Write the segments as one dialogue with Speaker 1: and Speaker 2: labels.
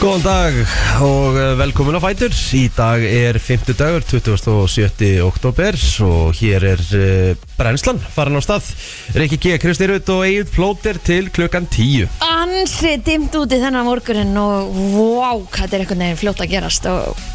Speaker 1: Góðan dag og eh, velkomin á Fætur Í dag er 50 dagur, 27. oktober og hér er uh, brennslan farin á stað Rikki G. Kristirut og Egil Plóter til klukkan 10
Speaker 2: Ansri dimt úti þennan morgunin og wow, hvað er einhvern veginn fljótt að gerast og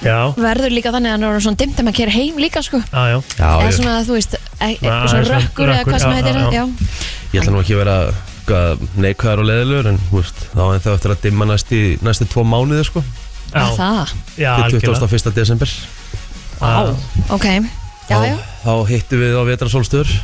Speaker 3: Já,
Speaker 2: verður líka þannig að það er svona dimt að maður kera heim líka sko
Speaker 3: já, já
Speaker 1: Já,
Speaker 2: eða
Speaker 1: ég,
Speaker 2: svona, þú veist, e e
Speaker 3: Já,
Speaker 2: svona
Speaker 3: svona
Speaker 2: rökkur eða
Speaker 3: rökkur,
Speaker 2: hvað sem
Speaker 3: já,
Speaker 2: heitir
Speaker 3: já, já.
Speaker 2: já.
Speaker 1: ég ætla nú ekki að vera eitthvað neikvæðar og leðilegur en þú veist, þá en það eftir að dimma næstu, næstu tvo mánuði sko,
Speaker 3: Já,
Speaker 2: Að það,
Speaker 3: já,
Speaker 1: til
Speaker 3: algjörlega
Speaker 1: 21. desember
Speaker 3: Já,
Speaker 2: ok já, já.
Speaker 1: þá, þá hittum við á vetrasólstöður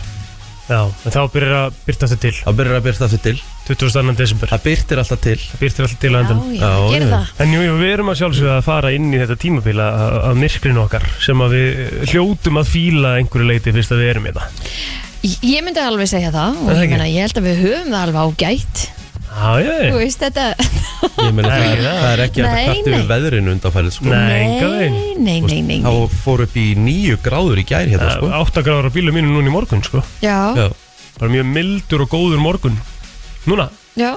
Speaker 3: Já, en þá byrjar að byrta þetta til
Speaker 1: þá byrjar að byrta þetta til
Speaker 3: 22. desember
Speaker 1: það byrtir alltaf til
Speaker 3: Byrtir alltaf til að
Speaker 2: já,
Speaker 3: endan
Speaker 2: já,
Speaker 1: Já,
Speaker 2: gerir
Speaker 1: já.
Speaker 2: það
Speaker 3: En jú, jú, við erum að sjálfsögða að fara inn í þetta tímabila af myrkrinu okkar sem að við eh, hljótum að fíla að einhverju leiti fyrst að við erum í það
Speaker 2: Ég- Ég myndi alveg segja það
Speaker 3: Er
Speaker 2: og
Speaker 3: það
Speaker 2: ég,
Speaker 3: ekki?
Speaker 2: meina, ég held að við höfum það alveg ágætt
Speaker 3: Já, já,
Speaker 2: Þú
Speaker 3: já
Speaker 2: veist þetta
Speaker 1: ég meina
Speaker 3: Nei,
Speaker 1: það, er-
Speaker 3: já.
Speaker 1: það er ekki að
Speaker 2: Nei,
Speaker 1: það kvartu
Speaker 2: nei.
Speaker 1: við veðrinu undanfærið sko.
Speaker 3: Nei, engan veginn.
Speaker 2: nei, nei, nei, nei.
Speaker 1: þá fór upp í nýju gráður í gær hérna sko.
Speaker 3: Eh, Átta gráður á bílu mínu núna í morgun, sko
Speaker 2: Já,
Speaker 1: Já.
Speaker 3: Bara mjög mildur og góður morgun Núna
Speaker 2: já,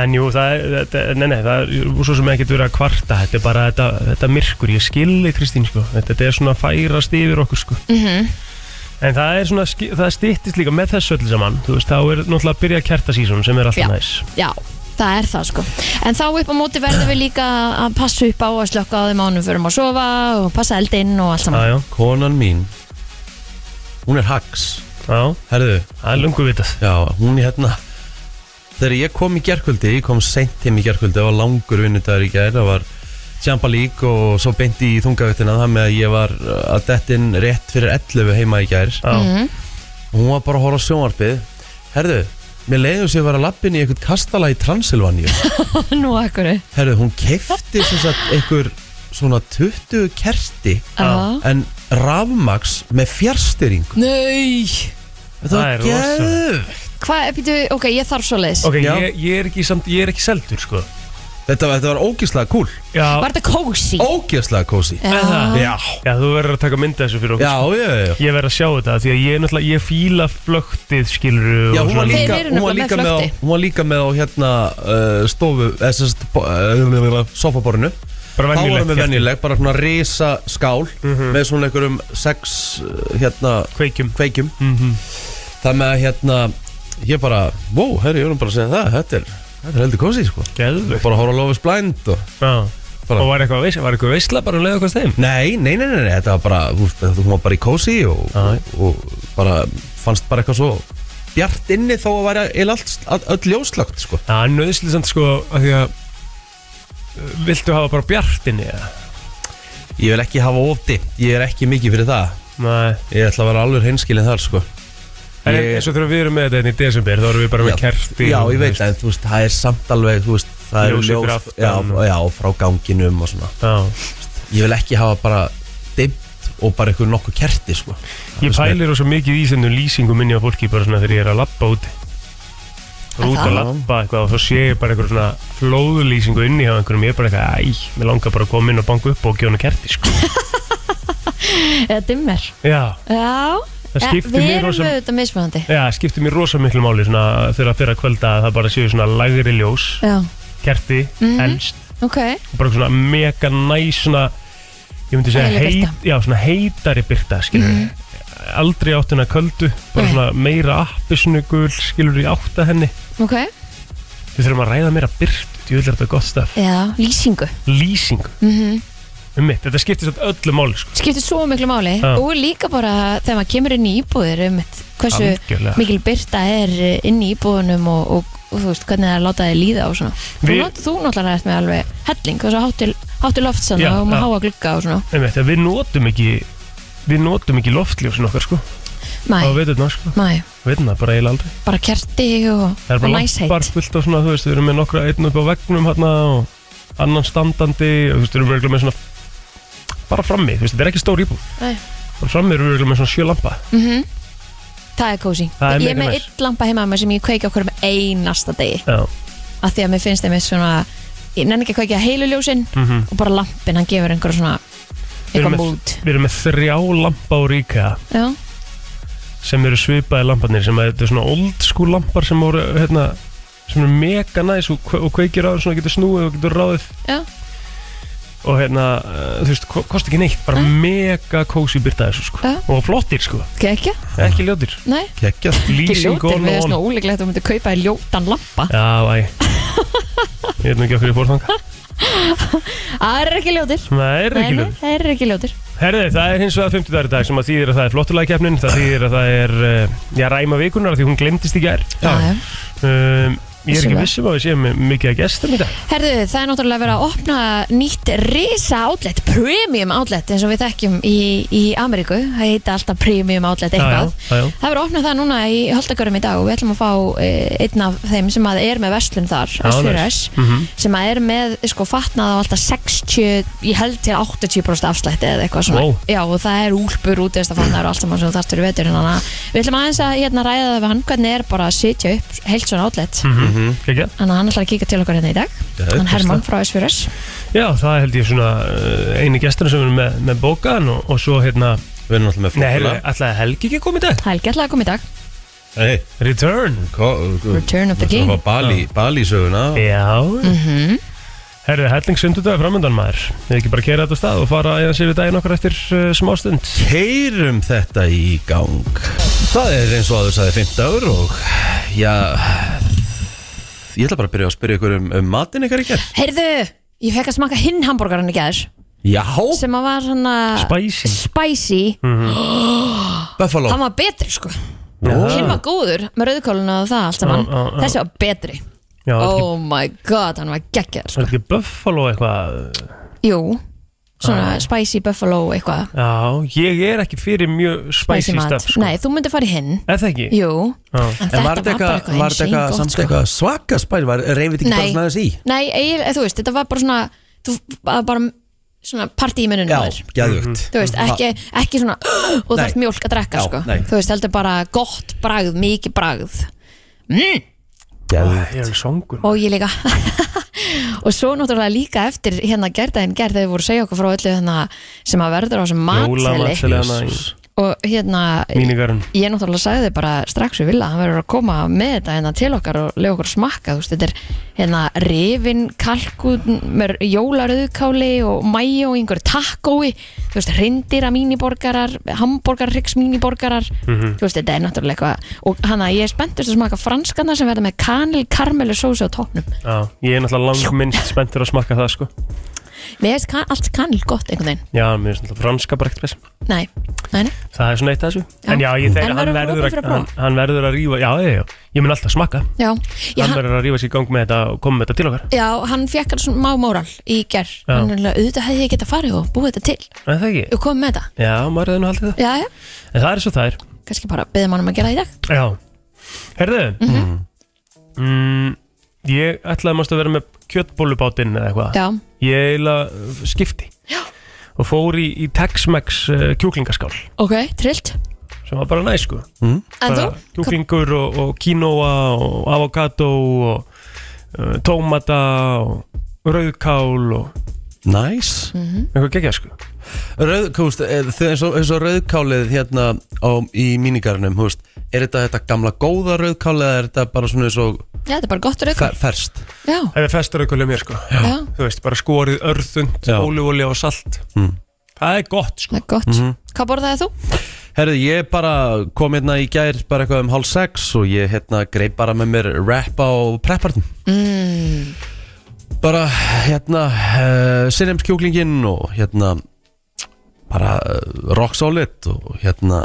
Speaker 3: En jú, það er, þetta, nei, nei, það er svo sem ekkert verið að kvarta, þetta er bara þetta, þetta myrkur, ég skilði Kristín, sko, þetta, þetta er svona að færast yfir okkur, sko.
Speaker 2: mhm,
Speaker 3: En það er svona, ski- það styttist líka með þessu öllu saman, þú veist, þá er náttúrulega að byrja kertasísun sem er alltaf
Speaker 2: Já.
Speaker 3: næs.
Speaker 2: já Það er það sko En þá upp á móti verðum við líka að passa upp á að slökka á þeim ánum fyrir að sofa og passa eldinn og allt
Speaker 3: Já,
Speaker 2: saman
Speaker 3: já,
Speaker 1: konan mín hún er hags
Speaker 3: já,
Speaker 1: herðu,
Speaker 3: það er lungu vitað.
Speaker 1: já, hún er hérna þegar ég kom í gærkvöldi, ég kom seint heim í gærkvöldi það var langur vinnudagur í gær það var Champa League og svo beinti í þungavittina það með að ég var uh, að dettin rétt fyrir 11 heima í gær
Speaker 3: Já,
Speaker 2: Mhm.
Speaker 1: og hún var bara að horfa á sjónvarpið herðu, mér leiðum sér að vera lappin í eitthvað kastala í Transilvaníu
Speaker 2: Nú akkur
Speaker 1: herðu, hún keifti sem sagt einhver svona 20 kerti
Speaker 2: Já.
Speaker 1: en rafmags með fjárstyring
Speaker 2: Nei
Speaker 1: þetta
Speaker 3: Það
Speaker 1: var
Speaker 3: er
Speaker 1: geðvegt
Speaker 2: Hvað, býtu, ok, ég þarf svo leiðis
Speaker 3: ok,
Speaker 1: Já.
Speaker 3: ég, ég er ekki samt, ég er ekki seldur, sko.
Speaker 1: þetta, var- þetta var ógeðslega cool
Speaker 3: Já,
Speaker 2: Var þetta kósi?
Speaker 1: ógeðslega kósi já,
Speaker 3: er það?
Speaker 1: já,
Speaker 3: já, þú verður að taka mynda þessu fyrir okkur.
Speaker 1: já, já, já.
Speaker 3: Ég verður að sjá þetta, því að ég er náttúrulega, ég fíla flöktið, skilur,
Speaker 1: Já, hún var líka,
Speaker 2: Þeir eru
Speaker 1: hún var
Speaker 2: nefnilega
Speaker 1: líka
Speaker 2: með
Speaker 1: með, á,
Speaker 2: flökti.
Speaker 1: hún var líka með á hérna uh, stofu, eða sem sagt, bo- eh, sofaborinu
Speaker 3: bara
Speaker 1: þá
Speaker 3: venjulegt.
Speaker 1: vorum við
Speaker 3: kerti.
Speaker 1: venjuleg, bara svona risa skál með svona einhverjum sex eh, hérna
Speaker 3: Kveikjum.
Speaker 1: kveikjum
Speaker 3: Mhm.
Speaker 1: Það með að hérna Ég bara, wow, herri, ég erum bara að segja það Þetta er, þetta er heldur kósi, sko
Speaker 3: Geðveikt.
Speaker 1: Bara að horfa lofis blind og
Speaker 3: Já.
Speaker 1: Bara-
Speaker 3: Og var eitthvað veisla, var eitthvað veisla bara um leið okkur þeim?
Speaker 1: Nei, nei, nei, nei, nei þetta var bara þú veist, Þetta var bara í kósi og,
Speaker 3: Já.
Speaker 1: og, og bara fannst bara eitthvað svo Bjart inni þó að væri eiginlega allt, all, öll ljóslagt, sko
Speaker 3: Það er nöðslega samt sko að því að uh, Viltu hafa bara bjartinni eða?
Speaker 1: Ég vil ekki hafa ofdi, ég er ekki mikið fyrir það
Speaker 3: Nei
Speaker 1: Ég ætla að vera alveg hinskilin þar, sko
Speaker 3: En
Speaker 1: Ég-
Speaker 3: eins og þegar við erum með þetta hérna í desember Þá erum við bara með kerti
Speaker 1: Já,
Speaker 3: og-
Speaker 1: ég veit, en þú veist, það er samt alveg, þú veist Það eru
Speaker 3: Ljós fyrir
Speaker 1: ljós,
Speaker 3: aftan
Speaker 1: já,
Speaker 3: og-
Speaker 1: já, frá ganginum og svona
Speaker 3: Já.
Speaker 1: Ég vil ekki hafa bara dimmt og bara einhver nokkuð kerti, sko
Speaker 3: Ég pælir svo mikið í þennu lýsingu minni á fólki Bara svona þegar ég er að labba úti Þú út að
Speaker 2: það?
Speaker 3: labba eitthvað Og þá sé ég bara einhver svona flóðlýsingu inni hjá einhverjum Ég er bara eitthvað, æ, mér langar bara að koma inn og banka upp og gjóna kerti sko
Speaker 2: Eða dimmer
Speaker 3: Já,
Speaker 2: Já,
Speaker 3: það
Speaker 2: Ja,
Speaker 3: skiptir
Speaker 2: við
Speaker 3: mér
Speaker 2: erum
Speaker 3: rosa
Speaker 2: auðvitað mismunandi
Speaker 3: Já, það skiptir mér rosa miklu máli svona þegar að fyrir að kvölda að það bara séu svona lægri ljós,
Speaker 2: Já,
Speaker 3: kerti, mm
Speaker 2: Mhm. ok
Speaker 3: bara svona mega næ svona, ég myndi segja
Speaker 2: Þægileg
Speaker 3: heit,
Speaker 2: birta.
Speaker 3: já, svona heitari byrta skilur mm aldrei átt hennar köldu bara
Speaker 2: Nei.
Speaker 3: svona meira appisnugul skilur í átta henni
Speaker 2: Ok,
Speaker 3: við þurfum að ræða meira byrtu því vil er þetta gott staf
Speaker 2: já, lýsingu
Speaker 3: lýsing
Speaker 2: mm
Speaker 3: um mitt þetta skiptir svona öllu máli sko
Speaker 2: Skiptir svo miklu máli
Speaker 3: Já.
Speaker 2: og líka bara þegar maður kemur inn í íbúðir um hversu
Speaker 3: Algjörlega.
Speaker 2: mikil byrta er eh, inn í íbúðunum og, og, og þú veist hvernig það er að láta þið líða og svona Þú,
Speaker 3: Við-
Speaker 2: not, þú náttúrulega ert með alveg helling og svo hátti, hátti loft svona
Speaker 3: Já,
Speaker 2: og maður
Speaker 3: já.
Speaker 2: háa glugga og svona
Speaker 3: um mitt við notum ekki við notum ekki loftljósin okkar sko á
Speaker 2: Mæ,
Speaker 3: veiturna sko
Speaker 2: mæ,
Speaker 3: veiturna bara eiginlega aldrei
Speaker 2: bara kerti og,
Speaker 3: það er
Speaker 2: og
Speaker 3: bara lampar
Speaker 2: næsheit
Speaker 3: fullt og svona þú veist við erum með nokkra einn upp á veggnum hérna og annan standandi og þú veist við erum örugglega með svona bara frammi þú veist þetta er ekki stór íbú
Speaker 2: Nei.
Speaker 3: Bara frammi erum við örugglega með svona sjö lampa
Speaker 2: mm Það er kósi
Speaker 3: Það er
Speaker 2: Ég er
Speaker 3: mega
Speaker 2: með
Speaker 3: næs.
Speaker 2: einn lampa heima með sem ég kveiki okkur með einasta degi
Speaker 3: já
Speaker 2: af því að mér finnst þeim svona ég nenni ekki að kveikja heilu ljósin
Speaker 3: mm
Speaker 2: og bara lampin, hann gefur einhver svona
Speaker 3: Við erum
Speaker 2: eitthvað
Speaker 3: með-
Speaker 2: mút
Speaker 3: við erum með þrjá lampa á ríka
Speaker 2: Já,
Speaker 3: sem eru svipaði lamparnir sem að þetta er svona old school lampar sem voru hérna sem er mega næs og, kve- og kveikir á þér svona getur snúið og getur ráðið
Speaker 2: Já.
Speaker 3: og hérna, eh, þú veist, ko- kosti ekki neitt bara mega kósi byrta þessu sko
Speaker 2: Mm. Já.
Speaker 3: og flottir sko,
Speaker 2: Kekja?
Speaker 3: ekki ljótir
Speaker 2: Nei,
Speaker 1: Kekja
Speaker 2: ekki
Speaker 3: lýsing
Speaker 2: ljótir,
Speaker 3: on
Speaker 2: við erum
Speaker 3: on
Speaker 2: svona óleiklegt að þú myndir kaupa í ljótan lampa
Speaker 3: Já, æ Ég veit nú ekki okkur ég fór þanga
Speaker 2: Það Ah, er ekki ljótir
Speaker 3: Það er
Speaker 2: Nei,
Speaker 3: ekki
Speaker 2: nei,
Speaker 3: ljóð
Speaker 2: það er ekki ljótir
Speaker 3: Herði, það er hins vegar 50 dagar í dag sem að þýðir að það er flottulægkeppnin það þýðir að það er, uh, já, ræma vikunar því hún glemdist í gær
Speaker 1: Já.
Speaker 2: Já, já.
Speaker 3: um, Ég er ekki
Speaker 2: Vissulega.
Speaker 3: vissum að við séum með mikið að gestum í dag
Speaker 2: Herðu, það er náttúrulega verið að opna nýtt risa outlet, premium outlet eins og við þekkjum í, í Ameríku það heita alltaf premium outlet eitthvað
Speaker 3: Já, já, já, já.
Speaker 2: Það verður að opna það núna í Holtakörum í dag og við ætlum að fá eh, einn af þeim sem að er með verslun þar, S4S
Speaker 3: Mhm.
Speaker 2: sem að er með sko fatnað á alltaf 60, ég held til 80% afslætti eða eitthvað svona
Speaker 3: Vó.
Speaker 2: Já, og það er úlpur út eða fatnaður og allt saman sem þú þarftur í vetur þannig að við ætlum aðeins að hérna, ræða það við hann hvernig er bara að sitja upp heilt svona outlet
Speaker 3: Mhm. Kekja.
Speaker 2: Þannig að hann ætlar að kíka til okkar hérna í dag
Speaker 1: Geðveikt,
Speaker 2: Hann Hermann frá S4S
Speaker 3: Já, það held ég svona uh, eini gesturinn sem er með, með bókan og, og svo hérna
Speaker 1: Við erum náttúrulega með
Speaker 3: Nei, heyrðu,
Speaker 1: flokkuna
Speaker 3: ætlaði Helgi ekki að koma í dag?
Speaker 2: Helgi ætlaði að koma í dag
Speaker 1: Nei,
Speaker 3: Return
Speaker 2: Return of the King.
Speaker 1: Bali, Bali söguna
Speaker 3: Já,
Speaker 2: Mhm.
Speaker 3: herðu, hellingsundudagi framöndan maður Við ekki bara kera þetta af stað og fara eða sér við daginn okkar eftir uh, smástund
Speaker 1: Heyrum þetta í gang Það er eins og aður sagði 50 ár og já Ég ætla bara að byrja að spyrja ykkur um, um matinn ykkar ykkar
Speaker 2: Heyrðu, ég fekk að smaka hinn hambúrgaran í gæður
Speaker 1: Já,
Speaker 2: sem að var hann að
Speaker 3: Spicy
Speaker 2: spicy
Speaker 1: Hmm. Buffalo
Speaker 2: hann var betri sko
Speaker 1: Já.
Speaker 2: hinn var góður með rauðkóluna og það allt
Speaker 1: Ah,
Speaker 2: saman
Speaker 3: Já, já, já.
Speaker 2: þessi var betri
Speaker 3: Já, er ekki-
Speaker 2: oh my god, hann var geggjaður
Speaker 3: er
Speaker 2: sko.
Speaker 3: þetta ekki Buffalo eitthvað
Speaker 2: jú,
Speaker 1: Ah.
Speaker 2: svona spicy buffalo eitthvað
Speaker 3: Já, ég er ekki fyrir mjög spicy,
Speaker 2: spicy mat,
Speaker 3: stuff sko.
Speaker 2: nei þú myndi fara í hinn
Speaker 3: Er það ekki?
Speaker 2: jú, en
Speaker 3: Já.
Speaker 1: Ah. En
Speaker 2: þetta
Speaker 1: var
Speaker 2: var
Speaker 1: þetta
Speaker 2: bara
Speaker 1: eitthvað- var
Speaker 2: eitthvað
Speaker 1: þetta eitthvað
Speaker 2: hins
Speaker 1: samt eitthvað svaka spæl var reyfið ekki bara
Speaker 2: sko. Nei.
Speaker 1: svona aðeins í
Speaker 2: sko. nei, eiginlega, þú veist, þetta var bara svona þú, bara, bara svona partí í mununum
Speaker 1: Já,
Speaker 2: á þér.
Speaker 1: geðvögt
Speaker 2: þú veist, ekki, ekki svona og
Speaker 1: Nei.
Speaker 2: þarf mjólk að drekka
Speaker 1: Já,
Speaker 2: sko.
Speaker 1: nei.
Speaker 2: þú veist, heldur bara gott bragð, mikið bragð mm,
Speaker 1: Geðvögt
Speaker 3: Ég er songur
Speaker 2: og ég líka og svo náttúrulega líka eftir hérna gerðaðin gerð þegar þau voru að segja okkur frá öllu hérna, sem að verður á þessum matseli
Speaker 3: Jólamatselega
Speaker 2: og hérna
Speaker 3: Mínigarun
Speaker 2: ég náttúrulega sagði þau bara strax við vilja hann verður að koma með þetta hérna til okkar og lega okkur að smakka, þú veist, þetta er hérna rifin, kalkun með jólarauðkáli og mæjó og einhverju takkói, þú veist, rindýra míniborgarar, hambúrgarryggs míniborgarar,
Speaker 3: Mhm.
Speaker 2: þú veist, þetta er náttúrulega eitthvað, og hann að ég er spenntust að smaka franskana sem verða með kanil, karmelu sósu á topnum,
Speaker 3: Já, ég er náttúrulega langminnst spenntur að smakka það sko
Speaker 2: mér veist kan, allt kanil gott einhvern veginn,
Speaker 3: Já, mér finnst náttúrulega franska bara ekkert best
Speaker 2: nei, nei, nei
Speaker 3: Það er svona eitt af þessu En já, ég þegar
Speaker 2: En
Speaker 3: hann
Speaker 2: verður
Speaker 3: verður
Speaker 2: opið fyrir
Speaker 3: að
Speaker 2: að
Speaker 3: hann,
Speaker 2: prófa?
Speaker 3: hann verður að rífa Já, já, já, ég mun alltaf smakka
Speaker 2: já, ég,
Speaker 3: Hann verður að rífa sér í gang með þetta og koma með þetta til okkar
Speaker 2: já, hann fekk alls má móral í gerð,
Speaker 3: Já.
Speaker 2: hann er alveg, auðvitað hefði ég geta farið og búið þetta til
Speaker 3: Er það ekki?
Speaker 2: og komið með þetta
Speaker 3: Já, maður hefði nú haldið það
Speaker 2: Já, já,
Speaker 3: En það er svo það er
Speaker 2: kannski bara beðum hann um að gera það í dag
Speaker 3: Já Herðu mm, Ég ætlaði mást að vera með kjötbólubátinn eða eitthvað
Speaker 2: Já,
Speaker 3: Ég eiginlega uh, skipti
Speaker 2: Já.
Speaker 3: og fór í, í Tex-Mex uh, kjúklingaskál
Speaker 2: ok, trillt
Speaker 3: sem var bara næs sko
Speaker 2: En þú?
Speaker 3: bara kjúklingur og, og kínoa og avokado og uh, tómata og rauðkál og
Speaker 1: Næs
Speaker 2: Mm.
Speaker 3: eitthvað gegja sko
Speaker 1: Rauðkúst, eins og, eins og rauðkálið hérna á, í mínigarnum, þú veist Er þetta þetta gamla góða rauðkálið eða er þetta bara svona eins og
Speaker 2: Já, þetta er bara gott raukur
Speaker 1: fer, ferst?
Speaker 2: Já,
Speaker 3: Það er festur eitthvað mér sko
Speaker 2: já,
Speaker 3: Þú veist, bara skorið örðund,
Speaker 1: Já.
Speaker 3: ólífólja og salt
Speaker 1: Mm.
Speaker 3: Það er gott sko
Speaker 2: það er gott Hvað borðaði þú?
Speaker 1: Herðu, ég bara kom hérna í gær bara eitthvað um hálf sex og ég hérna greip bara með mér rap á preppartum
Speaker 2: Mm,
Speaker 1: Bara hérna uh, sinnemskjúklingin og hérna bara uh, rock solid og hérna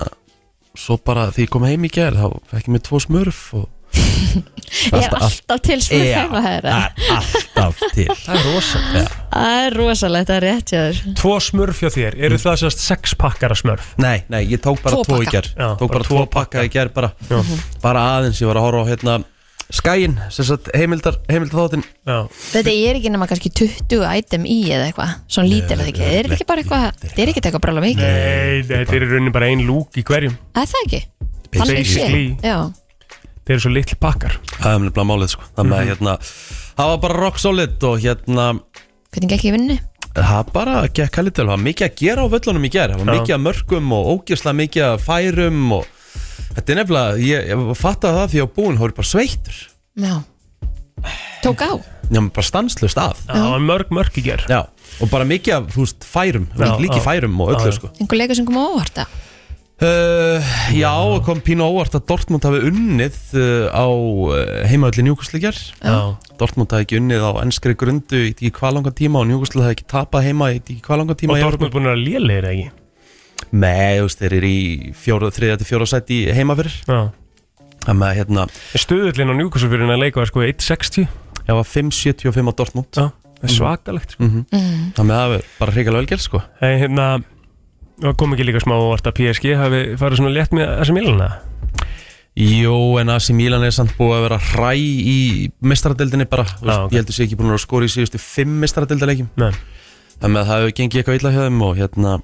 Speaker 1: svo bara því ég kom heim í gær þá fekk ég mér tvo smurf og
Speaker 2: ég er alltaf Ah. til smur
Speaker 1: Já,
Speaker 2: heima
Speaker 1: það
Speaker 2: hér
Speaker 1: er alltaf til
Speaker 3: Það er rosa
Speaker 2: Það er rosalegt, það er rétt hjá þér
Speaker 3: Tvo smörf hjá þér, eru það sérst sex pakkar af smörf?
Speaker 1: Nei, nei, ég tók bara
Speaker 2: Tvo
Speaker 1: tvo í
Speaker 2: pakka.
Speaker 1: gær
Speaker 3: Já,
Speaker 1: Tók
Speaker 3: bara
Speaker 1: bara
Speaker 3: tvo
Speaker 1: tvo pakka í gær bara, Mhm.
Speaker 3: Já.
Speaker 1: bara aðeins, ég var að horfa á hérna Skæin, sem sagt heimildar, heimildar þáttinn
Speaker 3: Já,
Speaker 2: Þetta er ekki nema kannski 20 item í eða eitthvað Svona lítil eða ekki, þetta er ekki bara eitthvað Þetta er ekki eitthvað brála mikið,
Speaker 3: Nei, þetta er í rauninni bara ein lúk í hverjum
Speaker 2: að það ekki Þannig sé.
Speaker 3: Basically.
Speaker 2: Já,
Speaker 3: Þeir eru svo litli pakkar
Speaker 1: Það er nefnilega málið sko Þannig
Speaker 3: Mhm.
Speaker 1: að hérna Það var bara rock solid og hérna
Speaker 2: hvernig gekk ég vinnu?
Speaker 1: Það bara gekk hæli til Það var mikið að gera á völlunum í gerð Það var
Speaker 3: Já.
Speaker 1: mikið að mörgum og ógjörslega mikið að færum og Þetta er nefnilega Ég, ég fatt að það því að búin hóri bara sveittur
Speaker 2: Já, tók á
Speaker 1: Já, bara stanslust af
Speaker 3: Það var mörg, mörg í ger
Speaker 1: Já, og bara mikið af, þú veist, færum
Speaker 3: Já,
Speaker 1: Líki
Speaker 3: já.
Speaker 1: færum og
Speaker 3: Já,
Speaker 1: öllu,
Speaker 3: já.
Speaker 1: sko
Speaker 2: einhver leikur sem kom á óvart eða?
Speaker 1: uh, Já, kom pínu óvart að Dortmund hafi unnið uh, á heimaölli njúkustleikjar
Speaker 3: Já,
Speaker 1: Dortmund hafi ekki unnið á ennskri grundu í ekki hvað langan tíma og njúkustleik hafi ekki tapað heima í ekki hvað langan tíma
Speaker 3: og
Speaker 1: í
Speaker 3: Dortmund búin að vera lélegir eða ekki
Speaker 1: Evrópu. Nei, þú veist, þeir eru í fjóra, þriðja til fjóra sæti heima fyrir
Speaker 3: Já
Speaker 1: Þannig að hérna,
Speaker 3: Stöðullin á Newcastle-fyririnn að leika var sko 1.60
Speaker 1: ég var 5.75 á Dortmund
Speaker 3: Já, það er svakalegt sko.
Speaker 1: Þannig að það er bara hrigalega velgerð, sko
Speaker 3: En hérna, það kom ekki líka smá óvart að PSG hafi farið svona létt með þessi milina
Speaker 1: Jó, en AC Milan er samt búið að vera hræ í mestaradeldinni bara Þú veist,
Speaker 3: ok.
Speaker 1: Ég heldur sé ekki búin að skora í síðustu fimm mestaradeldalegjum
Speaker 3: Nei,
Speaker 1: Þannig að það hefur gengið eitthvað illa hjá þeim og hérna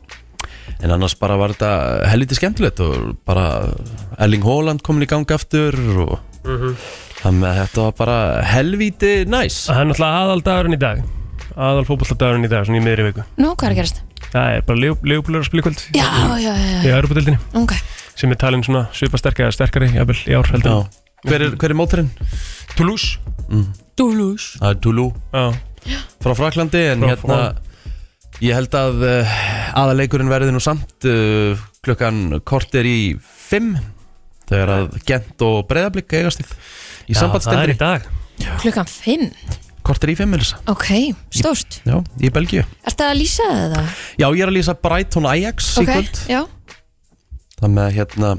Speaker 1: En annars bara var þetta helviti skemmtilegt og bara Erling Haaland komin í gang aftur og
Speaker 3: Mhm.
Speaker 1: Þannig að þetta var bara helviti næs
Speaker 3: það er náttúrulega aðaldagurinn í dag Aðal fótbolladagurinn í dag, svona í miðri viku
Speaker 2: nú hvað er að gerast?
Speaker 3: Það er bara leifblöður að spilkvöld
Speaker 2: já, já, já,
Speaker 3: Í
Speaker 2: já.
Speaker 3: Örbudildinni,
Speaker 2: ok
Speaker 3: sem er talin svona svipa sterkari eða sterkari, jafnvel, í ár heldur
Speaker 1: Já.
Speaker 3: en-
Speaker 1: Hver er, hver er móturinn?
Speaker 3: Toulouse
Speaker 2: Dúlús
Speaker 1: Það er Tulu
Speaker 3: Já,
Speaker 1: frá Fraklandi En
Speaker 3: Frá-
Speaker 1: hérna Ég held að uh, aðaleikurinn verði nú samt uh, klukkan kortir í fimm þegar að gent og breyðablík eigast í, í
Speaker 3: Já, það er í
Speaker 1: sambandsdeldri
Speaker 3: dag
Speaker 2: klukkan 5,
Speaker 1: kortir í fimm er þess
Speaker 2: ok, stórt
Speaker 1: Já, í Belgíu
Speaker 2: Er það að lýsa það?
Speaker 1: Já, ég er að lýsa Brighton Ajax í
Speaker 2: Ok,
Speaker 1: kvöld
Speaker 2: já,
Speaker 1: Þannig að hérna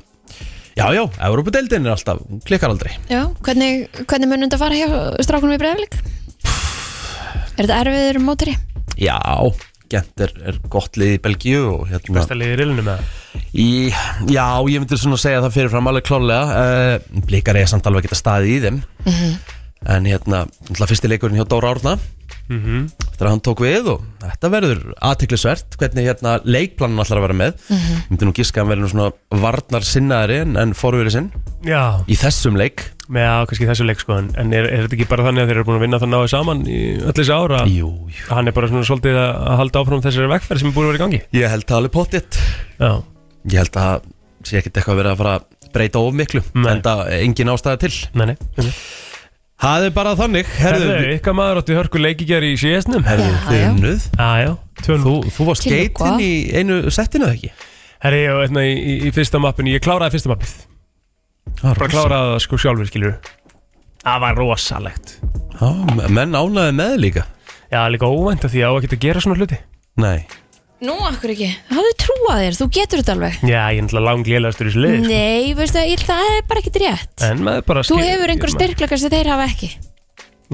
Speaker 1: Já, já, Európa-deildin er alltaf, hún klikkar aldrei
Speaker 2: já Hvernig, hvernig munum þetta fara hjá strákunum í breyðlik? Er þetta erfiður mótiri?
Speaker 1: Já, gent er, er gott lið í Belgíu og hérna
Speaker 3: Besta liðið í rilinu með það
Speaker 1: í, Já, ég myndi svona segja það fyrirfram alveg klálega uh, Blikar er samt alveg að geta staðið í þeim En hérna, náttúrulega fyrsti leikurinn hjá Dóra Árna
Speaker 3: Mhm.
Speaker 1: Þetta er að hann tók við og þetta verður aðtiklisvert Hvernig hérna leikplanin allar að vera með Ég myndi nú giska að hann verður nú svona varnar sinnaðari en, en forverið sinn
Speaker 3: Já,
Speaker 1: Í þessum leik
Speaker 3: með að kannski þessu leik sko en- En er, er þetta ekki bara þannig að þeir eru búin að vinna það náðu saman í öll þessi ára
Speaker 1: Jú, jú
Speaker 3: Hann er bara svona svolítið að að halda áfram þessari vegferð sem er búin að vera í gangi
Speaker 1: Ég held það alveg pottitt
Speaker 3: Já,
Speaker 1: Ég held að það sé ekkert eitthvað verið að fara að breyta of miklu
Speaker 3: Nei.
Speaker 1: En það engin ástæða til
Speaker 3: nei, nei nei.
Speaker 1: Það er bara þannig
Speaker 3: Herðu, ykkar maður áttu hörku leikigjar í síðastnum
Speaker 1: herðu
Speaker 2: Já,
Speaker 1: þið
Speaker 2: já.
Speaker 1: unnuð
Speaker 3: Já, já, tvön
Speaker 1: Þú, þú varst
Speaker 2: Til
Speaker 1: geitinn
Speaker 2: hvað?
Speaker 1: í einu settinu eða ekki?
Speaker 3: Herri, ég var hérna í, í, í fyrsta mappinu, ég kláraði fyrsta mappið
Speaker 1: Það
Speaker 3: Bara kláraði það sko sjálfur, skilur Það var rosalegt
Speaker 1: Já, menn ánaði með líka
Speaker 3: Já, líka óvænt að því að á ekki að gera svona hluti
Speaker 1: Nei
Speaker 2: Nú, akkur ekki, hafðu trúað þér, þú getur þetta alveg
Speaker 3: Já, ég er náttúrulega langlélegastur í þessu liði sko.
Speaker 2: Nei, veistu að ég- það er bara ekkert rétt
Speaker 3: En maður bara
Speaker 2: Þú
Speaker 3: skil-
Speaker 2: hefur einhver
Speaker 3: maður-
Speaker 2: styrkleikar sem þeir hafa ekki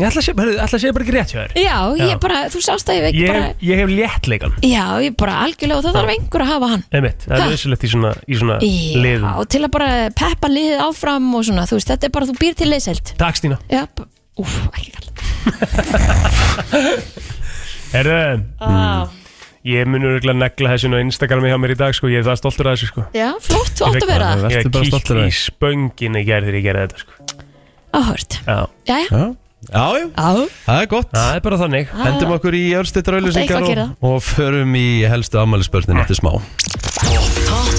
Speaker 3: Ég ætla að segja, heyrðu, ætla að segja bara ekki rétt hjá þér
Speaker 2: Já,
Speaker 3: Já.
Speaker 2: ég bara, þú sást að ég ekki
Speaker 3: Ég,
Speaker 2: bara
Speaker 3: hef- ég hef léttleikan
Speaker 2: Já, ég bara algjörlega og það þarf einhver að hafa hann
Speaker 3: Einmitt, það
Speaker 2: Ha?
Speaker 3: er vissulegt í svona, í svona
Speaker 2: Já,
Speaker 3: liðum
Speaker 2: og til að bara peppa liðið áfram og svona, þú veist, þetta er bara, þú býr til liðselt
Speaker 3: Takk Stína
Speaker 2: Já, b- úf, ekki kall
Speaker 3: Herru, Mm. ég mun örgulega negla þessu á Instagrami hjá mér í dag sko, ég er það stoltur að þessu sko
Speaker 2: Já, flott, þú átt að vera það
Speaker 1: Vertu
Speaker 3: Ég
Speaker 1: bara
Speaker 3: kíkt
Speaker 1: stoltur af
Speaker 3: í
Speaker 1: því.
Speaker 3: spöngin í gerð þegar ég gerði þetta sko
Speaker 2: Áhört,
Speaker 3: Já,
Speaker 2: jæja
Speaker 1: Já, já, já.
Speaker 2: Já,
Speaker 1: það er gott
Speaker 3: það er bara þannig
Speaker 1: Hendum okkur í örstittur
Speaker 2: Átti Ah. eitthvað
Speaker 1: auðlýsingar
Speaker 2: að
Speaker 1: og,
Speaker 2: gera.
Speaker 1: og förum í helstu afmælisbörnin eftir smá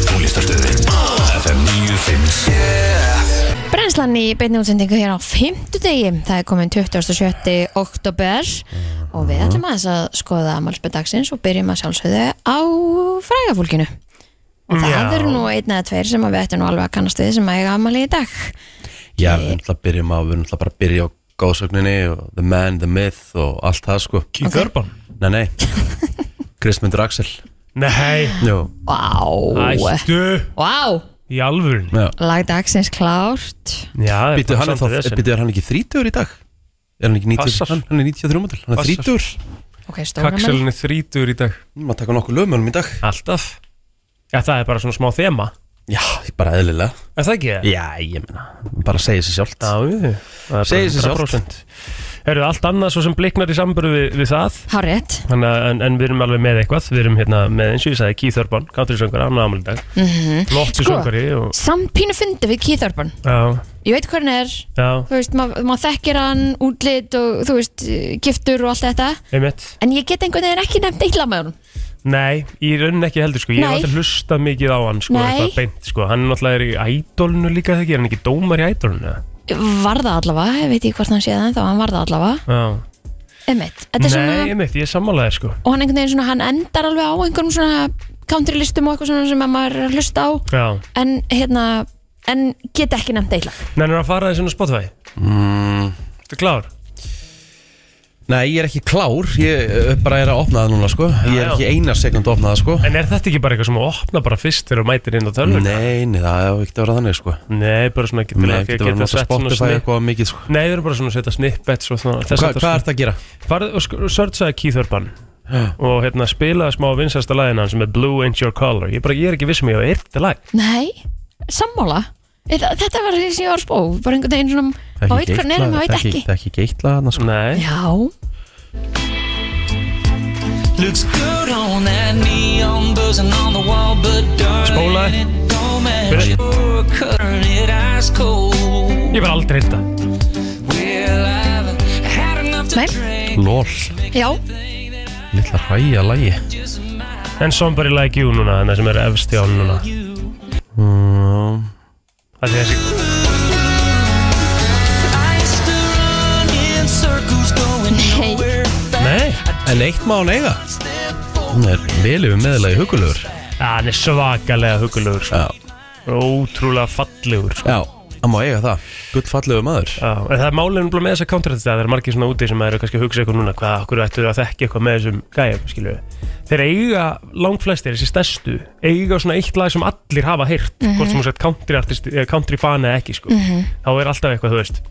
Speaker 4: Tónlistarstöðin FM 957
Speaker 2: Brennslan í beinni útsendingu hér á fimmtudegi, það er komin 27. oktober og við ætlum aðeins að skoða ammalsbyrð dagsins og byrjum að sjálfsögðu á frægafólkinu og það
Speaker 3: Já.
Speaker 2: eru nú einn eða tveir sem að við ættum nú alveg að kannast við sem að eiga ammali í dag
Speaker 1: Já, við náttúrulega byrjum á, við náttúrulega bara byrja á góðsögninni og The Man, The Myth og allt það sko
Speaker 3: Keith
Speaker 2: Ok.
Speaker 3: Urban
Speaker 1: Nei, nei, Kristmundur Axel
Speaker 3: Nei,
Speaker 1: Jú,
Speaker 2: Vá,
Speaker 3: ættu
Speaker 2: vá,
Speaker 3: Í alvörun
Speaker 1: já
Speaker 2: lag dagsins klárt
Speaker 3: Já, það er
Speaker 1: Býtu,
Speaker 3: bara
Speaker 1: hann er
Speaker 3: samt
Speaker 1: þá,
Speaker 3: að vesen.
Speaker 1: býtu, er hann ekki 30 í dag? Er hann ekki 90,
Speaker 3: Passar.
Speaker 1: hann, hann er 93 mótil, hann er
Speaker 3: Passar.
Speaker 1: 30
Speaker 2: Ok, stóra menn
Speaker 3: Kakselin er þrítur í dag
Speaker 1: Má taka nokkuð lögmjölum í dag
Speaker 3: Alltaf Já, það er bara svona smá þema
Speaker 1: Já, bara eðlilega
Speaker 3: Er það ekki það?
Speaker 1: Já, ég meina, bara segja sér sjálft
Speaker 3: Já, við það
Speaker 1: Segir sig sjálft.
Speaker 3: Herru, allt annað svo sem bliknar í samböru við, við það
Speaker 2: Hárétt
Speaker 3: Þannig að, en, en við erum alveg með eitthvað Við erum hérna með eins og ég sagði Keith Urban Country-söngari, hann ámæli dag mm -hmm. Lottu
Speaker 2: Sko.
Speaker 3: söngari og,
Speaker 2: Samt pínu fyndi við Keith Urban
Speaker 3: Já,
Speaker 2: Ég veit hvernig er,
Speaker 3: já,
Speaker 2: þú veist, maður ma þekkir hann, útlit og þú veist, eh, giftur og allt þetta
Speaker 3: einmitt
Speaker 2: En ég get einhvern veginn ekki nefnt illa með honum
Speaker 3: Nei, í rauninni ekki heldur sko Ég hef
Speaker 2: Nei.
Speaker 3: aldrei hlustað mikið á hann sko
Speaker 2: Nei.
Speaker 3: eitthvað beint sko Hann náttúrulega er í ædolinu líka þegar Hann er ekki dómar í ædolinu
Speaker 2: var það allavega, ég veit ekki hvort hann sé það ennþá, hann var það allavega,
Speaker 3: Já.
Speaker 2: emitt
Speaker 3: Nei,
Speaker 2: þetta er svona,
Speaker 3: einmitt, ég er sammálaðið sko
Speaker 2: og hann einhvern veginn svona hann endar alveg á einhverjum svona countrylistum og eitthvað svona sem að maður er að hlusta á
Speaker 3: Já,
Speaker 2: en hérna, en get ekki nefnt eitthvað,
Speaker 3: nennir að fara þessi inn á Spotify
Speaker 1: mm,
Speaker 3: Þetta klár
Speaker 1: Nei, ég er ekki klár Ég eh, bara er að opna það núna sko Ég er
Speaker 3: já.
Speaker 1: ekki eina sekund að opna það sko
Speaker 3: En er þetta ekki bara eitthvað sem að opna bara fyrst þegar þú mætir inn á tölvun?
Speaker 1: Nei, nei, það hefur ekki að vera þannig sko
Speaker 3: Nei, bara svona getur
Speaker 1: Nei, það getur verið að nota Spotify eitthvað mikið sko
Speaker 3: Nei, við erum bara svona að setja snippets og svona
Speaker 1: Hva,
Speaker 3: þess
Speaker 1: Hvað ert að gera?
Speaker 3: Farð og sk- searchaði Keith Urban
Speaker 1: Já.
Speaker 3: og hérna spilaði smá vinsasta lagin hans sem er Blue Ain't Your Color Ég, bara, ég er ekki vissum ég að þetta lag
Speaker 2: nei sammála, Þetta- þetta var því sem ég var að spó, bara einhvern veginn svona,
Speaker 1: Það
Speaker 2: maður
Speaker 1: er
Speaker 2: veit hvað hann er, en maður veit ekki
Speaker 1: Það er ekki geitla þarna sko
Speaker 3: Nei,
Speaker 2: já,
Speaker 4: Looks good on that neon buzzing on the wall, but darling,
Speaker 3: Spólaði.
Speaker 4: it
Speaker 3: Byrja.
Speaker 4: don't matter. You're cutting it ice cold.
Speaker 3: ég var aldrei hitta
Speaker 4: Well, I've had enough to
Speaker 2: Nei.
Speaker 4: drink.
Speaker 1: Lól,
Speaker 2: já,
Speaker 1: litla hræja lagi
Speaker 3: En Somebody Like You núna, þannig sem er efst í án núna
Speaker 1: mm,
Speaker 3: Það er þessi
Speaker 4: I used to run in circles going
Speaker 2: Nei.
Speaker 4: nowhere.
Speaker 3: Nei,
Speaker 1: En eitt má hann eiga Hún er velið um meðlagi hugulegur
Speaker 3: Ja, hann er svakalega hugulegur sko.
Speaker 1: Já,
Speaker 3: Ótrúlega fallegur sko.
Speaker 1: já, hann má eiga það Gullfallegu maður
Speaker 3: Já, en það er málinn bara með þessa counterattack það er margir svona úti sem eru kannski að hugsa eitthvað núna hvað, okkur ættu þau að þekki eitthvað með þessum gæjum skilju, þeir eiga langflestir, þessi stærstu, eiga svona eitt lag sem allir hafa heyrt, hvort sem þú sett country, artist, eh, country fan eða ekki sko. þá er alltaf eitthvað, þú veist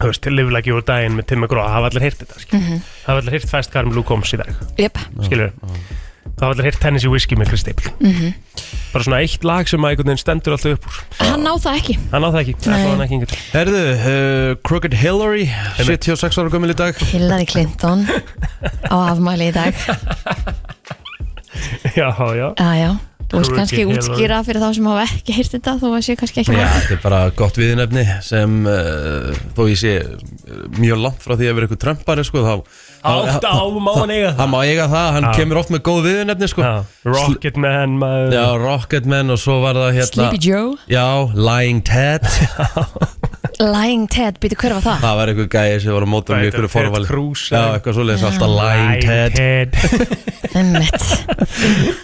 Speaker 3: þú veist, live like you were dying með Tim McGraw hafa allir heyrt þetta, skilju, hafa allir heyrt fast Carm Lou Combs í dag,
Speaker 2: jöp,
Speaker 3: skilju þá hafa allir heyrt Tennessee Whiskey með Chris Stapleton bara svona eitt lag sem að einhvern veginn stendur alltaf upp úr,
Speaker 2: hann á það ekki
Speaker 3: hann á það ekki,
Speaker 2: Nei.
Speaker 3: það er ekki einhvern
Speaker 1: Herðu, uh, Crooked Hillary 76 ára gömul í dag
Speaker 2: Hillary Clinton á afmæli í dag
Speaker 3: já, já
Speaker 2: Já, já, þú veist
Speaker 3: Crooked
Speaker 2: kannski
Speaker 3: Hillary.
Speaker 2: útskýra fyrir þá sem hafa ekki heyrt þetta þó að sé kannski ekki
Speaker 1: Já,
Speaker 2: yeah.
Speaker 1: þetta er bara gott viðinefni sem uh, þó ég sé eh, mjög langt frá því að vera eitthvað trömpari sko, þá,
Speaker 3: Átt á, má hann eiga það
Speaker 1: hann má eiga það, hann
Speaker 3: Já.
Speaker 1: kemur oft með góð viðinefni sko.
Speaker 3: Já, Rocketman maður
Speaker 1: Já, Rocketman og svo var það hérna
Speaker 2: Sleepy Joe,
Speaker 1: Já, Lying Ted
Speaker 2: Lying Ted, býtu hver var það?
Speaker 1: Það var einhver gæði sem var á mótum í
Speaker 3: Hvað heitir
Speaker 1: einhverju
Speaker 3: það? Ted
Speaker 1: forvali
Speaker 3: Cruz,
Speaker 1: Já,
Speaker 3: eða?
Speaker 1: eitthvað svoleiðis alltaf Lying Ted
Speaker 2: Einmitt.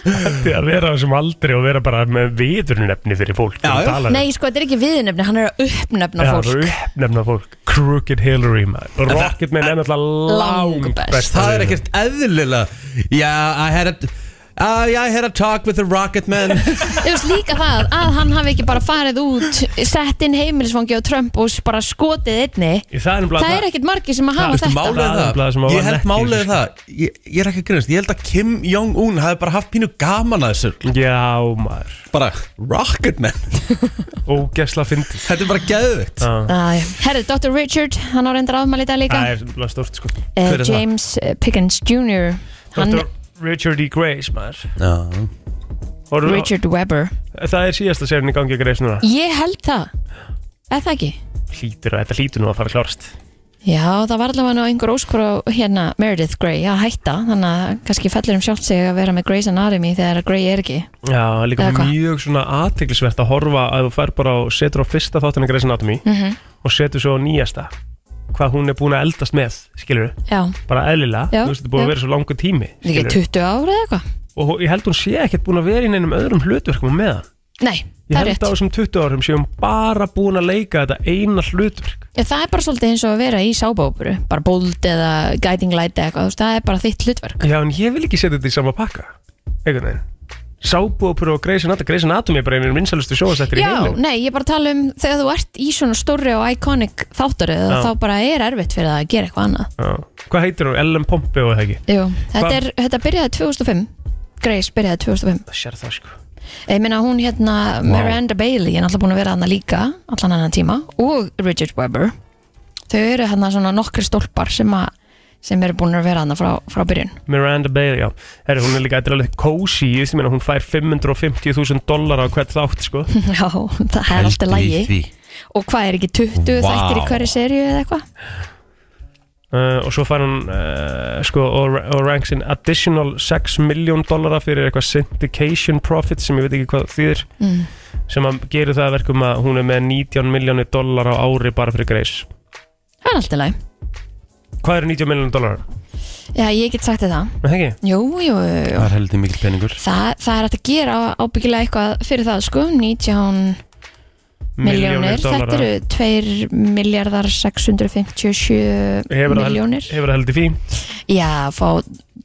Speaker 3: Þetta að vera á þessum aldri og vera bara með viðurnefni fyrir fólk um
Speaker 1: Já, já.
Speaker 2: Nei, sko, þetta er ekki viðnefni, hann er að uppnefna fólk
Speaker 3: Nefna fólk Crooked Hillary maður Rocketman er náttúrulega
Speaker 2: Langbest.
Speaker 3: langbest
Speaker 1: Það er ekkert eðlilega Já, I had a Uh, yeah, I had a talk with the Rocketman
Speaker 2: Þú veist líka það að hann hafi ekki bara farið út sett inn heimilisfangi á Trump og s- bara skotið einni
Speaker 3: Það er
Speaker 2: Það er
Speaker 3: nefnilega
Speaker 2: ekkert margir sem að hafa
Speaker 1: Veistu,
Speaker 2: þetta
Speaker 1: málið
Speaker 3: Það er
Speaker 1: er
Speaker 3: nefnilega sem
Speaker 1: það Ég
Speaker 3: að var
Speaker 1: held
Speaker 3: nekkir,
Speaker 1: málið er
Speaker 3: sko.
Speaker 1: það ég, ég er ekki að grunast Ég held að Kim Jong-un hafi bara haft pínu gaman að þessu
Speaker 3: Já maður
Speaker 1: Bara Rocketman
Speaker 3: Ógesla fyndið
Speaker 1: Þetta er bara geðvikt
Speaker 3: Það
Speaker 2: Æ, Herðu, Dr. Richard, hann á reyndar afmæli í dag líka
Speaker 3: er nefnilega stórt sko
Speaker 2: Eh,
Speaker 1: hver er það?
Speaker 2: James eh, Pickens Jr. Hann,
Speaker 3: Dr. Richard E. Grace maður
Speaker 1: Já
Speaker 3: Horfðu-
Speaker 2: Richard Webber
Speaker 3: Það er síðasta sérin í gangi að Grace núna
Speaker 2: Ég held það Er það ekki?
Speaker 3: Hlýtur að þetta hlýtur nú að fara að klárast
Speaker 2: Já, það var allavega nú einhver óskur á hérna Meredith Grey að hætta þannig að kannski fellur um sjálft sig að vera með Grey's Anatomy þegar að Grey er ekki
Speaker 3: Já, líka
Speaker 2: Eða hvað?
Speaker 3: mjög svona aðteglisvert að horfa að þú fer bara og setur á fyrsta þáttina Grey's Anatomy
Speaker 2: Mhm.
Speaker 3: og setur svo á nýjasta hvað hún er búin að eldast með, skilur
Speaker 2: Já,
Speaker 3: bara eðlilega,
Speaker 2: Já,
Speaker 3: þú veist, þetta er
Speaker 2: já.
Speaker 3: búin að vera svo langur tími
Speaker 2: þetta ekki 20
Speaker 3: skilurðu.
Speaker 2: ára eða eitthvað
Speaker 3: og hó- ég held hún sé ekkert búin að vera í neinum öðrum hlutverkum með hann
Speaker 2: Nei,
Speaker 3: ég
Speaker 2: það er
Speaker 3: held
Speaker 2: rétt
Speaker 3: á þessum 20 árum sé hún bara búin að leika þetta eina hlutverk
Speaker 2: Ég, Það er bara svolítið eins og að vera í sábópuru bara bold eða guiding light eða eitthvað þú veist, það er bara þitt hlutverk
Speaker 3: Já, en ég vil ekki setja þetta í sama pakka einhvern veginn Sábúopur og Grey's Anatomy, Grey's Anatomy er bara einhvern vinsalustu sjóðasættir í
Speaker 2: Já,
Speaker 3: heilum
Speaker 2: nei, ég er bara að tala um þegar þú ert í svona stórri og iconic þáttarið
Speaker 3: Já.
Speaker 2: þá bara er erfitt fyrir það að gera eitthvað annað
Speaker 3: Hvað heitir hún? Ellen Pompeo eða ekki?
Speaker 2: Jú, þetta,
Speaker 3: Hvað-
Speaker 2: er, þetta byrjaði 2005 Grace byrjaði 2005
Speaker 3: Það sér það sko
Speaker 2: Ég meina hún hérna Miranda Bailey er alltaf búin að vera hana líka allan annan tíma og Richard Webber þau eru hérna svona nokkri stólpar sem, að- sem eru búin að vera hana frá, frá byrjun
Speaker 3: Miranda Bailey, já Herri, hún er líka, þetta er alveg cozy ég veist, ég meina, hún fær 550.000 dólar á hvert þátt, sko
Speaker 2: Já, það er alltaf lægi og hvað er ekki 20
Speaker 1: Vá.
Speaker 2: þættir í hverju serju eða eitthvað
Speaker 3: uh, og svo fær hún uh, sko, og, og ranks in additional 6 miljón dólara fyrir eitthvað syndication profit sem ég veit ekki hvað þýðir
Speaker 2: mm.
Speaker 3: sem að gerir það að verkum að hún er með 19 miljónir dólar á ári bara fyrir greis
Speaker 2: Það er alltaf læg.
Speaker 3: Hvað eru 90 miljónir dólar?
Speaker 2: Já, ég get sagt þér það.
Speaker 3: Það ekki?
Speaker 2: Jú, jú, jú, jú.
Speaker 1: Það er heldur mikil peningur
Speaker 2: Það, það er hægt að gera ábyggilega eitthvað fyrir það, sko. 19 miljónir. Þetta eru 2 miljardar 657
Speaker 3: Hefur það-
Speaker 2: miljónir.
Speaker 3: Hefur það heldur fín
Speaker 2: Já, fá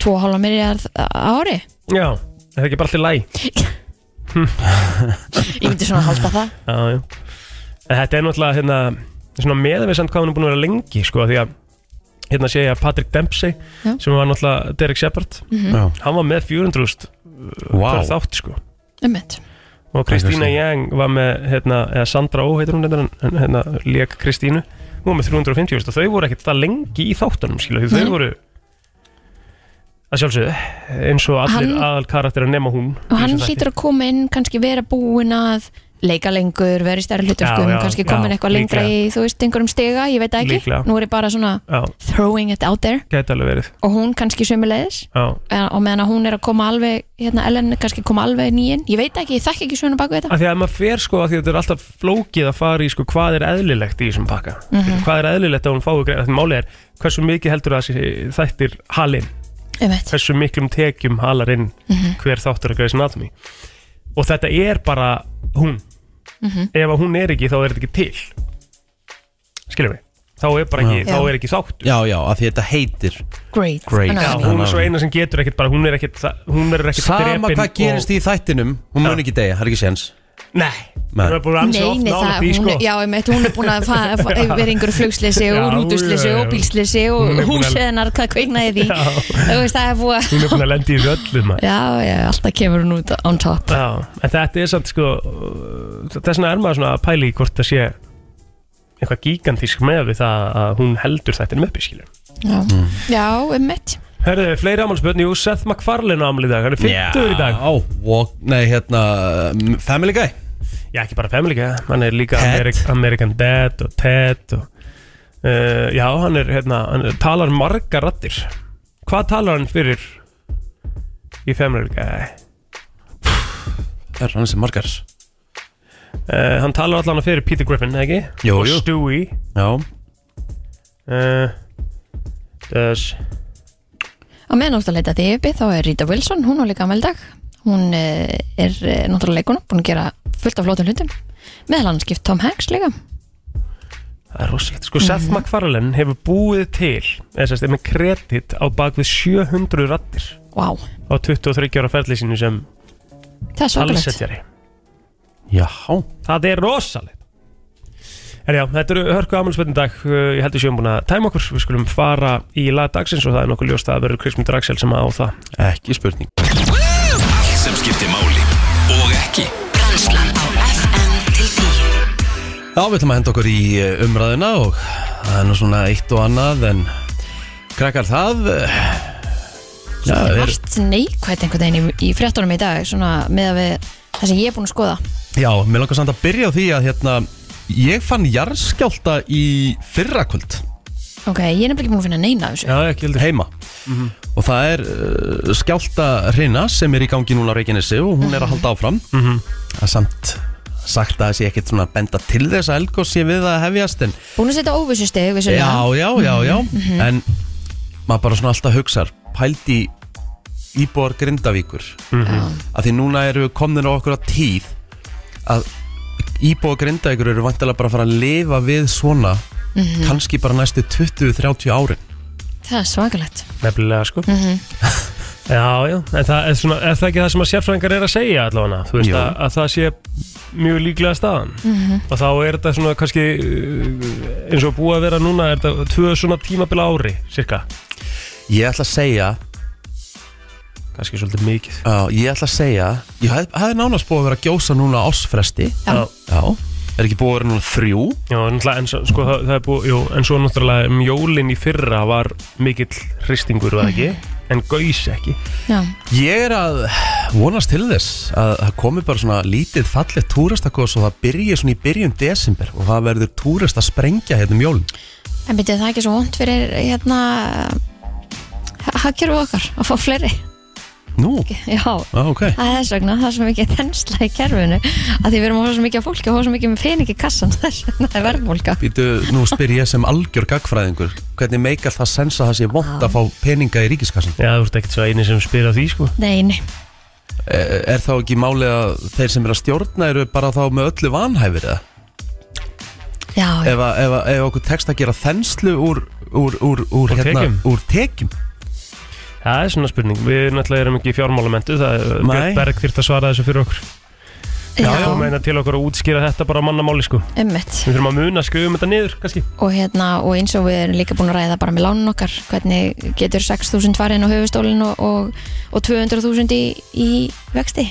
Speaker 2: 2,5 miljard á ári.
Speaker 3: Já, er það ekki bara allir læ
Speaker 2: Ég myndi svona halda það.
Speaker 3: Já, já En Þetta er náttúrulega hérna svona meðan við samt hvað hann er búin að vera lengi sko því að hérna sé ég að Patrick Dempsey
Speaker 2: Já.
Speaker 3: sem var náttúrulega Derek Shepard
Speaker 2: Mm. Mhm,
Speaker 1: Já.
Speaker 3: hann var með 400.000
Speaker 1: Vá,
Speaker 3: hver þátt sko
Speaker 2: Ummitt.
Speaker 3: og Kristína
Speaker 1: Interesting.
Speaker 3: Yang var með hérna, eða Sandra Ó heitir hún hérna, en hérna leik Kristínu hún var með 350.000 og þau voru ekkert það lengi í þáttunum skilu, því
Speaker 2: Nei.
Speaker 3: þau voru að sjálfsögðu eins og allir
Speaker 2: Hann-
Speaker 3: aðal karakter að nema hún
Speaker 2: Og hann hlýtur að koma inn, kannski vera búinn að leika lengur, vera í stærri hlutverkum,
Speaker 3: Já, já,
Speaker 2: kannski komin
Speaker 3: já,
Speaker 2: eitthvað lengra í, þú veist, einhverjum stiga, ég veit það ekki.
Speaker 3: Líklega.
Speaker 2: Nú er ég bara svona
Speaker 3: já,
Speaker 2: throwing it out there
Speaker 3: gæti alveg verið
Speaker 2: og hún kannski sömulegis
Speaker 3: já,
Speaker 2: og meðan að hún er að koma alveg, hérna Ellen er kannski að koma alveg nýinn, ég veit ekki, ég þekki ekki svona baku þetta.
Speaker 3: af því að ef maður fer sko af því að þetta er alltaf flókið að fara í sko hvað er eðlilegt í þessum pakka
Speaker 2: Mhm.
Speaker 3: hvað er eðlilegt að hún fái greið því málið er hversu mikið heldur að þessi eh, þættir halinn,
Speaker 2: Ummitt.
Speaker 3: hversu miklum tekjum halar inn
Speaker 2: Mhm.
Speaker 3: hver þáttur að Grey's Anatomy og þetta er bara hún
Speaker 2: Mhm.
Speaker 3: ef að hún er ekki þá er þetta ekki til skiljum við þá er bara ekki,
Speaker 2: Já.
Speaker 3: þá er ekki þáttur
Speaker 1: já, já, af því þetta heitir
Speaker 2: Great.
Speaker 1: Great.
Speaker 3: Já,
Speaker 2: Anatomy.
Speaker 3: hún er svo eina sem getur ekkert bara, hún er ekkert, það- hún er ekkert
Speaker 1: Sama
Speaker 3: drepin
Speaker 1: hvað gerist
Speaker 3: og,
Speaker 1: í þættinum Hún mun ekki degja, það er ekki séns
Speaker 3: Nei,
Speaker 1: Nei.
Speaker 3: hún er búin ansi
Speaker 2: Nei,
Speaker 3: oft
Speaker 2: nei, það,
Speaker 3: nálægt í,
Speaker 2: hún,
Speaker 3: sko.
Speaker 2: já, einmitt, hún er búin að fa- fa- vera einhver flugslisi
Speaker 3: Já,
Speaker 2: og rútuslisi
Speaker 3: já, já.
Speaker 2: og bílslisi og
Speaker 3: Hún er búin að-
Speaker 2: húsið hennar, hvað kveiknaði því
Speaker 3: Já.
Speaker 2: þú veist, það er búið að-
Speaker 3: Hún er búin að lendi í þessu öllu maður
Speaker 2: já, já, alltaf kemur hún út on top
Speaker 3: Já, en þetta er samt sko uh, þess vegna er maður svona að pæli í hvort það sé eitthvað gigantísk með við það að hún heldur þetta um uppi skilur.
Speaker 2: já, já einmitt
Speaker 3: Herðu, fleiri ámálspötni, jú, Seth MacFarlane á ámál í dag, hann er 50 í dag
Speaker 1: Já, walk, nei, hérna um, Family Guy
Speaker 3: Já, ekki bara Family Guy, hann er líka
Speaker 1: Ted.
Speaker 3: Ameri American Dad og Ted og, uh, Já, hann er, hérna, hann er, talar margar rattir Hvað talar hann fyrir í Family Guy?
Speaker 1: Það er hann sem margar
Speaker 3: Uh, hann talar allan fyrir Peter Griffin, ekki?
Speaker 1: Jú,
Speaker 3: og
Speaker 1: jú.
Speaker 3: Stewie
Speaker 1: Já,
Speaker 3: uh, Does
Speaker 2: á meðan átt að leita því uppi þá er Rita Wilson, hún á líka ameldag hún eh, er eh, náttúrulega leikuna búin að gera fullt af flótum hlutum meðal hann skipt Tom Hanks líka
Speaker 3: Það er rosalegt. Sko, Seth MacFarlane hefur búið til, eða sérst, er með kredit á bakvið 700 rattir
Speaker 2: wow,
Speaker 3: á 23 ára ferli sínu sem
Speaker 2: það er svakalegt
Speaker 3: talsetjari.
Speaker 1: já
Speaker 3: Það er rosalegt. En já, þetta eru hörku afmælspöndin dag. Uh, Ég heldur sjöum búin að tæma okkur. Við skulum fara í lag dagsins og það er nokkuð ljóst að það verður Kristmund Draxel sem á það.
Speaker 1: Ekki spurning
Speaker 5: Allt sem skiptir máli og ekki
Speaker 6: Brennslan á FM til 10
Speaker 1: Já, við ætlum að henda okkur í eh, umræðuna og það er nú svona eitt og annað en krakkar það eh, Já, er,
Speaker 2: vart neikvætt einhvern veginn í, í fréttunum í dag svona með að við það sem ég er búin að skoða
Speaker 1: já, mér langar samt að byrja á því að hérna ég fann jarðskjálta í fyrrakvöld
Speaker 2: ok, ég er nefnilega ekki búin að finna neina af þessu
Speaker 1: Já, ekki heldur Mhm. heima Og það er uh, skjálta hreina sem er í gangi núna á Reykjanesi og hún er að halda áfram Það er samt sagt að það sé ekkert svona að benda til þess að Elgos sé við að hefjast en
Speaker 2: Búin að setja óvissusteg
Speaker 1: já, já, já, já En maður bara svona alltaf hugsar pældi íbúar Grindavíkur
Speaker 2: Mhm.
Speaker 1: að því núna eru komnir á okkur að tíð að íbúar Grindavíkur eru vantilega bara að fara að lifa við svona kannski bara næstu 20-30 árin
Speaker 2: Það er svakalegt
Speaker 3: Nefnilega, sko. Já, já, en það er, svona, er það ekki það sem að sérfræðingar er að segja allavega, þú veist
Speaker 1: Jú.
Speaker 3: að, að það sé mjög líklega staðan og þá er þetta svona kannski uh, eins og búið að vera núna er þetta tvö svona tímabila ári, cirka
Speaker 1: Ég ætla að segja
Speaker 3: kannski svolítið mikið
Speaker 1: Já, ég ætla að segja Ég hef, hef nánast búið að vera að gjósa núna á ásfresti
Speaker 2: Já.
Speaker 1: Já Er ekki búið að vera núna þrjú
Speaker 3: Já, náttúrulega, en svo, sko, það, það er búið, jú, en svo náttúrulega um jólin í fyrra var mikill hristingur, var það ekki en gaus ekki,
Speaker 2: Já,
Speaker 1: Ég er að vonast til þess að það komi bara svona lítið fallið túrastakos og það byrji svona í byrjun desember og það verður túrast að sprengja hérna um jólun
Speaker 2: en byrjuð það ekki svo vond fyrir hérna hagkjörðu okkar að fá fleiri
Speaker 1: Nú,
Speaker 2: Já,
Speaker 1: á, ok
Speaker 2: það er þess vegna, það er svo mikið þensla í kerfinu að því við erum að fá svo mikið af fólki og fá svo mikið með pening í kassan þess vegna er verðmólka
Speaker 1: Býtu, nú spyr ég sem algjör gagfræðingur Hvernig meikar það sensa það sé vond að fá peninga í ríkiskassan?
Speaker 3: Já, þú ert ekkert svo eini sem spyr á því sko
Speaker 2: Nei, nei,
Speaker 1: Er, er þá ekki máli að þeir sem eru að stjórna eru bara þá með öllu vanhæfir eða?
Speaker 2: já, já,
Speaker 1: Ef, að- ef, að- ef okkur tekst að gera þenslu úr, úr, úr, úr, hérna,
Speaker 3: Úr tekjum?
Speaker 1: úr tekjum
Speaker 3: Það er svona spurning, við náttúrulega erum ekki fjármálamentu Það er
Speaker 1: Nei.
Speaker 3: Björn Berg þýrt að svara þessu fyrir okkur
Speaker 2: já,
Speaker 3: Það er meina hérna til okkur að útskýra þetta bara á mannamáli sko
Speaker 2: ummitt
Speaker 3: Við þurfum að muna að skrifum þetta niður kannski
Speaker 2: og hérna, og eins og við erum líka búin að ræða bara með lánun okkar, hvernig getur 6.000 farin á höfustólin og, og, og 200.000 í, í vexti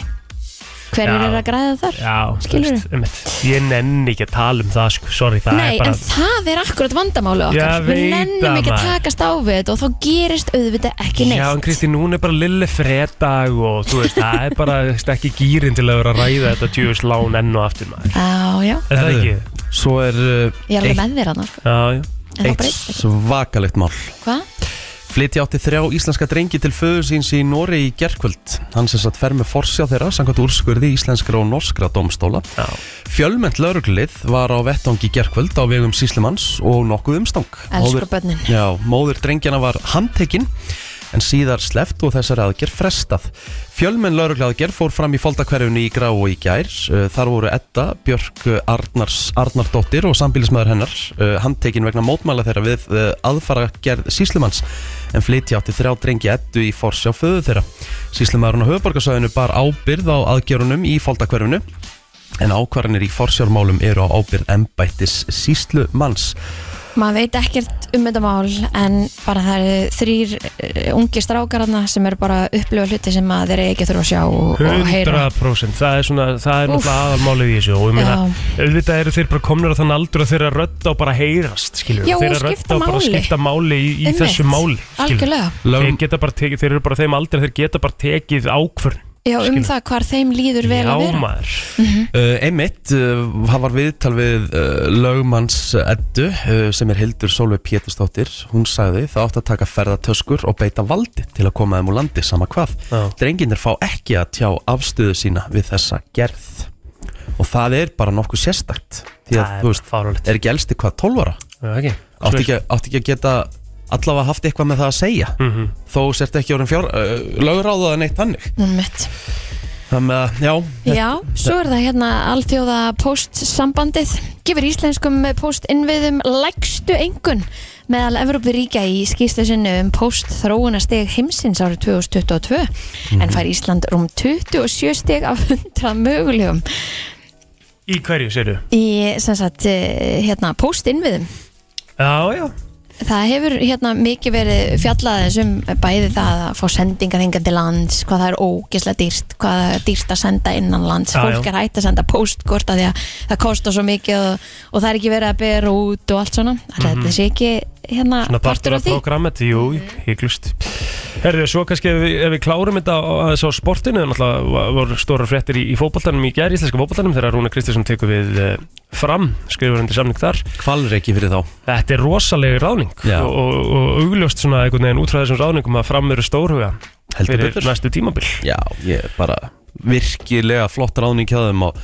Speaker 2: hverjur
Speaker 3: Já.
Speaker 2: er að græða þar?
Speaker 3: Já,
Speaker 2: Skilurðu?
Speaker 3: einmitt. Ég nenni ekki að tala um það sko, sorry, það
Speaker 2: Nei,
Speaker 3: er bara
Speaker 2: en það er akkurat vandamálu
Speaker 3: Já,
Speaker 2: okkar Við
Speaker 3: veit
Speaker 2: nennum
Speaker 3: það,
Speaker 2: ekki að
Speaker 3: maður.
Speaker 2: takast á við þetta og þá gerist auðvitað ekki neitt
Speaker 3: Já, en Kristi, núna er bara lille fredag og þú veist, það er bara þú veist, ekki gýrin til að vera að ræða þetta djúvis lán enn og aftur maður
Speaker 2: Já, já,
Speaker 3: Er það
Speaker 1: Herðu.
Speaker 3: ekki?
Speaker 1: Svo er uh,
Speaker 2: ég er alveg
Speaker 1: eitt,
Speaker 2: með þér annars
Speaker 3: Já, já
Speaker 2: En það
Speaker 1: eitt
Speaker 2: breytist ekki.
Speaker 1: svakalegt mál
Speaker 2: Hvað?
Speaker 1: Flytja átti þrjá íslenska drengi til föðu síns í Nóri í gerkvöld. Hann sem satt fer með forsjá þeirra, samkvæmt úrskurði íslenskra og norskra domstóla.
Speaker 3: Já.
Speaker 1: Fjölmennt lauruglið var á vettangi gerkvöld á vegum síslimanns og nokkuð umstang.
Speaker 2: Elsku börnin.
Speaker 1: Já, móður drengjana var handtekinn en síðar sleft og þessari aðgerð frestað. Fjölmenn laurugla aðgerð fór fram í foldakverjunni í grá og í gær. Uh, Þar voru Edda, Björk uh, Arnars, Arnardóttir og sambílismæður hennar uh, handtekinn vegna mótmæla þeirra við uh, aðfara gerð síslumanns en flytja átti þrjá drengi Eddu í forsjá föðu þeirra. Síslumaðurinn á höfuborgarsæðinu bar ábyrð á aðgerunum í foldakverjunu en ákvarðanir í forsjármálum eru á ábyrð embættis síslumanns.
Speaker 2: Maður veit ekkert um þetta mál en bara það eru eh, þrýr ungi strákarna sem eru bara að upplifa hluti sem að þeir eru ekki að þurfa að sjá og, og heyra
Speaker 3: 100% það er svona, það
Speaker 2: Úff.
Speaker 3: er náttúrulega aðalmálið í þessu og ég meina,
Speaker 2: Já.
Speaker 3: auðvitað eru þeir bara komnir á þann aldur að þeirra rödd á bara að heyrast skilur,
Speaker 2: Já, og
Speaker 3: þeirra rödd
Speaker 2: skipta
Speaker 3: á bara að
Speaker 2: máli.
Speaker 3: skipta máli í, í
Speaker 2: Einmitt.
Speaker 3: þessu máli skilurðu.
Speaker 2: Algjörlega.
Speaker 1: Lög-
Speaker 3: þeir, geta bara tekið, þeir eru bara á þeim aldur að þeir geta bara tekið ákvörn
Speaker 2: Já, um það hvar þeim líður vel að vera
Speaker 3: maður
Speaker 1: Uh, einmitt, uh, það var viðtal við uh, lögmanns Eddu uh, sem er Hildur Solveig Pétursdóttir hún sagði það átt að taka ferðatöskur og beita valdi til að koma þeim úr landi sama hvað.
Speaker 3: Já.
Speaker 1: Drenginir fá ekki að tjá afstöðu sína við þessa gerð og það er bara nokkuð sérstakt því að
Speaker 3: Það er
Speaker 1: þú veist,
Speaker 3: fáránlegt.
Speaker 1: er ekki elsti hvað 12 ára?
Speaker 3: Já, ekki.
Speaker 1: Átti ekki, átti ekki að geta allavega haft eitthvað með það að segja
Speaker 3: Mhm.
Speaker 1: -hmm. þó sért ekki orðin fjár uh, lögráðaðan eitt hannig.
Speaker 2: Einmitt.
Speaker 1: Þannig að, já,
Speaker 2: Já, svo er það hérna alþjóða postsambandið gefur íslenskum postinnviðum lægstu engun meðal Evrópi ríkja í skýslu sinni um postþróunasteg heimsins árið 2022 en fær Ísland rúm 27 steg af 100 mögulegum
Speaker 3: í hverju, segirðu?
Speaker 2: í sem sagt eh, hérna, postinnviðum
Speaker 3: Já, já,
Speaker 2: Það hefur hérna mikið verið fjallað eins um bæði það að fá sendingar hinga til lands, hvað það er ógeðslega dýrt, hvað það er dýrt að senda innan lands,
Speaker 3: Já,
Speaker 2: fólk
Speaker 3: já.
Speaker 2: er hægt að senda póstkort að því að það kostar svo mikið og, og það er ekki verið að bera út og allt svona. Þannig að þetta sé ekki hérna
Speaker 3: Mhm. svona partur af
Speaker 2: því. Mhm.
Speaker 3: programmet, jú, hygglust Herðu, svo kannski ef við, ef við klárum þetta á- aðeins á sportinu, náttúrulega va- voru stóra fréttir í, í fótboltanum í gær, íslenska fótboltanum þegar Rúna Kristinsson tekur við eh, fram skrifur undir samning þar.
Speaker 1: kvalreiki fyrir þá.
Speaker 3: Þetta er rosalegi ráning
Speaker 1: Já.
Speaker 3: og, og, og augljóst svona einhvern veginn út frá þessum ráningum að fram eru stórhuga
Speaker 1: Heldur
Speaker 3: fyrir
Speaker 1: betur.
Speaker 3: næstu tímabil
Speaker 1: Já, ég er bara virkilega flott ráðning hjá þeim og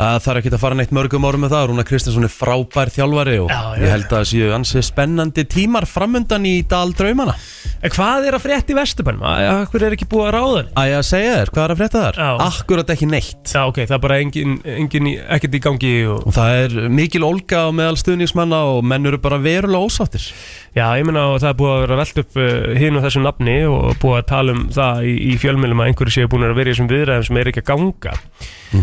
Speaker 1: það þarf ekki að fara neitt mörgum árum með það Rúna Kristinsson er frábær þjálfari og
Speaker 3: Já, já.
Speaker 1: ég held að það séu ansið spennandi tímar framundan í dal draumana
Speaker 3: En hvað er að frétt í Vesturbænum? Akkur er ekki búið að ráða henni?
Speaker 1: Æ, að segja þér, hvað er að frétta þar?
Speaker 3: Já.
Speaker 1: Akkurat ekki neitt
Speaker 3: Já, ok, það er bara engin, engin í, ekkert í gangi og
Speaker 1: og það er mikil olga á meðal stuðningsmanna og menn eru bara verulega ósáttir
Speaker 3: Já, ég meina og það er búið að vera velt upp uh, hinn og þessu nafni og búið að tala um það í, í fjölmjölum að einhverju séu búin að vera í þessum viðræðum sem er ekki að ganga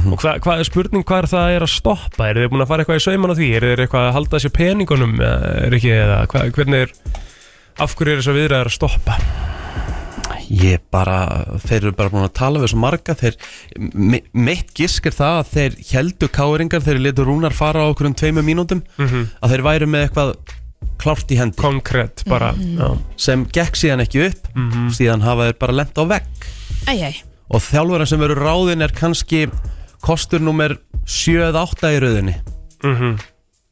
Speaker 3: og hvað hva, spurning hvað það er að stoppa eru þeir búin að fara eitthvað í sauman á því eru þeir eitthvað að halda sér peningunum eða er ekki eða hva, hvernig er af hverju er þessar viðræður að stoppa
Speaker 1: Ég bara, þeir eru bara búin að tala við svo marga þeir, mi- mitt gisk er það að þeir heldu káringar þeir letu rúnar fara á okkur um tveimur mínúndum að þeir væru með eitthvað klárt í hendi
Speaker 3: konkrétt bara já.
Speaker 1: sem gekk síðan ekki upp síðan hafa þeir bara lent á vegg
Speaker 2: Æjæj.
Speaker 1: og þjálfurinn sem eru ráðin er kannski kostur nummer 7 eða 8 í rauðinni
Speaker 3: Mhm.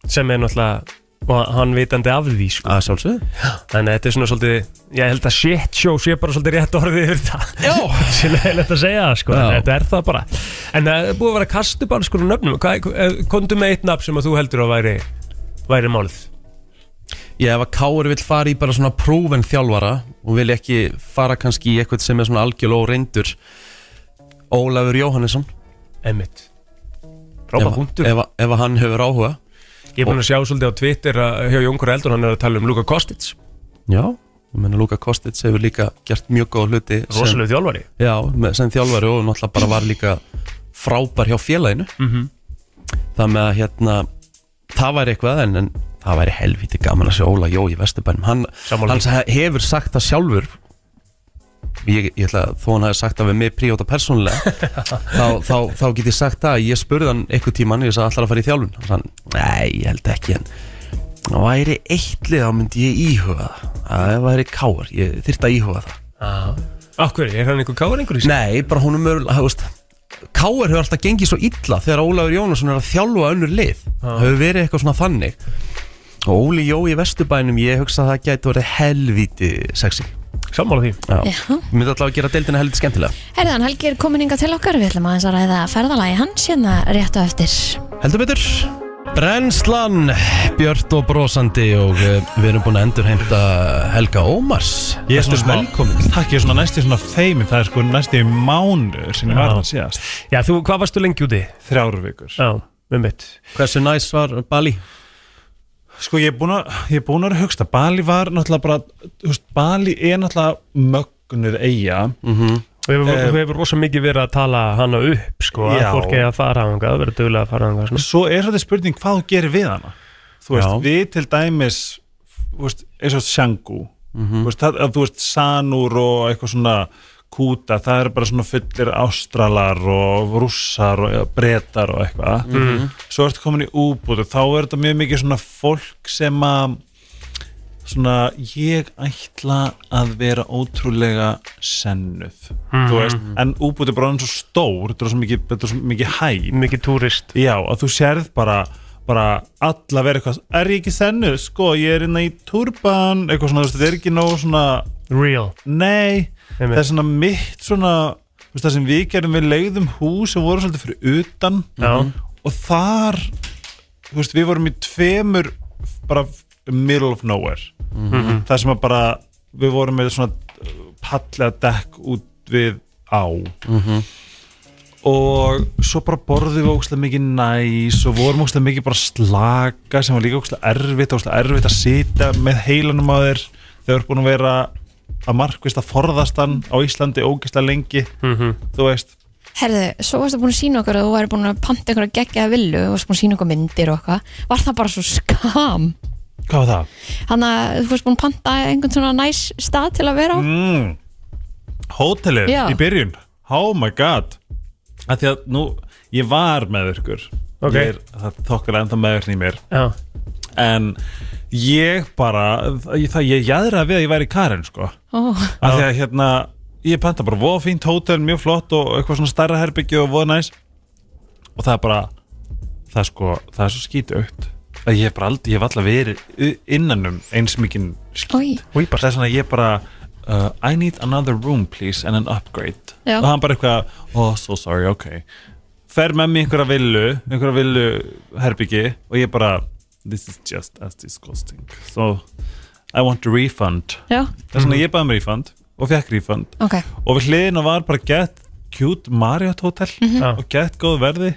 Speaker 3: sem er náttúrulega og hann vitandi af því sko.
Speaker 1: að sjálfsögðu
Speaker 3: þannig að þetta er svona svolítið ég held að shit show sé bara svolítið rétt orðið yfir það sem er leitt að segja það, sko.
Speaker 1: Já.
Speaker 3: en þetta er það bara en það er búið að vera kastu bara sko nöfnum Hvað- eh, komdu með eitt nafn sem að þú heldur að væri væri málið
Speaker 1: Ég ef að Káur vill fara í bara svona prófen þjálfara og vil ekki fara kannski í eitthvað sem er svona algjörl og reyndur Ólafur Jóhannesson
Speaker 3: Emmitt
Speaker 1: ef,
Speaker 3: Rópa punktur
Speaker 1: ef, ef að hann hefur áhuga
Speaker 3: Ég er búin að sjá svolítið á Twitter að eh, hjá Jónkur Eldur hann er að tala um Luka Kostic
Speaker 1: Já, ég menna Luka Kostits hefur líka gert mjög góða hluti sem,
Speaker 3: Rosalegu þjálfari
Speaker 1: já, með- sem þjálfari og náttúrulega bara var líka frábær hjá félaginu mm -hmm. Það með að hérna það væri eitthvað en, en það væri helviti gaman að sjá Óla Jó í Vesturbænum hann,
Speaker 3: Sammála
Speaker 1: hann hefur sagt það sjálfur ég, ég ætla að þó hann hafi sagt það við mig príóta persónulega þá, þá, þá get ég sagt það ég spurði hann eitthvað tíman ég sagði allar að fara í þjálfun hann sagði, nei, ég held ekki en það væri eitt lið þá myndi ég íhuga það það væri káar, ég þyrfti að íhuga það
Speaker 3: Akkur, er hann einhver káður einhver í sig?
Speaker 1: nei, bara hún er mörgulega káar hefur alltaf gengið svo illa þegar Ólafur Jónasson er að þjálfa önnur lið það hefur verið eitthvað svona þannig og Óli Jó í Vesturbænum ég hugsa að það gæti orðið helvíti sexy
Speaker 3: Sammála því
Speaker 1: Já.
Speaker 2: Já.
Speaker 1: myndi alltaf að gera deildina helviti skemmtilega
Speaker 2: Herðan, Helgi er komin hinga til okkar, við ætlum aðeins að ræða ferðalagi hans hérna rétt og eftir.
Speaker 1: heldur betur Brennslan, Björt og Brósandi og eh, við erum búin að endurheimta Helga Ómars
Speaker 7: Ég er
Speaker 1: Vertu
Speaker 7: svona smá-
Speaker 1: velkomin
Speaker 7: Takk, ég er svona næsti svona feimin Það er sko næsti mánu sem ég var
Speaker 3: Já.
Speaker 7: hann síðast
Speaker 3: Já, þú, hvað varstu lengi úti?
Speaker 7: Þrjár vikur
Speaker 3: Já, með mitt
Speaker 1: Hversu næs var Bali?
Speaker 7: Sko ég er búin að, ég er búin að vera að hugsta Bali var náttúrulega bara þú veist, Bali er náttúrulega mögnuð eiga
Speaker 3: Þú hefur,
Speaker 7: Eh,
Speaker 3: þú hefur rosa mikið verið að tala hana upp sko, að
Speaker 7: Já.
Speaker 3: fólk eigi að fara hanga, að vera duglega að fara hanga svona.
Speaker 7: Svo er þetta spurning hvað þú gerir við hana Þú veist,
Speaker 1: Já.
Speaker 7: við til dæmis þú veist, eins og Shangu þú, veist, það, að, þú veist, Sanur og eitthvað svona kúta, það eru bara svona fullir ástralar og rússar og ja, bretar og eitthvað svo ertu komin í úbútu, þá er þetta mjög mikið svona fólk sem að svona, ég ætla að vera ótrúlega sennuð, þú veist en úbútu er bara orðin svo stór þetta er svo mikið, þetta er svo mikið hæð
Speaker 3: Mikið túrist
Speaker 7: Já, og þú sérð bara bara alla vera eitthvað er ég ekki sennu, sko, ég er innan í turban eitthvað svona, þú veist, þetta er ekki nóg svona
Speaker 3: Real
Speaker 7: nei, það er
Speaker 3: Einmitt.
Speaker 7: svona mitt svona, þú veist, það sem við gerum við leiðum hús sem voru svolítið fyrir utan
Speaker 3: Já.
Speaker 7: og þar þú veist, við vorum í tveimur bara middle of nowhere það sem að bara við vorum með svona pallega dekk út við á og svo bara borðum við ógstlega mikið næs og vorum ógstlega mikið bara að slaka sem var líka ógstlega erfitt ógstlega erfitt að sitja með heilanum á þér þegar þú ert búin að vera að markvist að forðast hann á Íslandi ógstlega lengi þú veist
Speaker 2: Herðu, svo varstu búin að sína okkur að þú væri búin að panta einhverja geggjaða villu, þú varstu búin að sína okkur myndir og eitthvað. Var það bara svo skam?
Speaker 7: hvað var það?
Speaker 2: Þannig að þú varst búin að panta einhvern svona næs stað til að vera á?
Speaker 7: mm, Hótelið
Speaker 2: Já.
Speaker 7: í byrjun Oh my god að Því að nú, ég var meðvirkur
Speaker 3: Ok.
Speaker 7: Ég er, það þokkar ennþá meðvirkni í mér
Speaker 3: Já,
Speaker 7: En ég bara Ég, það, ég jæðra við að ég væri Karen sko
Speaker 2: Ó,
Speaker 7: að því að hérna ég panta bara voða fínt hótel, mjög flott og eitthvað svona stærra herbyggju og voða næs og það er bara það er sko, það er svo skítaukt að ég hef bara aldrei, ég hef alltaf verið u- innan um eins mikinn skít
Speaker 2: Oj.
Speaker 7: og það er svona að ég bara uh, I need another room please and an upgrade
Speaker 2: Já.
Speaker 7: og hann bara eitthvað, oh so sorry, ok fer með mér einhverja villu einhverja villu herbyggi og ég bara, this is just as disgusting so I want a refund
Speaker 2: já,
Speaker 7: Það er svona
Speaker 3: Mhm.
Speaker 7: ég baði um refund og fekk refund
Speaker 2: ok.
Speaker 7: og við hliðina var bara gett cute Marriott Hotel
Speaker 3: Já.
Speaker 7: og gett góð verði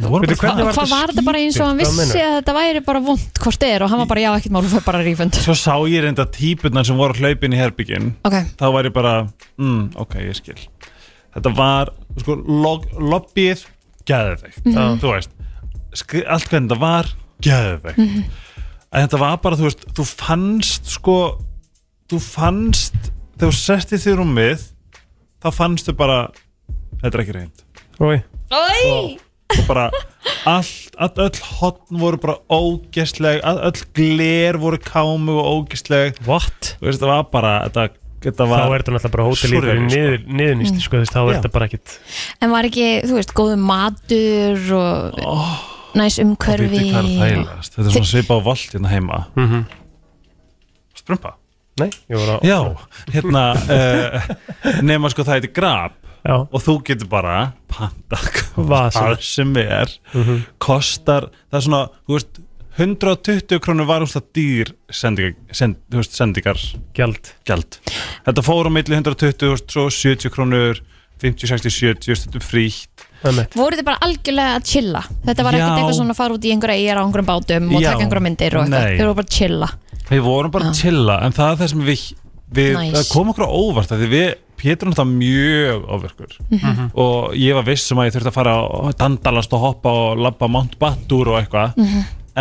Speaker 7: Það
Speaker 3: Mhm.
Speaker 7: voru
Speaker 3: Veitu, hvernig
Speaker 7: bara það
Speaker 3: var
Speaker 2: Hvað var þetta bara eins og hann
Speaker 3: skítið?
Speaker 2: vissi
Speaker 3: Hvað meinarðu?
Speaker 2: að þetta væri bara vond hvort þið er og hann var bara já, ekkert mál, þú fyrir bara rífund.
Speaker 7: Svo sá ég reynda típurnar sem voru hlaupin í herbyggin
Speaker 2: Ok,
Speaker 7: þá var ég bara, mm, ok, ég skil Þetta var, sko, log, lobbyið geðveikt, þú veist skri, allt hvernig þetta var geðveikt en þetta var bara, þú veist, þú fannst sko, þú fannst þegar þú sest í því rúmið þá fannstu bara þetta er ekki reynd
Speaker 3: Oi.
Speaker 7: og bara allt, all, öll hotn voru bara ógæstleg öll gler voru kámu og ógæstleg
Speaker 3: What?
Speaker 7: þú veist, það var bara þetta, þetta
Speaker 3: Þá
Speaker 7: var
Speaker 3: er þetta náttúrulega bara hótel í
Speaker 7: Sorry,
Speaker 3: þeirri
Speaker 7: sko.
Speaker 3: niður, niðurnýst sko, þú veist, þá er
Speaker 7: Já.
Speaker 3: þetta bara ekkit
Speaker 2: en var ekki, þú veist, góðu matur og... næs umhverfi
Speaker 7: Viti hvað er þægilegast Þetta er svona svipa á vald hérna heima Sprumpa
Speaker 3: Nei, ég voru að
Speaker 7: Já, hérna uh, nema sko það heitir grab
Speaker 3: Já,
Speaker 7: og þú getur bara pantað
Speaker 3: Hvað sem-
Speaker 7: hvað sem er kostar, það er svona þú veist, 120 krónur var úrst að dýr sendingar, send, þú veist, sendingar
Speaker 3: gjald
Speaker 7: gjald. Þetta fór á milli 120, þú veist, svo 70 krónur 50, 60, 70, stundum frítt
Speaker 3: Einmitt.
Speaker 2: voru þið bara algjörlega að chilla þetta var ekkert
Speaker 7: Já.
Speaker 2: eitthvað svona að fara út í einhverja eigjar á einhverjum bátum og
Speaker 7: Já.
Speaker 2: taka einhverja myndir og eitthvað,
Speaker 7: Nei.
Speaker 2: þau voru bara að chilla
Speaker 7: Við vorum bara að chilla, en það er það sem við, við
Speaker 2: Nice.
Speaker 7: það kom okkur á óvart af því við, Pétur er náttúrulega mjög ofurkur og ég var viss um að ég þurfti að fara og dandalast og hoppa og labba Mount Batur og eitthvað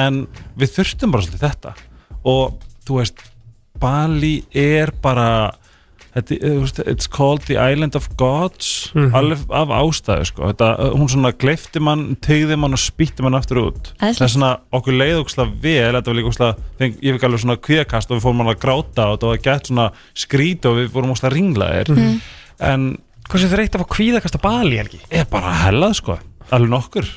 Speaker 7: en við þurftum bara svolítið þetta og þú veist Bali er bara þetta, þú veist, it's called the island of gods alveg af ástæðu sko. þetta, hún svona gleifti mann, tegði mann og spýtti mann aftur út
Speaker 2: Æðislegt.
Speaker 7: það er svona okkur leið ógslag vel þetta var líka ógslag, ég fikk alveg svona kvíðakast og við fórum alveg að gráta og þetta var gætt svona skrít og við fórum ógslag ringlaðir
Speaker 2: Mhm.
Speaker 7: en
Speaker 3: Hversu þreytt að fá kvíðakasta bali, Helgi?
Speaker 7: er bara hellað sko alveg nokkur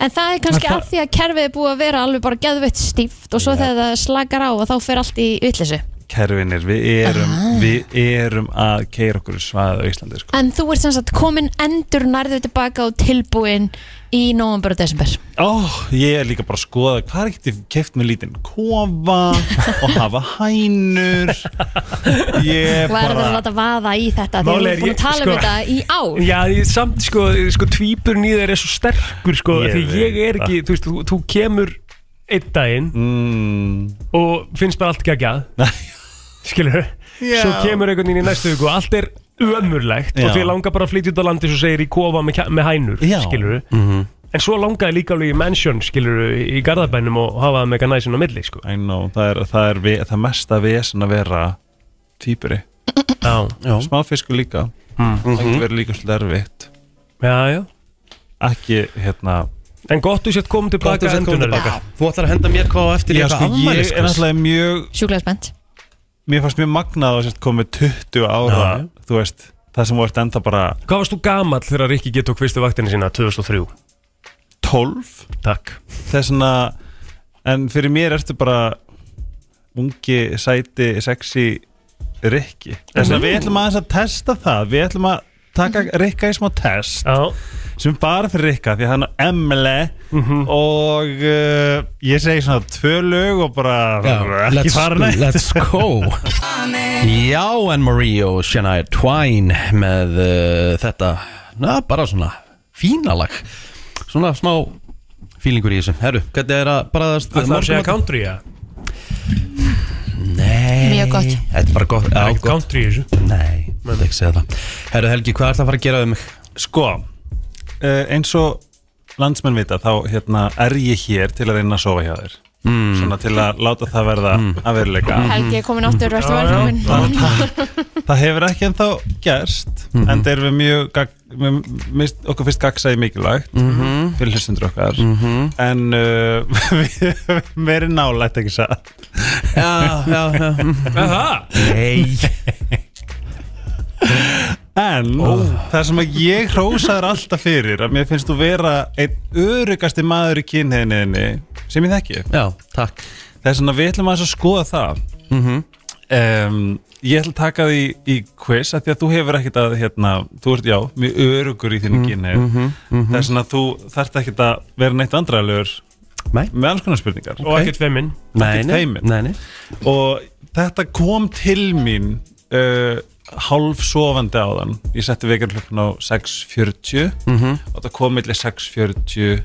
Speaker 2: En það er kannski
Speaker 7: En það-
Speaker 2: af því að kerfið er búið að vera alveg bara geðveitt stíft og svo þegar það slakar á og þá fer allt í vitlisu.
Speaker 7: kerfinir, við erum við erum að keira okkur svaðið á Íslandi sko.
Speaker 2: En þú ert sem sagt komin endur nærðu tilbaka og tilbúin í november og desember.
Speaker 7: Ó, ég er líka bara að skoða hvað er getið keft með lítinn kofa og hafa hænur ég
Speaker 2: Hvað er þetta að
Speaker 7: bara
Speaker 2: láta vaða í þetta? Því að
Speaker 3: Málið
Speaker 2: við
Speaker 3: er
Speaker 2: erum búin
Speaker 3: ég-
Speaker 2: að tala um
Speaker 3: sko-
Speaker 2: þetta í ár.
Speaker 3: Já, ég, samt sko, sko tvíburinn í þeir er svo sterkur sko,
Speaker 7: Ég
Speaker 3: því ég
Speaker 7: veit
Speaker 3: er ekki, þú veist, þú, þú kemur einn daginn
Speaker 7: mm,
Speaker 3: og finnst bara allt geggjað skilur svo kemur einhvern veginn í næstu viku og allt er ömurlegt
Speaker 7: Já.
Speaker 3: og því langar bara að flytja út á landi svo segir í kofa með, kja- með hænur
Speaker 7: Já.
Speaker 3: skilur en svo langaði líka alveg í mansion skilur í garðabænum og hafa það með eitthvað næsinn á milli sko
Speaker 7: I know, það er það, er ve það mesta vesen að vera týpuri,
Speaker 3: já,
Speaker 1: Já.
Speaker 7: smáfiskur líka
Speaker 1: Mm.
Speaker 7: það
Speaker 1: Mhm.
Speaker 7: getur verið líka svolítið erfitt
Speaker 3: já, já.
Speaker 7: ekki hérna
Speaker 3: en gott þú sett komum
Speaker 1: Gott
Speaker 3: tilbaka
Speaker 1: að senda komið
Speaker 3: endunar
Speaker 1: tilbaka. Þú ætlar að henda mér hvað á eftir
Speaker 7: já,
Speaker 1: í
Speaker 7: sko,
Speaker 1: eitthvað
Speaker 7: ég er
Speaker 1: afmæliskvist.
Speaker 7: alltaf mjög
Speaker 2: Sjúklega spennt.
Speaker 7: mér fannst mjög magnað að sérst komið 20 ára
Speaker 1: Já.
Speaker 7: þú veist, það sem vorst enda bara
Speaker 3: hvað varst þú gamall þegar Rikki gett okk fyrstu vaktinni sína 2003
Speaker 7: 12
Speaker 3: takk
Speaker 7: þess vegna en fyrir mér ertu bara ungi, sæti, sexy rikki þess
Speaker 1: Mm.
Speaker 7: vegna við ætlum aðeins að testa það við ætlum
Speaker 1: Mhm.
Speaker 7: að taka rikka í smá test
Speaker 3: já,
Speaker 7: sem er bara fyrir rikka því að hann er emle
Speaker 1: Mhm.
Speaker 7: og uh, ég segi svona tvö lög og bara
Speaker 1: Já,
Speaker 7: ekki
Speaker 1: let's,
Speaker 7: fara neitt
Speaker 1: let's go Já, Anne-Marie og Shania Twain með uh, þetta na, bara svona fína lag svona smá fílingur í þessu Herru, hvernig er að bara
Speaker 3: það er að segja country já,
Speaker 1: Nei
Speaker 2: Mjög gott.
Speaker 1: Þetta er bara gott,
Speaker 3: það er
Speaker 1: já,
Speaker 3: ekkert
Speaker 1: gott.
Speaker 3: country í þessu
Speaker 1: Nei, þetta er ekki að segja það Herru Helgi, hvað er það að fara að gera um mig?
Speaker 7: sko uh, eins og landsmenn vita þá hérna, er ég hér til að reyna að sofa hjá þér
Speaker 1: Hmm.
Speaker 7: mm. svona til að láta það verða
Speaker 1: Mm.
Speaker 7: að veruleika
Speaker 2: Helgi er komin aftur, verður velkomin.
Speaker 7: það, það, það hefur ekki ennþá gerst
Speaker 1: Mm-hmm.
Speaker 7: en það er við mjög gag- við- mist, okkur fyrst gagsaði mikilvægt
Speaker 1: Mm-hmm.
Speaker 7: fyrir hlustundur okkar
Speaker 1: Mm. Mhm.
Speaker 7: en uh, við höfum verið nálægt ekki satt
Speaker 1: Já, já, já mm.
Speaker 3: það
Speaker 1: Nei,
Speaker 7: en það sem að ég hrósaður alltaf fyrir að mér finnst þú vera einn örugasti maður í kynheiðinni sem ég þekki
Speaker 1: já, takk
Speaker 7: það er svona við ætlum aðeins að skoða það um, ég ætla að taka því í quiz af því að þú hefur ekkert að hérna, þú ert já, mjög örugur í þínu mm, kynni það er svona að þú þarft ekkert að vera neitt andraðlegur
Speaker 1: Nei.
Speaker 7: með alls konar spurningar
Speaker 3: og ekkert femmin
Speaker 1: Nei, nei,
Speaker 7: feiminn.
Speaker 1: nei, nei.
Speaker 7: og þetta kom til mín uh, hálf sofandi áðan ég setti vegarlöfn á 6.40
Speaker 1: Mhm.
Speaker 7: og það kom millir 6.40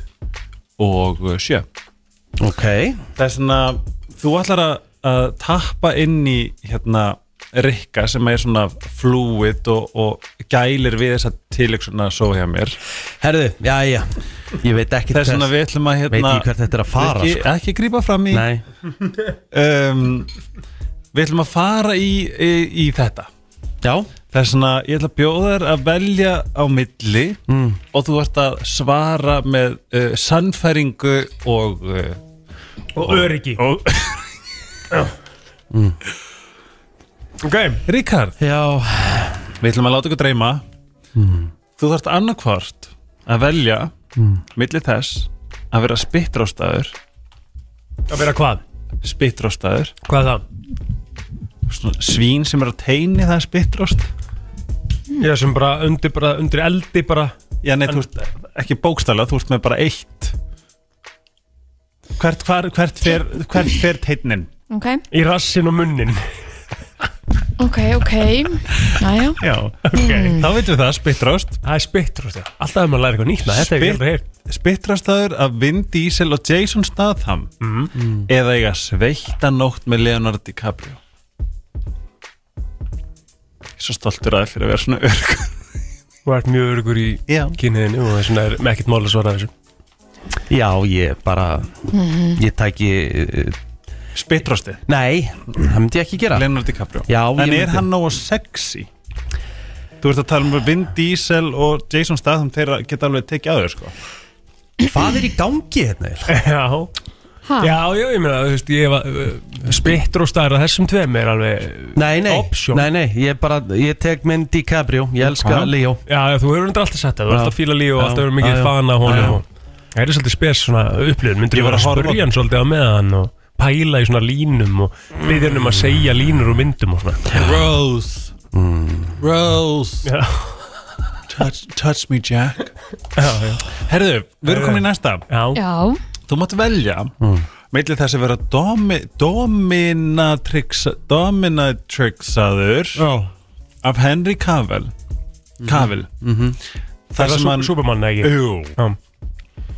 Speaker 7: og uh, 7
Speaker 1: Ok,
Speaker 7: það er svona þú ætlar að, að tappa inn í hérna Rikka sem er svona fluid og, og gælir við þessa tilöksuna svo hjá mér
Speaker 1: herru, já, já Ég veit ekki
Speaker 7: það er svona við ætlum að
Speaker 1: Veit
Speaker 7: hérna
Speaker 1: ekki hvert þetta er að fara
Speaker 7: ekki, ekki grípa fram í
Speaker 1: sko. Nei,
Speaker 7: um, við ætlum að fara í, í, í þetta
Speaker 1: já
Speaker 7: það er svona ég ætla að bjóða þér að velja á milli og þú ert að svara með uh, sannfæringu og uh,
Speaker 3: og öryggi Mm.
Speaker 7: og
Speaker 3: ok
Speaker 7: Ríkard
Speaker 1: Já,
Speaker 7: Við ætlum að láta ykkur dreyma Þú þarft annarkvart að velja milli þess að vera spittrástaður
Speaker 3: Að vera hvað?
Speaker 7: spittrástaður,
Speaker 3: Hvað er það?
Speaker 7: svona svín sem er á teini það er spittrást
Speaker 3: Já, sem bara undir, bara, undir eldi bara
Speaker 7: já nei, þú veist, ekki bókstælega, þú veist með bara eitt hvert, hvar, hvert, fer, hvert fer teinin
Speaker 2: Ok,
Speaker 3: í rassin og munnin
Speaker 2: ok, ok Næja,
Speaker 7: já, ok, þá veitum við það, spittrást
Speaker 3: Það er spittrúst, já Alltaf er maður að læra eitthvað nýtt maður, Þetta er ekki
Speaker 7: Spit-
Speaker 3: aldrei heyrt
Speaker 7: Spittrastaður af Vin Diesel og Jason Statham eða eiga sveittan nótt með Leonardo DiCaprio Ég er svo stoltur að þér fyrir að vera svona örg
Speaker 3: Þú ert mjög örgur í
Speaker 7: Já.
Speaker 3: kynniðinu og þessum er með ekkert mál að svara þessu
Speaker 1: Já, ég bara Ég tæki eh,
Speaker 7: Spittrastið,
Speaker 1: Nei, það myndi ég ekki gera
Speaker 7: Leonardo DiCaprio
Speaker 1: Já, ég
Speaker 7: En er
Speaker 1: myndi-
Speaker 7: hann nógu sexy? Þú ert að tala um Vin Diesel og Jason Statham þeirra geta alveg tekið að þau sko
Speaker 1: Hvað er í gangi hérna? eiginlega?
Speaker 3: Já
Speaker 2: ha,
Speaker 3: Já, já, ég meina, þú veist, ég var uh, spittrústar að þessum tveim er alveg
Speaker 1: Nei, nei,
Speaker 3: Option.
Speaker 1: nei, nei, ég bara Ég tek minn DiCaprio, ég elska
Speaker 7: Já.
Speaker 1: Leo
Speaker 3: Já, já, þú hefur undir alltaf sett það, þú
Speaker 1: Já.
Speaker 3: ert að fíla líf og
Speaker 1: Já.
Speaker 3: alltaf verið
Speaker 1: Já,
Speaker 3: mikið
Speaker 1: já.
Speaker 3: fan
Speaker 1: Já,
Speaker 3: af
Speaker 1: já.
Speaker 3: honum og Það er svolítið spes svona upplifun, myndur
Speaker 7: Ég
Speaker 3: ég
Speaker 7: var
Speaker 3: vera að
Speaker 7: að horfa-
Speaker 3: spurja hann svolítið á meðan og pæla í svona línum og byggja hann um að segja línur og myndum og svona
Speaker 7: Rose Rose
Speaker 3: Já,
Speaker 7: touch, touch me Jack
Speaker 3: já, já,
Speaker 7: Herðu, við erum komin í næsta
Speaker 3: já.
Speaker 2: já
Speaker 7: Þú mátt velja mm. millir þess að vera domi, dominatrix, dominatrixaður af Henry Cavill Cavill
Speaker 3: Það
Speaker 7: þar
Speaker 3: Mhm. er
Speaker 7: sem
Speaker 3: það
Speaker 7: hann
Speaker 3: Superman eða ekki
Speaker 7: Jú,
Speaker 3: Já.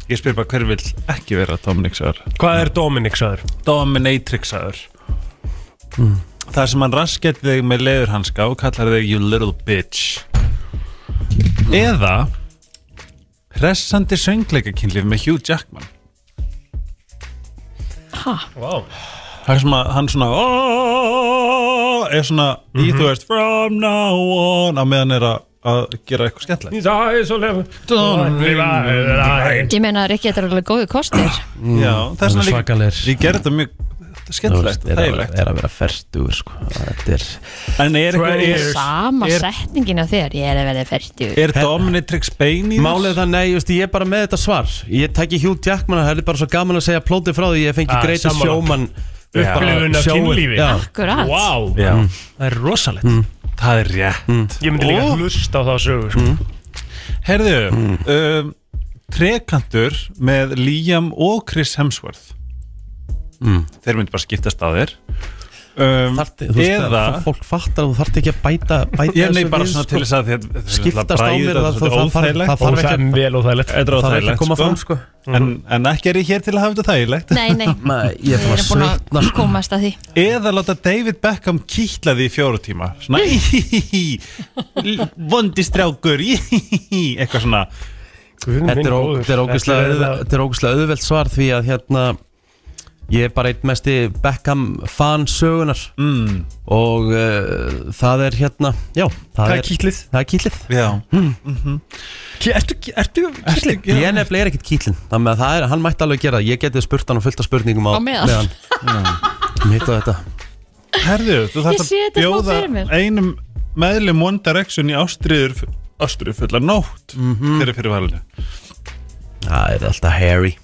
Speaker 7: ég spyr bara hver vill ekki vera dominatrixaður
Speaker 3: Hvað er Dominic saður?
Speaker 7: dominatrixaður þar sem hann raskett þig með leðurhanska og kallar þig you little bitch eða hressandi söngleikakynlif með Hugh Jackman
Speaker 2: Ha,
Speaker 3: Wow.
Speaker 7: Það er sem að hann svona "Oh," er svona
Speaker 1: Mhm.
Speaker 7: í þú veist from now on á meðan er að, að gera eitthvað skemmtilegt
Speaker 3: Þetta
Speaker 2: ég meina Rikki, þetta er alveg góðu kostir
Speaker 7: Já, það er
Speaker 1: Hann er
Speaker 7: svona líka
Speaker 1: svakalegur.
Speaker 7: ég gerði þetta mjög þetta er
Speaker 1: Þú
Speaker 7: skemmtilegt,
Speaker 1: veist, er, að,
Speaker 7: þægilegt
Speaker 1: er að vera ferstugur sko. Þetta er
Speaker 7: En er, eitthvað- er,
Speaker 2: Sama
Speaker 7: er-
Speaker 2: setningin á þér, ég er að verða færtjú
Speaker 7: er Dominatrix Bane í þess?
Speaker 1: Málið er það, nei, just, ég er bara með þetta svar Ég tæki Hugh Jackman og það er bara svo gaman að segja plótið frá því Ég fengi
Speaker 3: Ah,
Speaker 1: greita
Speaker 3: sammála.
Speaker 1: sjóman
Speaker 3: Já. Upplifun af kynlífi.
Speaker 1: Já,
Speaker 2: Akkurat
Speaker 3: Wow.
Speaker 7: Já,
Speaker 3: Það er rosalegt Mm.
Speaker 7: það er rétt
Speaker 3: Ég myndi líka hlusta á þá sögur sko.
Speaker 7: Herðu,
Speaker 1: Mm.
Speaker 7: um, trekantur með Liam og Chris Hemsworth Þeir myndi bara skiptast á þér um,
Speaker 1: Þarfti, Mm. þú veist,
Speaker 7: Eða
Speaker 1: það, fólk fattar að þú þarft ekki að bæta, bæta
Speaker 7: Ég nei
Speaker 1: þessu
Speaker 7: bara
Speaker 1: við,
Speaker 7: svona
Speaker 1: sko.
Speaker 7: til þess að þið- þið
Speaker 1: Skiptast á mér
Speaker 7: bræða
Speaker 1: það-
Speaker 7: svolítið
Speaker 1: það- það-
Speaker 7: óþægilegt.
Speaker 1: það- þarf ekki
Speaker 3: Það
Speaker 1: að-
Speaker 3: er vel og þægilegt
Speaker 7: Þetta er
Speaker 1: Það er ekki að
Speaker 7: óþægilegt
Speaker 1: koma fram
Speaker 7: sko.
Speaker 1: sko
Speaker 7: en, en ekki er ég hér til að hafa þetta þægilegt
Speaker 2: Nei, nei,
Speaker 1: Nei, ég
Speaker 2: við
Speaker 1: þarf að
Speaker 2: erum búin
Speaker 1: sveitna
Speaker 2: að
Speaker 1: sko
Speaker 2: komast að því
Speaker 7: Eða láta David Beckham kýtla því í fjóru tíma Svona íhíhíhí Vondistrákur íhíhíhí Eitthvað svona
Speaker 1: Þetta er ó- þetta er ógeðslega auðvelt- þetta er ógeðslega auðvelt svar því að hérna Ég er bara einn mesti Beckham fan sögunar
Speaker 7: mm,
Speaker 1: og uh, það er hérna, já, það,
Speaker 3: Það
Speaker 1: er,
Speaker 3: er kýtlið
Speaker 1: það er kýtlið
Speaker 7: Já
Speaker 3: Ertu, ertu kýtlið?
Speaker 1: Ég er nefnilega er ekkert kýtlinn Þannig að það er, hann mætti alveg gera það. Ég geti spurt hann og fullt af spurningum á
Speaker 2: Á meðan.
Speaker 1: Mitt á þetta
Speaker 7: Herðu, þú
Speaker 2: Ég sé
Speaker 7: þarf
Speaker 2: þetta
Speaker 7: að
Speaker 2: smá
Speaker 7: bjóða
Speaker 2: fyrir mér.
Speaker 7: einum meðlum One Direction í ástriður ástriður fulla nótt mm -hmm. fyrir fyrir valinu
Speaker 1: Það er alltaf Harry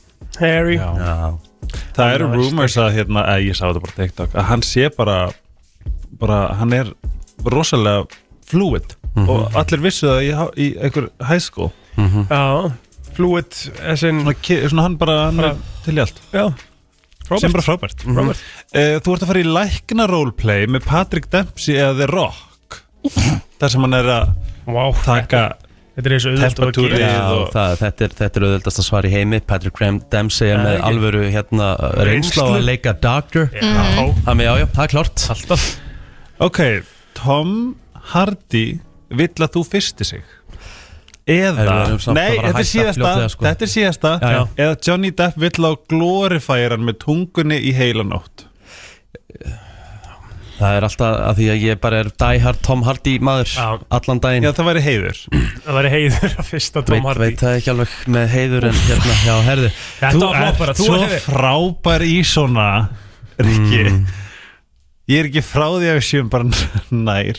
Speaker 3: Harry
Speaker 1: Já,
Speaker 7: Það eru rumors að hérna, að ég sá þetta bara á TikTok að hann sé bara, bara hann er rosalega fluid og allir vissu það í, há- í einhver high school
Speaker 3: Já, fluid as in
Speaker 7: svona, ki- svona hann bara, hann er til í allt
Speaker 3: Já,
Speaker 7: sem bara frábært
Speaker 3: Mhm. Robert.
Speaker 7: Eh, Þú ert að fara í lækna roleplay með Patrick Dempsey eða The Rock þar sem hann er að
Speaker 3: Vá,
Speaker 7: taka
Speaker 3: þetta er eins og auðvitað að
Speaker 7: Temperatúrið.
Speaker 3: gera
Speaker 1: já
Speaker 7: og-
Speaker 1: það, þetta er, þetta er auðvöldast að svara í heimi Patrick Graham Dempsey er
Speaker 3: Já,
Speaker 1: með
Speaker 3: ekki.
Speaker 1: alvöru hérna uh,
Speaker 3: Reynslu.
Speaker 1: reynsla á að leika Doctor
Speaker 7: Mhm.
Speaker 3: Já,
Speaker 1: Þannig, já, já, það er klart
Speaker 3: alltaf
Speaker 7: Ok, Tom Hardy vill að þú fyrsti sig
Speaker 1: Erum við-
Speaker 7: Eða,
Speaker 1: erum samt að
Speaker 7: nei,
Speaker 1: fara að
Speaker 7: þetta er
Speaker 1: hætta
Speaker 7: síðasta
Speaker 1: fljótlega, sko.
Speaker 7: Þetta er síðasta
Speaker 1: Já, já.
Speaker 7: Eða Johnny Depp vill að glorifæra hann með tungunni í heilanótt
Speaker 1: Það er alltaf að því að ég bara er Die Hard Tom Hardy maður
Speaker 3: Já.
Speaker 1: Allan daginn
Speaker 7: Já, það væri heiður
Speaker 3: Það væri heiður að fyrsta Tom
Speaker 1: Veit,
Speaker 3: Hardy
Speaker 1: veit það ekki alveg með heiður en hérna, já, herði
Speaker 3: Þetta var flott bara, þú
Speaker 7: svo
Speaker 3: er heiður
Speaker 7: frábær í svona Rikki Mm. Ég er ekki frá því að við séum bara nær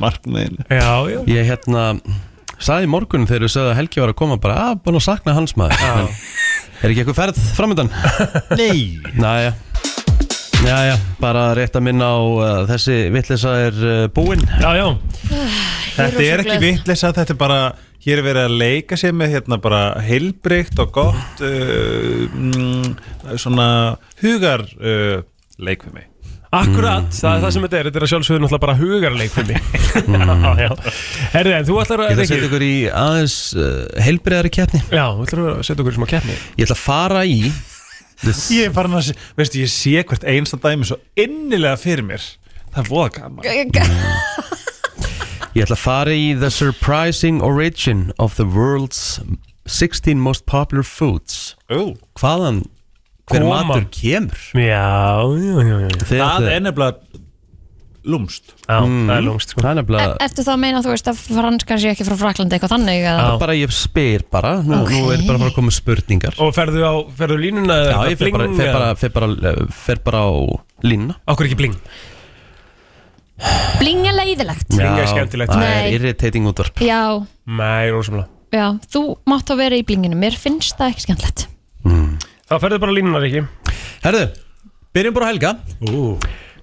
Speaker 7: markmiðinu
Speaker 3: Já, já
Speaker 1: Ég "Ah, hérna sagði í morgun þegar þú sögðu að Helgi var að koma bara að búin að sakna hans maður en, Er ekki eitthvað ferð framöndan?
Speaker 7: Nei
Speaker 1: Næja Jæja, bara rétt að minna á uh, þessi vitlisa er uh, búinn
Speaker 3: Já, já,
Speaker 7: Þetta er ekki vitleysa, þetta er bara hér er verið að leika sér með hérna bara heilbrygt og gott uh, mm, svona hugar uh, leik við mig
Speaker 3: akkurat,
Speaker 1: Mm.
Speaker 3: það er það sem þetta er Þetta er að sjálfsögðu náttúrulega bara hugarleik fyrir mig Já, já. Herði, en þú ætlar að
Speaker 1: Mm. Ég ætla að
Speaker 3: Rikki-
Speaker 1: setja ykkur í aðeins uh, heilbriðari keppni
Speaker 3: Já, þú ætlar að setja okkur í smá keppni
Speaker 1: Ég ætla að fara í
Speaker 7: Ég er farin að, sé- veistu, ég sé hvert einsta dæmi svo innilega fyrir mér Það er voða gaman
Speaker 1: Ég ætla að fara í The Surprising Origin of the World's 16 Most Popular Foods
Speaker 7: Ú,
Speaker 1: Hvaðan hver
Speaker 3: Koma.
Speaker 1: matur kemur?
Speaker 3: Já, já, já, já, já.
Speaker 1: Þegar
Speaker 7: Það
Speaker 1: þið-
Speaker 7: er nefnilega lúmst
Speaker 3: já það
Speaker 1: Mm.
Speaker 3: er lungst sko.
Speaker 1: Það er nefnilega
Speaker 2: Ertu þá að meina þú veist að franskan sé ekki frá Fraklandi eitthvað þannig eða?
Speaker 3: Já.
Speaker 1: bara ég spyr bara Nú,
Speaker 2: Ok.
Speaker 1: nú er bara að fara að koma spurningar
Speaker 3: Og ferðu á, ferðu á línuna
Speaker 1: Já, ég fer bara, fer bara, fer bara, eh, fer bara á línuna
Speaker 3: Okkur ekki bling
Speaker 2: Blinga leiðilegt
Speaker 3: Bling er skemmtilegt.
Speaker 1: Það er
Speaker 2: Nei.
Speaker 1: irritating útvarp
Speaker 2: Já,
Speaker 3: Nei, rosamlega
Speaker 2: já, þú mátt þá vera í blinginu Mér finnst það ekki skemmtilegt
Speaker 3: Þá ferðu bara á línuna, Riki
Speaker 1: Herðu, byrjum bara á Helga
Speaker 7: Ú.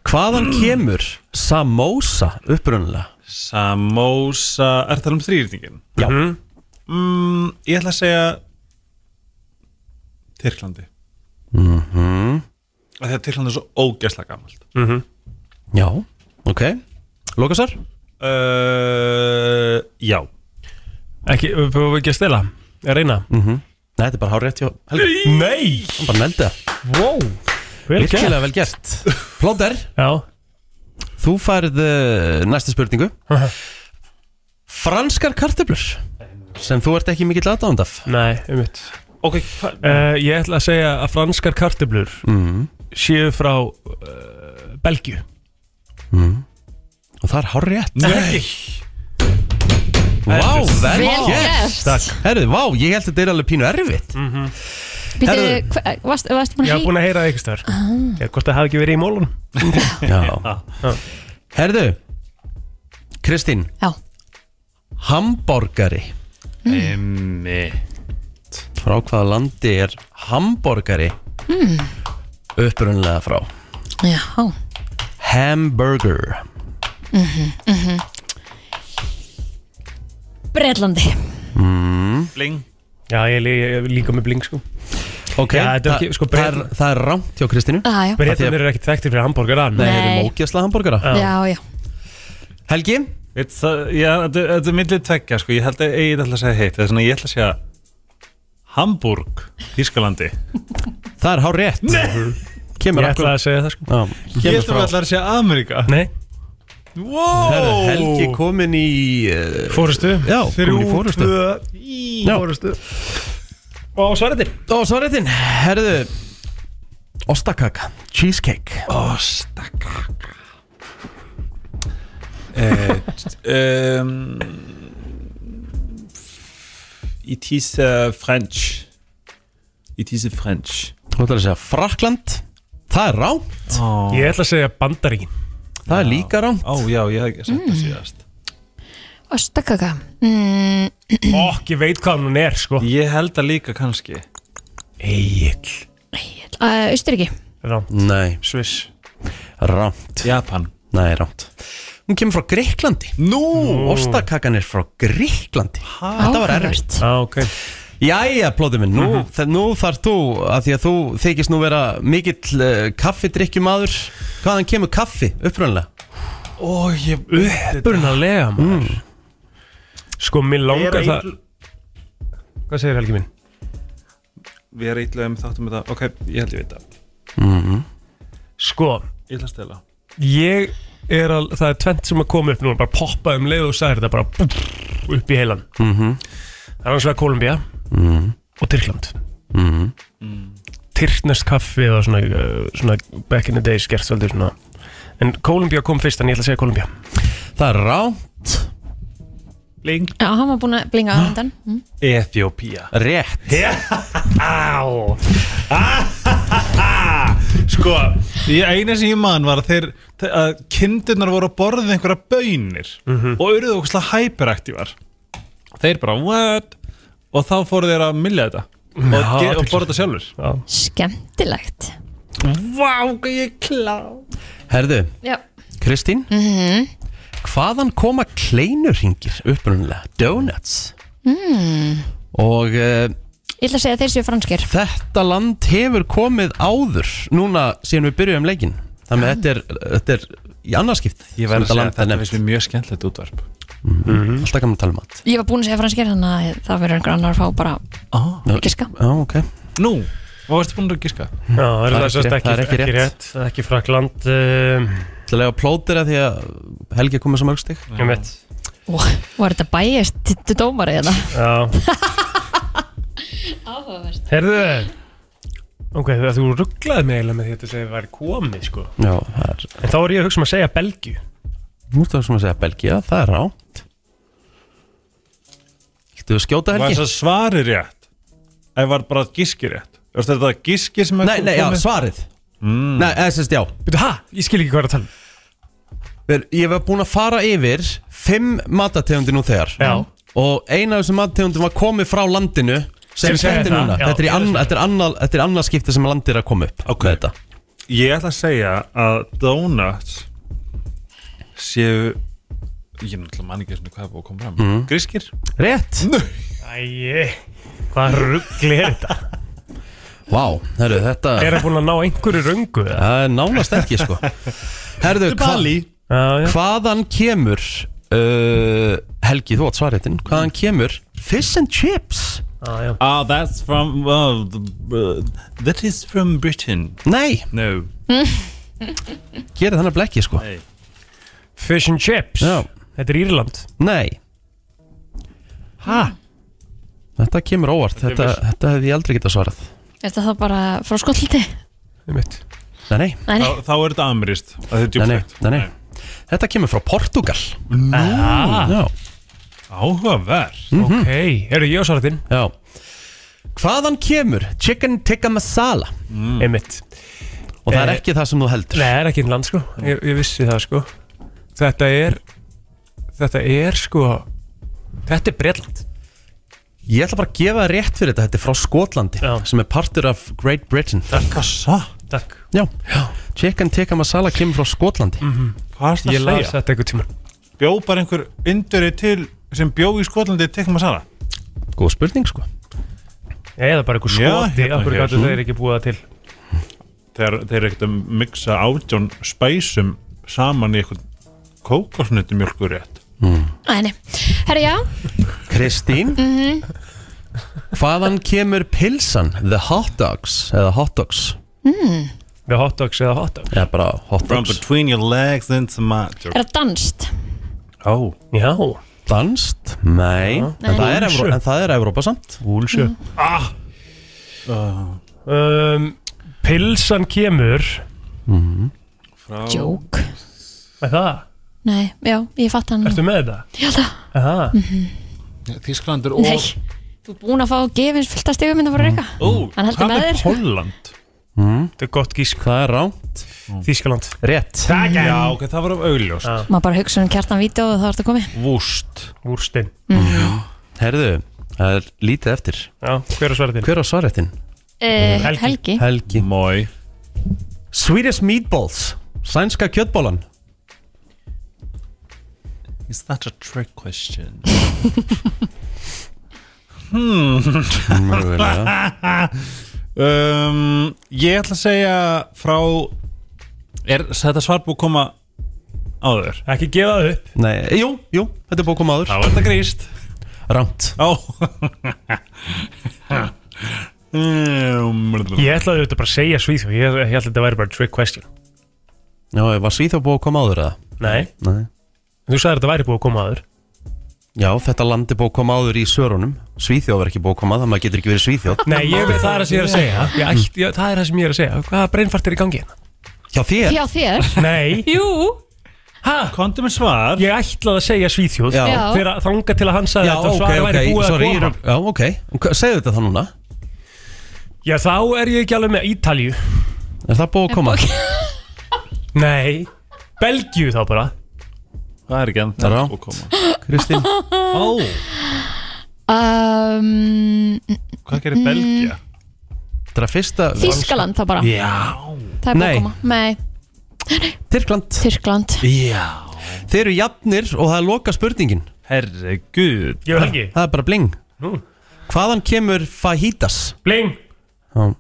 Speaker 1: Hvaðan kemur samósa upprunalega?
Speaker 7: Samósa, er það um þrýrtingin?
Speaker 1: Já.
Speaker 7: mm, Ég ætla að segja Tyrklandi mm -hmm. Þegar Tyrklandi er svo ógæslega gamalt
Speaker 1: Já, ok Lókasar?
Speaker 7: Uh, já
Speaker 3: Ekki, við fórum ekki að stela Að reyna
Speaker 1: Nei, þetta er bara hár rétt hjá Helga
Speaker 3: Nei
Speaker 1: Hann bara neldi það
Speaker 3: Wow Vel gert
Speaker 1: Virkilega vel gert Plóter,
Speaker 3: Já
Speaker 1: þú færð eh, næstu spurningu Franskar kartöflur sem þú ert ekki mikill aðdánd af
Speaker 3: Nei, um mitt
Speaker 7: Ok,
Speaker 3: Ég ætla að segja að franskar kartöblur Séu frá uh, Belgju
Speaker 1: og það er hár rétt
Speaker 7: Nei
Speaker 1: Vá, vel
Speaker 2: Vel gert.
Speaker 1: gert Herðu, vá, ég held að þetta er alveg pínu erfitt
Speaker 2: Býtu,
Speaker 1: Herðu.
Speaker 2: hva- varst- varstu búin að
Speaker 3: Ég haf
Speaker 2: hýta?
Speaker 3: búin að heyra það eitthvað Ég hvort það hafi ekki verið í mólun
Speaker 1: Já Herðu Kristín,
Speaker 2: Já,
Speaker 1: hamborgari Frá hvaða landi er hamborgari mm. upprunlega frá
Speaker 2: já
Speaker 1: Hamburger
Speaker 2: Breitlandi
Speaker 7: Bling
Speaker 3: Já, ég, lí- ég líka með bling sko
Speaker 1: Ok,
Speaker 3: Já, þetta er
Speaker 1: það-
Speaker 3: ekki- sko,
Speaker 1: það, er,
Speaker 3: Bretland-
Speaker 1: það er rámt hjá Kristínu
Speaker 2: Ah, Já, já,
Speaker 1: Af því
Speaker 3: Breytanir
Speaker 1: að-
Speaker 3: eru ekkert þekktir fyrir hambúrgar
Speaker 1: Nei,
Speaker 2: Nei.
Speaker 1: það eru mókjæsla hamborgara
Speaker 2: já, já
Speaker 1: Helgi,
Speaker 7: It's, uh, já, þetta þetta er millið tveggja sko. Ég held að ég ætla að segja heitt Það er svona ég ætla að segja Hamburg, Þískalandi
Speaker 1: það er hár rétt Nei
Speaker 3: Ég
Speaker 1: Kemur
Speaker 3: ætla
Speaker 1: akkur
Speaker 3: að segja það sko
Speaker 1: Já,
Speaker 7: Ég
Speaker 1: kemur
Speaker 7: ætla að
Speaker 1: frá
Speaker 7: ætla að segja Ameríka
Speaker 3: Nei,
Speaker 1: Herðu, Helgi komin í uh,
Speaker 3: fórustu
Speaker 1: Já,
Speaker 3: Þrjú,
Speaker 1: komin í fórustu
Speaker 3: tvö, í
Speaker 1: Já.
Speaker 3: fórustu Og svaretir
Speaker 1: Og svo réttin, herðu Ostakaka, cheesecake
Speaker 7: Ostakaka uh, um, It is uh, French It is French
Speaker 1: Þú ætlar að segja Frakland Það er rámt,
Speaker 7: Ó,
Speaker 3: Ég ætla að segja bandaríkin
Speaker 1: það er líka rámt
Speaker 7: já, ég hef ekki sagt það síðast
Speaker 2: Ostakaka mm,
Speaker 3: Og ég veit hvað hún er sko
Speaker 7: Ég held að líka kannski
Speaker 3: Egil
Speaker 2: uh, Austuríki
Speaker 1: Nei,
Speaker 3: Sviss
Speaker 1: rámt
Speaker 7: Japan
Speaker 1: Nei, rámt Hún kemur frá Greiklandi
Speaker 7: Nú
Speaker 1: Ostakakkan er frá Greiklandi Þetta var erfitt
Speaker 2: Áhugavert.
Speaker 3: Já, ok
Speaker 1: Jæja, plóðið minn, nú, mm nú þarf þú að Því að þú þykist nú vera mikill uh, kaffidrykkjumadur Hvaðan kemur kaffi, upprunlega?
Speaker 7: Ó, ég
Speaker 3: Burnalega maður Sko, mér langar það Hvað segir Helgi minn?
Speaker 7: Við erum eitthvað um þáttum þetta Ok, ég held ég veit það
Speaker 3: Sko,
Speaker 7: Ég ætla að stela
Speaker 3: ég er að Það er tvent sem að koma upp núna Bara poppa um leið og sagði þetta bara búff, Upp í heilan mm
Speaker 1: Mhm.
Speaker 3: -hmm. Það er annars vega Kolumbía Og Tyrkland mm -hmm.
Speaker 1: Mhm.
Speaker 3: Tyrknest kaffi eða svona, uh, svona Back in the days gert svolítið svona En Kolumbía kom fyrst en ég ætla að segja Kolumbía
Speaker 1: Það er rámt,
Speaker 7: Bling
Speaker 2: Já, hann var búin að blinga
Speaker 1: Ah.
Speaker 2: á undan mm.
Speaker 7: Ethiopia
Speaker 1: rétt
Speaker 7: Á Sko, ég eina sem ég man var að þeir þe- að kindurnar voru að borða einhverja bönir og auðvitað okkur slag hyperaktívar Þeir bara, what? Og þá fóru þeir að millja þetta og,
Speaker 3: Já,
Speaker 7: ge- og
Speaker 3: athyglisvert.
Speaker 7: borða þetta sjálfur
Speaker 3: Já.
Speaker 2: skemmtilegt
Speaker 3: Vá, hvað ég er klá
Speaker 1: Herðu,
Speaker 2: Já,
Speaker 1: Kristín Mhm. Hvaðan koma kleinurringir upprunalega? Donuts mm. Og uh,
Speaker 2: ég ætla að segja að þeir séu franskir
Speaker 1: þetta land hefur komið áður Núna síðan við byrjuðum leikin Þannig að þetta er, þetta er í annarskipt
Speaker 7: ég verð að segja að þetta Mhm.
Speaker 1: þetta
Speaker 7: finnst mér mjög skemmtilegt útvarp
Speaker 1: Alltaf gaman að tala um allt
Speaker 2: Ég var búin að segja franskir þannig að það verður einhver annar að fá bara
Speaker 7: ah.
Speaker 1: Já,
Speaker 2: giska
Speaker 1: Já, ok
Speaker 7: nú, hvað varstu búin að gíska?
Speaker 3: Já, er
Speaker 1: Mhm. Það er
Speaker 3: það, það,
Speaker 1: ekki rétt, það
Speaker 3: ekki,
Speaker 1: er ekki
Speaker 3: ekki
Speaker 1: rétt.
Speaker 3: rétt, það er ekki Frakland um,
Speaker 1: Það lega plótir að því að Helgi er komið sem augstig
Speaker 3: um eitt
Speaker 2: Ó, Var þetta bæjast til dómari eða?
Speaker 3: Já Herðu Ok, það þú rugglaði mig eiginlega með því að þetta segir var komið sko
Speaker 1: Já, það er
Speaker 3: En þá er ég að hugsa um að segja Belgju
Speaker 1: Nú er það sem að segja Belgia, það er ránt Viltu að skjóta
Speaker 7: var
Speaker 1: Helgi?
Speaker 7: þess að svari rétt eða var bara gíski rétt varstu þetta gíski sem
Speaker 1: Nei, nei, já, svarið mm. Nei, eða sérst, já
Speaker 3: Býtu, ha? Ég skil ekki hvað er að tala um.
Speaker 1: Ver, Ég var búin að fara yfir Fimm matategundir nú þegar
Speaker 3: Já.
Speaker 1: Og eina af þessum matategundum var komið frá landinu Sem
Speaker 3: Sem
Speaker 1: þetta
Speaker 3: segir
Speaker 1: er
Speaker 3: það,
Speaker 1: núna
Speaker 3: já.
Speaker 1: Þetta er í anna- þetta er annað Þetta er annað skipti sem landið er að koma upp
Speaker 7: Ok.
Speaker 1: með þetta.
Speaker 7: ég ætla að segja að donuts séu ég er náttúrulega mann ekki svona hvað er búið að koma fram
Speaker 1: Mhm.
Speaker 7: mm. grískir
Speaker 1: Rétt
Speaker 3: Æi, hvað ruggli er þetta?
Speaker 1: Vá, herru, þetta
Speaker 3: Er það búin að ná einhverju röngu? eða?
Speaker 1: Það er nánast ekki, sko Herðu, hva,
Speaker 3: Já, já
Speaker 1: hvaðan kemur uh, Helgi, þú átt svariðin Hvaðan kemur Fish and chips
Speaker 3: Já, já.
Speaker 7: ah that's from uh, uh, that is from Britain
Speaker 1: Nei,
Speaker 7: no
Speaker 1: gerir þannig blekki, sko
Speaker 7: Nei.
Speaker 3: Fish and chips
Speaker 1: Já.
Speaker 3: Þetta er Írland
Speaker 1: Nei
Speaker 3: Ha?
Speaker 1: Þetta kemur óvart, þetta,
Speaker 7: Þetta er
Speaker 1: þetta, hefði ég aldrei getað svarað
Speaker 2: Er þetta þá bara frá skolliti?
Speaker 3: Um eitt
Speaker 1: Nei, nei,
Speaker 2: Nei, nei,
Speaker 7: þá, þá er þetta amirist það er
Speaker 1: nei, nei,
Speaker 7: djúflegt
Speaker 1: nei, nei. Þetta kemur frá Portugal
Speaker 3: ah,
Speaker 1: Já,
Speaker 7: áhugaverð
Speaker 3: Ok, Mhm. eru ég á svartin?
Speaker 1: já Hvaðan kemur chicken tikka masala
Speaker 3: Um eitt
Speaker 1: Og það er
Speaker 3: Eh,
Speaker 1: ekki það sem þú heldur
Speaker 3: Nei, það er ekki Írland sko ég, ég vissi það sko Þetta er Þetta er sko Þetta er Bretland
Speaker 1: Ég ætla bara að gefa það rétt fyrir þetta Þetta er frá Skotlandi
Speaker 3: Já.
Speaker 1: Sem er partur af Great Britain
Speaker 7: hvað satt?
Speaker 3: Takk
Speaker 1: Já, chicken tikka masala kemur frá Skotlandi
Speaker 3: Mhm.
Speaker 7: hvað er
Speaker 3: Ég
Speaker 7: það að
Speaker 3: las
Speaker 7: segja?
Speaker 3: þetta einhver tíma
Speaker 7: bjó bara einhver induri til sem bjó í Skotlandi tekkum að sala
Speaker 1: Góð spurning sko
Speaker 3: Eða bara einhver
Speaker 7: Já,
Speaker 3: skoti
Speaker 7: hérna
Speaker 3: Akkur
Speaker 7: hér.
Speaker 3: gætu þeir ekki búið það til
Speaker 7: þegar þeir eru ekkert að mixa átjón spæsum saman í eitthvað kókosnutumjölkur rétt
Speaker 2: nei, nei. Herra, já,
Speaker 1: Kristín Hvaðan kemur pilsan The hot dogs Eða hot dogs
Speaker 3: Með hot dogs eða hot dogs
Speaker 1: Eða bara hot dogs
Speaker 7: between your legs into my
Speaker 2: er það danst?
Speaker 7: oh.
Speaker 3: Já
Speaker 1: Danst? Nei, En, það er Evró, en það er Evrópa samt
Speaker 3: Úlsjö Ah Mm. um, Pilsan kemur
Speaker 2: Jók
Speaker 3: Er það?
Speaker 2: Mm. Nei, já, ég fatt hann
Speaker 3: Ertu með þetta?
Speaker 2: Ég held að,
Speaker 3: Aha.
Speaker 2: Mm.
Speaker 7: Þískland er
Speaker 2: nei Þú er búin að fá gefins fullt að stegum en það voru reyka
Speaker 7: ó,
Speaker 2: Hann heldur með
Speaker 7: sko.
Speaker 2: þér.
Speaker 7: Holland
Speaker 3: Þetta er gott gísk Mm.
Speaker 1: Það er ránt
Speaker 3: Þískaland
Speaker 1: Rétt
Speaker 7: já ok, það var af augljóst
Speaker 3: Ah.
Speaker 2: Maður bara hugsa um kjartan vídeo og þá ertu komið
Speaker 7: vúst
Speaker 3: Úrstinn
Speaker 1: Herðu, það er lítið eftir
Speaker 3: Já, hver er svartin?
Speaker 1: Hver á svarréttin?
Speaker 2: uh,
Speaker 3: Helgi.
Speaker 2: Helgi
Speaker 1: Helgi
Speaker 7: mói
Speaker 1: Swedish meatballs Sænska kjötbólan
Speaker 7: is that a trick question
Speaker 1: Mögulega.
Speaker 7: um, ég ætla að segja frá er þetta svarbúk koma áður
Speaker 3: Ekki gefa það upp
Speaker 1: Nei, jú, jú, þetta er búið að koma áður
Speaker 7: þá er þetta gríst
Speaker 1: Ránt
Speaker 7: Ó Mm,
Speaker 3: Ég ætlaði auðvitað bara að segja Svíþjóð Ég, ég ætlaði að þetta væri bara trick question
Speaker 1: Já, var Svíþjóð búið að koma áður eða?
Speaker 3: Nei,
Speaker 1: Nei
Speaker 3: þú sagði þetta væri búið að koma aður
Speaker 1: Já, þetta land er búið að koma áður í svörunum Svíþjóð var ekki búið að koma þannig að maður getur ekki verið Svíþjóð
Speaker 3: Nei, ég veit það er það sem ég er að segja ég ætti, ég, Það er það sem ég er að segja Hvaða breynfart er í gangi hérna?
Speaker 1: Hjá þér?
Speaker 2: Hjá þér
Speaker 3: Nei,
Speaker 2: Jú
Speaker 3: ha?
Speaker 7: Kondu með svar
Speaker 3: Ég ætlaði að segja Svíþjóð
Speaker 1: Já.
Speaker 2: Já.
Speaker 3: Þegar þanga til að hann sagði
Speaker 1: Já,
Speaker 3: þetta
Speaker 1: ok,
Speaker 3: svar
Speaker 1: ok,
Speaker 3: væri búið
Speaker 1: sorry,
Speaker 3: að
Speaker 1: ég
Speaker 3: koma
Speaker 1: er- já, ok, Hva- segðu þetta þá núna
Speaker 3: Já, þá er ég ekki alveg með Ítalju
Speaker 1: Er það búið að koma?
Speaker 2: Ok.
Speaker 3: Nei, Belgju þá bara
Speaker 7: Það er ekki enn
Speaker 1: Það er
Speaker 7: að koma
Speaker 1: Kristín
Speaker 7: Ó,
Speaker 2: um,
Speaker 7: Hvað gerir Belgia?
Speaker 1: Þetta er að fyrsta
Speaker 2: Þískaland þá bara,
Speaker 7: Já
Speaker 2: það er
Speaker 1: Nei.
Speaker 2: bókoma Nei,
Speaker 1: Tyrkland
Speaker 2: Tyrkland
Speaker 7: Já
Speaker 1: Þeir eru jafnir og það er loka spurningin
Speaker 3: Ég
Speaker 7: Herregud
Speaker 3: veit ekki
Speaker 1: Það er bara bling
Speaker 3: Nú.
Speaker 1: Hvaðan kemur fajitas?
Speaker 3: Bling
Speaker 1: Já.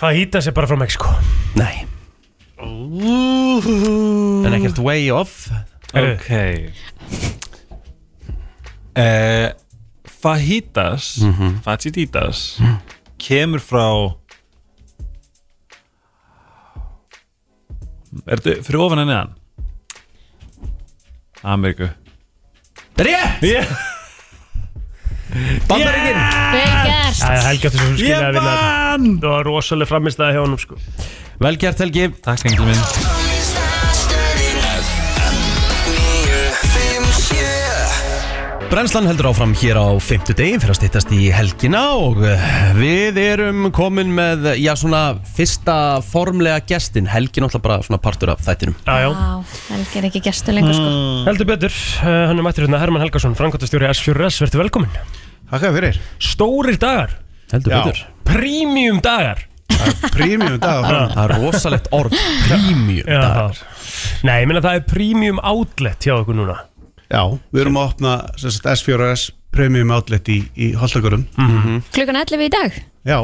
Speaker 3: Fajitas er bara frá Mexiko
Speaker 1: Nei En ekkert way off
Speaker 3: Herru.
Speaker 7: Ok uh, Fajitas Fajitas Kemur frá Er þetta fyrir ofan en neðan? Ameríku
Speaker 1: Rétt!
Speaker 7: yeah.
Speaker 1: Bandaríkin
Speaker 2: Vel gert
Speaker 3: Það er helgi áttu sem skiljaði að vinna þetta.
Speaker 7: vann
Speaker 3: Það var rosalega framistæði hjá honum sko
Speaker 1: Vel gert Helgi
Speaker 7: Takk engil minn
Speaker 1: Brennslan heldur áfram hér á 50 degi fyrir að stýttast í helgina og eh, við erum komin með, já svona, fyrsta formlega gestin, Helgi náttúrulega bara svona partur af þættinum.
Speaker 3: Já, já
Speaker 2: Vá, Helgi er ekki gestur lengur sko
Speaker 3: Heldur betur, uh, hann er mættur hérna Herman Helgason, frankvæmtastjóri S4S, verður velkominn.
Speaker 8: Takk fyrir
Speaker 3: Stórir dagar,
Speaker 1: Heldur
Speaker 8: Já.
Speaker 1: betur.
Speaker 3: premium dagar.
Speaker 8: Prímjum dag fram
Speaker 1: Það er rosalegt orð, premium dagar.
Speaker 3: Nei, ég minna það er premium outlet hjá okkur núna.
Speaker 8: Já, við erum að opna sem sagt, S4S Premium Outlet í, í Holtagurum
Speaker 2: Klukkan 11 í dag
Speaker 8: Já,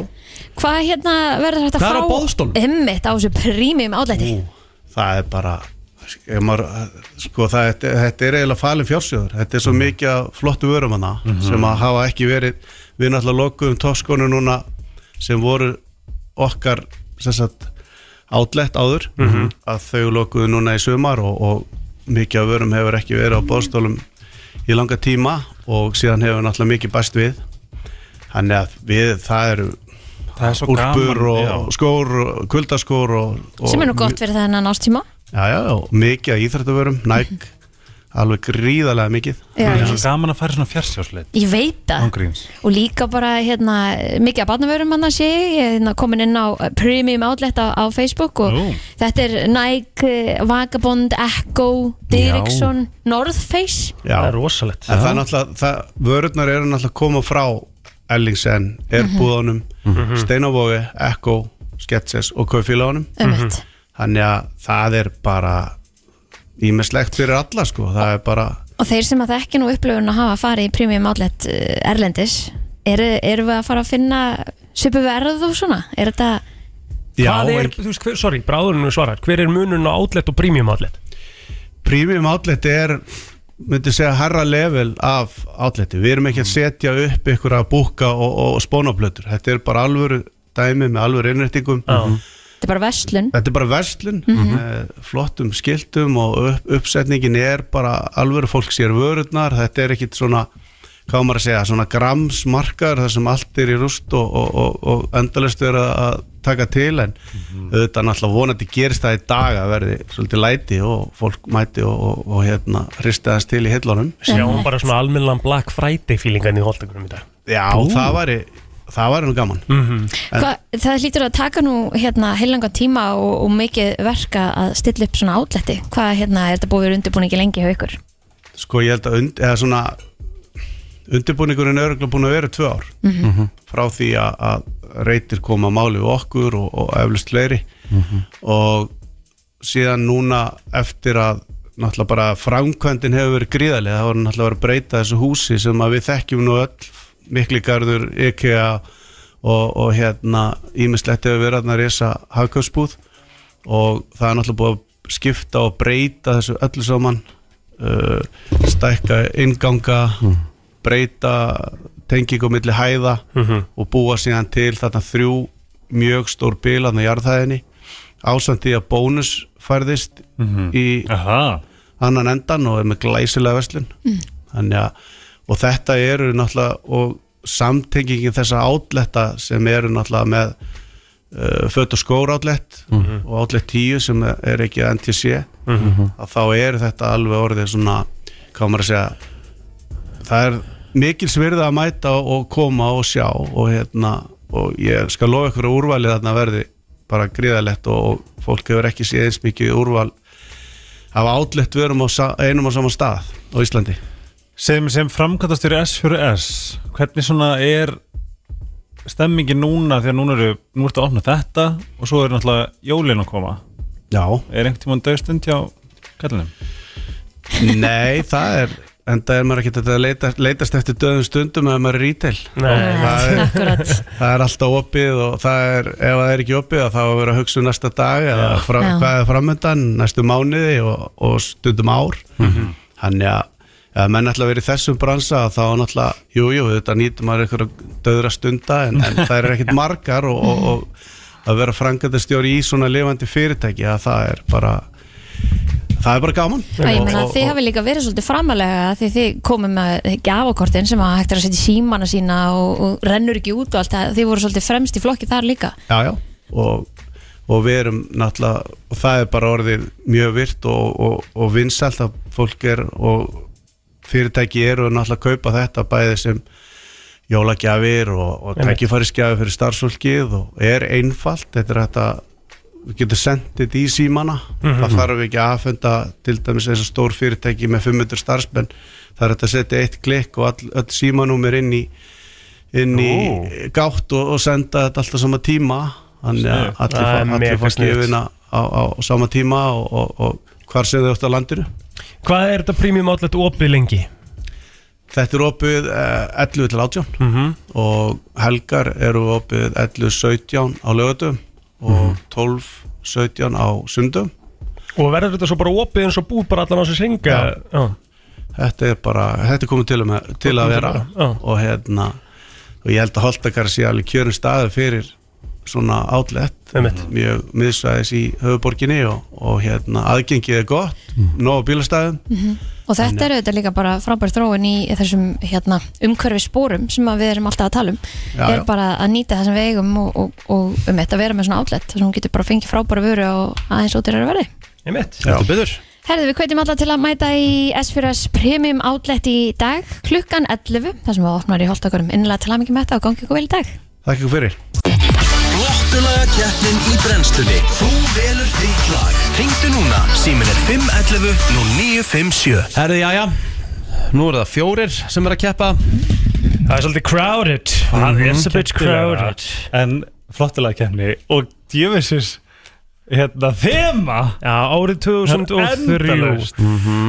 Speaker 2: Hvað hérna verður þetta
Speaker 1: Hvað
Speaker 2: frá
Speaker 1: er á boðstólnum?
Speaker 2: Einmitt á þessu prímum átlæti
Speaker 8: það er bara ef maður, sko, það, þetta, þetta er eiginlega falin fjársjóður, þetta er svo
Speaker 7: Mhm.
Speaker 8: mikið af flottu vörum hana sem að hafa ekki verið við náttúrulega lokuðum toskonu núna sem voru okkar sem sagt outlet áður
Speaker 7: Mhm.
Speaker 8: að þau lokuðu núna í sumar og, og mikið af vörum hefur ekki verið á bóðstólum í langa tíma og síðan hefur náttúrulega mikið bæst við þannig að við það eru
Speaker 7: Það er svo
Speaker 8: úlpur
Speaker 7: gaman
Speaker 8: og
Speaker 7: já.
Speaker 8: skór, og kuldaskór og, og
Speaker 2: sem er nú gott fyrir þennan ástíma
Speaker 8: Já, já, og mikið af íþrættavörum, næk, alveg gríðarlega mikið.
Speaker 7: Það er svo gaman að fara í svona fjarsjásleik
Speaker 2: Ég veit það
Speaker 7: Ángríns
Speaker 2: og líka bara hérna, mikið af barnavörum hann að sé ég er hérna, komin inn á eh, Premium Outlet á, á Facebook og
Speaker 7: Nú.
Speaker 2: þetta er Nike, eh, Vagabond, Echo, Dirickson, North Face
Speaker 8: Já,
Speaker 3: Það er
Speaker 8: en
Speaker 3: rosalegt.
Speaker 8: það er náttúrulega, það, vörurnar eru náttúrulega að koma frá Ellingsen, Erbúðunum,
Speaker 3: Mhm.
Speaker 8: Steinavogi, Echo, Sketches og Kaufílaunum.
Speaker 2: um
Speaker 8: Þannig að það er bara ímislegt fyrir alla, sko. Það er bara,
Speaker 2: og þeir sem að það ekki nú upplöfun að hafa farið í Premium Outlet eh, erlendis eru, eru við að fara að finna svipu verð og svona er þetta
Speaker 8: já,
Speaker 3: Hvað er,
Speaker 8: en
Speaker 3: þú veist, hver, sorry, bráðurinn svarar, hver er munun á outlet og premium outlet?
Speaker 8: premium outlet er myndi segja herra level af outleti, við erum ekki að setja upp ykkur að búka og, og spónablötur þetta er bara alvöru dæmi með alvöru innrættingum
Speaker 2: þetta er bara verslun
Speaker 8: þetta er bara verslun með flottum skiltum og upp, uppsetningin er bara alvöru fólk sér vörurnar þetta er ekkit svona hvað á maður að segja, svona gramsmarkar þar sem allt er í rúst og, og, og, og endalist verið að taka til en auðvitað náttúrulega vonandi gerist það í dag að verði svolítið læti og fólk mæti og, og, og hérna hrista þess til í hillunum
Speaker 3: Sjáum bara svona almennlan Black Friday feelingan í holdagunum í dag.
Speaker 8: Já, það væri það væri nú gaman
Speaker 2: Hva, það hlýtur að taka nú hérna heilanga tíma og, og mikið verka að stilla upp svona outletti hvað hérna er þetta búið verið undirbúningi lengi hjá ykkur
Speaker 8: Sko ég held að und, eða svona undirbúningurinn er örgulega búin að vera tvö ár frá því að, að reytir koma að máli við okkur og, og eflust fleiri og síðan núna eftir að náttúrulega bara framkvæmdin hefur verið gríðarlega, það var náttúrulega verið að breyta þessu húsi sem að við þekkjum nú öll mikligarður, IKEA og, og hérna ímislegt hefur verið að reysa hagkjöfsbúð og það er náttúrulega búið að skipta og breyta þessu öllu saman uh, stækka inganga breyta tengingu milli hæða og búa síðan til þarna þrjú mjög stór bilan á jarðhæðinni ásamt því að bónus færðist í
Speaker 7: Aha
Speaker 8: annan endan og er með glæsilega verslun þannig að og þetta eru náttúrulega og samtengingin þessa átletta sem eru náttúrulega með uh, fött og skór átlett og átlett 10 sem er ekki að NTC að þá er þetta alveg orðið svona, hvað á maður að segja það er mikil svirða að mæta og koma og sjá og hérna og ég skal lofa ykkur að úrvalið þarna verði bara gríðalegt og, og fólk hefur ekki séð eins mikið úrval hafa átlegt verum á sa- einum og saman stað á Íslandi
Speaker 7: Sem, sem framkvæmtastjóri S4S Hvernig svona er stemmingi núna þegar núna eru, nú ertu að opna þetta og svo er náttúrulega jólin að koma
Speaker 8: Já,
Speaker 7: er einhvern tímann dögstund hjá kallinum?
Speaker 8: nei, það er enda er maður ekki að leita, leitast eftir döðum stundum ef maður er retail
Speaker 3: Nei,
Speaker 8: það er-
Speaker 2: Akkurat
Speaker 8: það er alltaf opið og það er, ef það er ekki opið þá er að vera að hugsa um næsta dag eða fra,
Speaker 2: Já.
Speaker 8: hvað er framöndan, næstu mánuði og, og stundum ár þannig að ef menn ætla að vera í þessum bransa þá náttúrulega, jújú, jú, þetta nýtum maður einhverja döðra stunda en, en það er ekkit margar og, og, og að vera frangandastjóri í svona lifandi fyrirtæki að það er bara það er bara gaman
Speaker 2: Já, ég meina
Speaker 8: Og-
Speaker 2: að
Speaker 8: og-
Speaker 2: þið
Speaker 8: og-
Speaker 2: hafi líka verið svolítið framalega því þið komum með gafakortin sem að hægt er að setja í símana sína og, og rennur ekki út og allt það, þið voru svolítið fremst í flokki þar líka
Speaker 8: já, já. Og, og við erum náttúrulega og það er bara orðið mjög virt og, og, og vinsælt að fólk er og fyrirtæki eru náttúrulega að kaupa þetta bæði sem jólagjafir og, og
Speaker 3: Einmitt.
Speaker 8: tækifærisgjafir fyrir starfsfólkið og er einfalt þetta er þetta við getum sendið þetta í símana
Speaker 3: Mhm.
Speaker 8: það þarf ekki að aðfunda til dæmis eins og stór fyrirtæki með 500 starfsmenn það er þetta að setja eitt klikk og all, all símanúmer inn í inn í
Speaker 7: Ó.
Speaker 8: gátt og, og senda þetta alltaf sama tíma þannig að
Speaker 7: Sniðugt.
Speaker 8: allir,
Speaker 3: Það er
Speaker 8: fá-
Speaker 3: mega
Speaker 8: allir fá
Speaker 3: sniðugt.
Speaker 8: skifina á, á, á sama tíma og, og, og hvar sem þau átt á landinu
Speaker 3: Hvað er þetta premium outlet opið lengi?
Speaker 8: Þetta er opið eh, 11 til 18
Speaker 3: Mhm.
Speaker 8: og helgar eru opið 11 17 á lögatum
Speaker 3: Mhm.
Speaker 8: og 12 17 á sundum
Speaker 3: Og verður þetta svo bara opið eins og búð bara allan á þessu synga? Já.
Speaker 8: þetta er bara, þetta er komið til, um, til að vera
Speaker 3: Já.
Speaker 8: og hérna og ég held að Holtakar sé alveg kjörin staður fyrir svona átlett
Speaker 3: Einmitt.
Speaker 8: mjög miðsvæðis í höfuborginni og, og hérna aðgengið er gott nóg á bílastæðum
Speaker 2: og þetta eru þetta líka bara frábær þróun í þessum hérna, umhverfi spórum sem að við erum alltaf að tala um
Speaker 8: Já,
Speaker 2: er
Speaker 8: já.
Speaker 2: bara að nýta það sem við eigum og, og, og um þetta að vera með svona outlet þar sem hún getur bara að fengja frábæra vöru og aðeins út í ræðu verði
Speaker 3: Einmitt.
Speaker 1: Þetta byggður
Speaker 2: Herðu, við hvetjum alla til að mæta í S4S Premium Outlet í dag klukkan 11, þar sem við opnar í holdakarum innlega til að mikið með þetta og gangi ykkur vel í dag
Speaker 8: Þakka ykkur fyrir
Speaker 5: Flottulaga keppnin í brennstunni Þú velur þitt lag Ringdu núna, símin er 511 0957
Speaker 1: Herði, jæja Nú eru það fjórir sem er að keppa
Speaker 3: Það er svolítið crowded. Það er a bit crowded.
Speaker 7: En flottilega kemni og djöfisins hérna þema
Speaker 3: Já, árið 2003.
Speaker 7: Endalaust.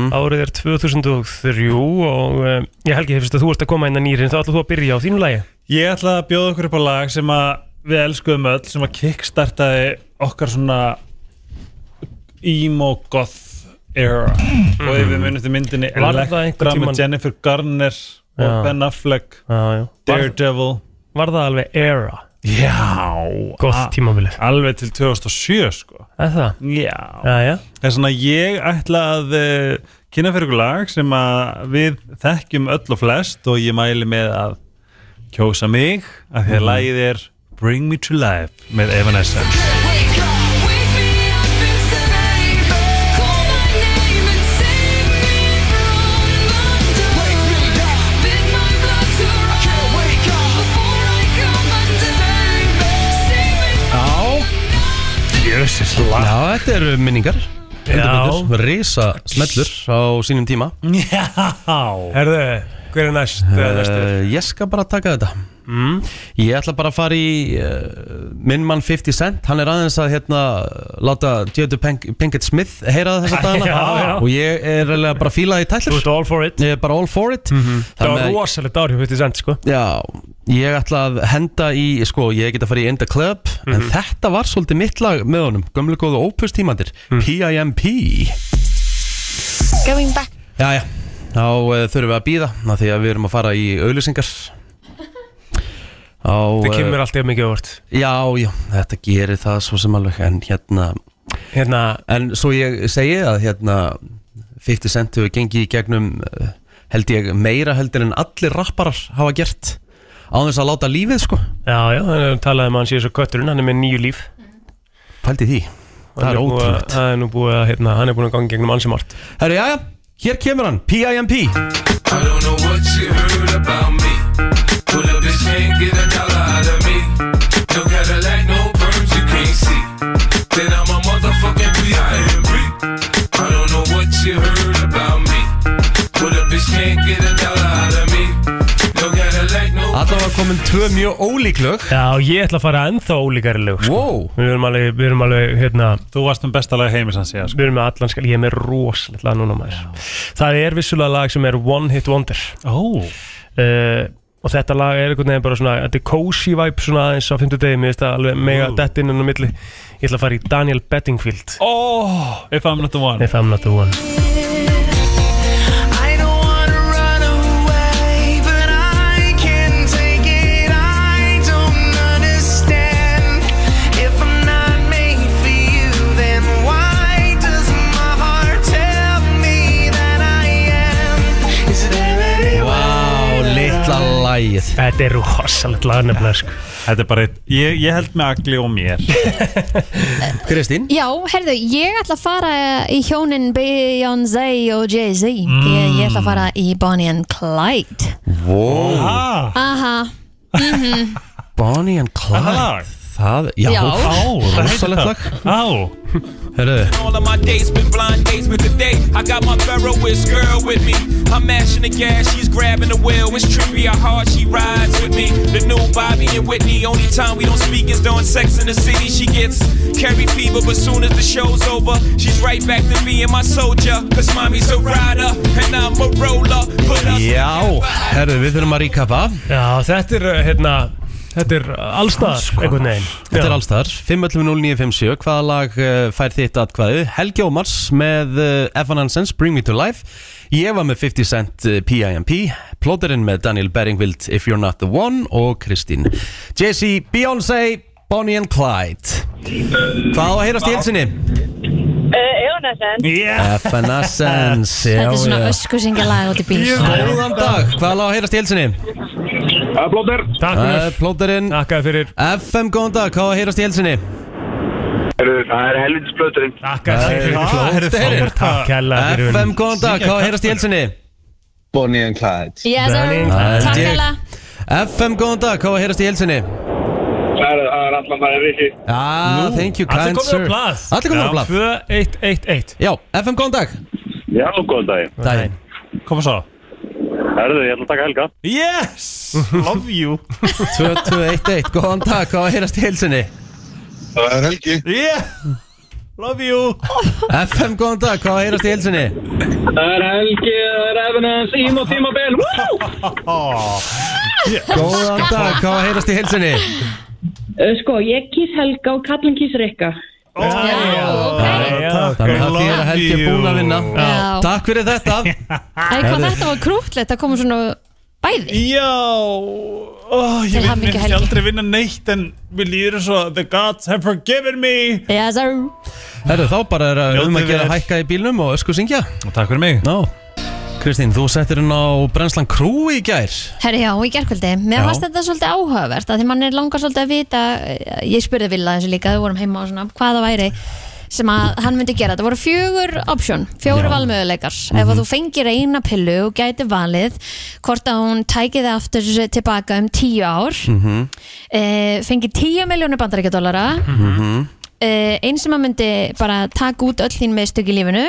Speaker 3: Árið er 2003 og uh, ég helgi hefist að þú ert að koma inn að nýrin þá ætla þú að byrja á þínu lagi.
Speaker 7: Ég ætla að bjóða okkur upp á lag sem að við elskuðum öll sem að kickstartaði okkar svona emo goth era og ef við munum eftir myndinni
Speaker 3: Var það einhvern
Speaker 7: Elektra
Speaker 3: tímann-
Speaker 7: með Jennifer Garner og
Speaker 3: Já.
Speaker 7: Ben Affleck
Speaker 3: Já, já. Var,
Speaker 7: Daredevil
Speaker 3: var það alveg era?
Speaker 7: Já
Speaker 3: Gott tímabilið.
Speaker 7: Alveg til 2007 sko
Speaker 3: Er það?
Speaker 7: Já
Speaker 3: Já, já.
Speaker 7: Það er svona ég ætla að uh, kynna fyrir ykkur lag sem að við þekkjum öll og flest og ég mæli með að kjósa mig af því að lagið er Bring Me To Life með Evanescence Jössis lag
Speaker 1: Já, þetta eru minningar Rísa smellur á sínum tíma
Speaker 7: Já
Speaker 3: Herðu, hver er næst?
Speaker 1: uh, Ég skal bara taka þetta
Speaker 3: Mm.
Speaker 1: Ég ætla bara að fara í uh, minn mann 50 Cent Hann er aðeins að hérna láta Jötu Pinkett Smith heyra það þessa dagana
Speaker 3: Já, já.
Speaker 1: Og ég er eiginlega bara að fíla það í tællur
Speaker 3: Þú ert Mhm. all for it.
Speaker 1: Ég er bara all for it
Speaker 3: Það
Speaker 1: Þannig
Speaker 3: var
Speaker 1: að-
Speaker 3: rosalegt árið 50 cent, sko.
Speaker 1: Já, ég ætla að henda í sko, ég get að fara í Enda Club en þetta var svolítið mitt lag með honum gömlu góðu Opus tímandir P.I.M.P.
Speaker 6: Going back
Speaker 1: Já, já, þá uh, þurfum við að býða af því að við erum að fara í auðlýsingar á,
Speaker 3: Það
Speaker 1: eh,
Speaker 3: kemur alltaf mikið óvart.
Speaker 1: Já, já, þetta gerir það svo sem alveg en hérna,
Speaker 3: Hérna,
Speaker 1: en svo ég segi að hérna 50 Cent hefur gengið í gegnum eh, held ég meira heldur en allir rapparar hafa gert á þess að láta lífið sko,
Speaker 3: já, já, þannig að talaði um að hann sé svo kötturinn, hann er með nýju líf.
Speaker 1: pældi því Það
Speaker 3: Hann
Speaker 1: er
Speaker 3: búið að-
Speaker 1: ótrúlegt
Speaker 3: Það er nú búið að, hérna, hann er búin að ganga gegnum ansi margt
Speaker 1: Herru, jæja, hér kemur hann, P.I.M.P.
Speaker 5: I don't know what you heard about me. Pull up this chain, get a dollar out of me. No Cadillac, no perms you can't see. Then I'm a motherfucking B.I.M.B. I don't know what you heard about me. Pull up this chain, get a dollar out of me. No Cadillac, no
Speaker 1: Alla var komin tvö mjög ólík lög
Speaker 3: Já, ég ætla að fara ennþá ólíkari lög sko.
Speaker 1: Wow
Speaker 3: Við erum alveg, við erum alveg, hérna
Speaker 7: Þú varst um besta lag heimis hans, já
Speaker 3: Við erum með allan skal, ég er með rosalegt lag núna maður Það er vissulega lag sem er One Hit Wonder
Speaker 7: Ó,
Speaker 3: uh, Og þetta lag er einhvern veginn bara svona Þetta er cozy vibe svona aðeins á fimmtudegi Mér finnst það alveg mega
Speaker 7: Wow.
Speaker 3: wow. dettinn en á milli Ég ætla að fara í Daniel Bedingfield
Speaker 7: ó, if I'm not the one
Speaker 3: If I'm not the one
Speaker 4: I don't wanna run away, but I can take it. I don't understand. If I'm not made for you, then why does my heart tell me that I am? Is there any
Speaker 1: Vá, litla lægið
Speaker 3: Þetta er rosalegt lag nefnilega sko.
Speaker 7: Þetta er bara eitt, ég, ég held með agli og mér
Speaker 1: Kristín
Speaker 2: Já, herðu, ég ætla að fara í hjónin Beyoncé og Jay-Z ég, ég ætla að fara í Bonnie and Clyde
Speaker 1: Wow
Speaker 7: ah,
Speaker 2: Aha,
Speaker 1: Bonnie and
Speaker 7: Það
Speaker 1: Clyde
Speaker 7: lag
Speaker 1: Það, já,
Speaker 2: Já.
Speaker 7: Á, það heitir
Speaker 1: rosalegt
Speaker 7: það
Speaker 1: lag
Speaker 7: Á,
Speaker 1: Herðu,
Speaker 5: All of my dates been blind dates, but today I got my Ferroist girl with me. I'm mashing the gas, she's grabbing the wheel. It's trippy how hard she rides with me. The new Bobby and Whitney. Only time we don't speak is during sex in the city. She gets carry fever, but soon as the show's over, she's right back to me and my soldier. Cause mommy's a rider and I'm a roller. Put us
Speaker 1: já Herðu, við þurfum að ríkapa
Speaker 3: Já, þetta er, uh, hérna Þetta er allstaðar einhvern veginn
Speaker 1: Þetta er
Speaker 3: Já.
Speaker 1: alls þar 5.09.57 Hvaða lag uh, fær þitt atkvæðu? Helgi Ómars með uh, Evan Hansens Bring Me To Life Ég var með 50 Cent uh, P.I.M.P Plóterinn með Daniel Beringvild If You're Not The One Og Kristín Jesse, Beyoncé, Bonnie and Clyde Hvað á að heyrast í helsinni?
Speaker 9: Jónasson,
Speaker 7: yeah
Speaker 1: Evan Hansens já,
Speaker 2: þetta er svona
Speaker 1: já.
Speaker 2: öskusingjalag út í bíl
Speaker 1: Góðan dag, hvað er að heyrast í helsinni?
Speaker 3: Takk
Speaker 1: Uh,
Speaker 3: fyrir
Speaker 1: Plóterinn
Speaker 3: Takk fyrir
Speaker 1: FM, góðan dag, hvað á að heyrast í helsinni?
Speaker 3: Takk fyrir
Speaker 1: Það er
Speaker 3: Takk kærlega fyrir
Speaker 1: FM, góðan dag, hvað á að heyrast í helsinni?
Speaker 2: Yes,
Speaker 3: Bonnie
Speaker 2: sir,
Speaker 3: and Clyde.
Speaker 1: Það
Speaker 2: takk
Speaker 1: er ég.
Speaker 2: hella
Speaker 1: FM, góðan dag, hvað var að heyrast í helsinni? Það er allan það er viki Já, thank you,
Speaker 3: Allir
Speaker 1: kind
Speaker 3: komið á
Speaker 1: sir
Speaker 3: blað
Speaker 1: Allir komið á blað
Speaker 3: 2111
Speaker 1: Já, FM, góðan dag
Speaker 10: Já, góðan daginn.
Speaker 1: Dæin
Speaker 7: Koma svo
Speaker 10: Herðu, ég ætla að taka Helga.
Speaker 7: Yes, love you
Speaker 1: 2211, góðan dag, hvað var að heyrast í helsinni?
Speaker 7: Yeah, love you
Speaker 1: FM, góðan dag, hvað var að heyrast í helsinni? Það er Helgi, það er Evanens, Ím og Tímabil Góðan dag, hvað var að heyrast í helsinni?
Speaker 9: sko, ég kýs Helga og kallin kýs Rikka.
Speaker 2: Já, ok
Speaker 1: Þannig að það þýðir að Helgi er búin að vinna
Speaker 2: Já.
Speaker 1: Takk fyrir þetta
Speaker 2: Æ, hvað þetta var krútlegt, það komum svona bæði
Speaker 7: Já, oh,
Speaker 2: Til
Speaker 7: ég vil
Speaker 2: hamingju,
Speaker 7: minnst
Speaker 2: Helgi.
Speaker 7: aldrei vinna neitt en við líður eins og the gods have forgiven me
Speaker 2: Yes, sir
Speaker 1: Herru, þá bara er að um
Speaker 7: Njótið
Speaker 1: að gera
Speaker 7: vel.
Speaker 1: hækka í bílnum og ösku syngja
Speaker 7: Og takk fyrir mig
Speaker 1: Ná, Kristín, þú settir hún á brennslan krú í gær
Speaker 2: Herri, já, í gerkvöldi, mér
Speaker 1: Já.
Speaker 2: fannst þetta svolítið áhugavert að því mann er langar svolítið að vita eh, ég spurði Villa þessu líka, þau vorum heima og svona hvað það væri sem að hann myndi gera þetta voru fjögur option, fjóru valmöðuleikar ef að þú fengir eina pillu og gæti valið hvort að hún tæki það aftur tilbaka um tíu ár mm -hmm. fengið tíu miljónu bandaríkjadólara mm einn sem að myndi bara taka út öll þín meðstök í lífinu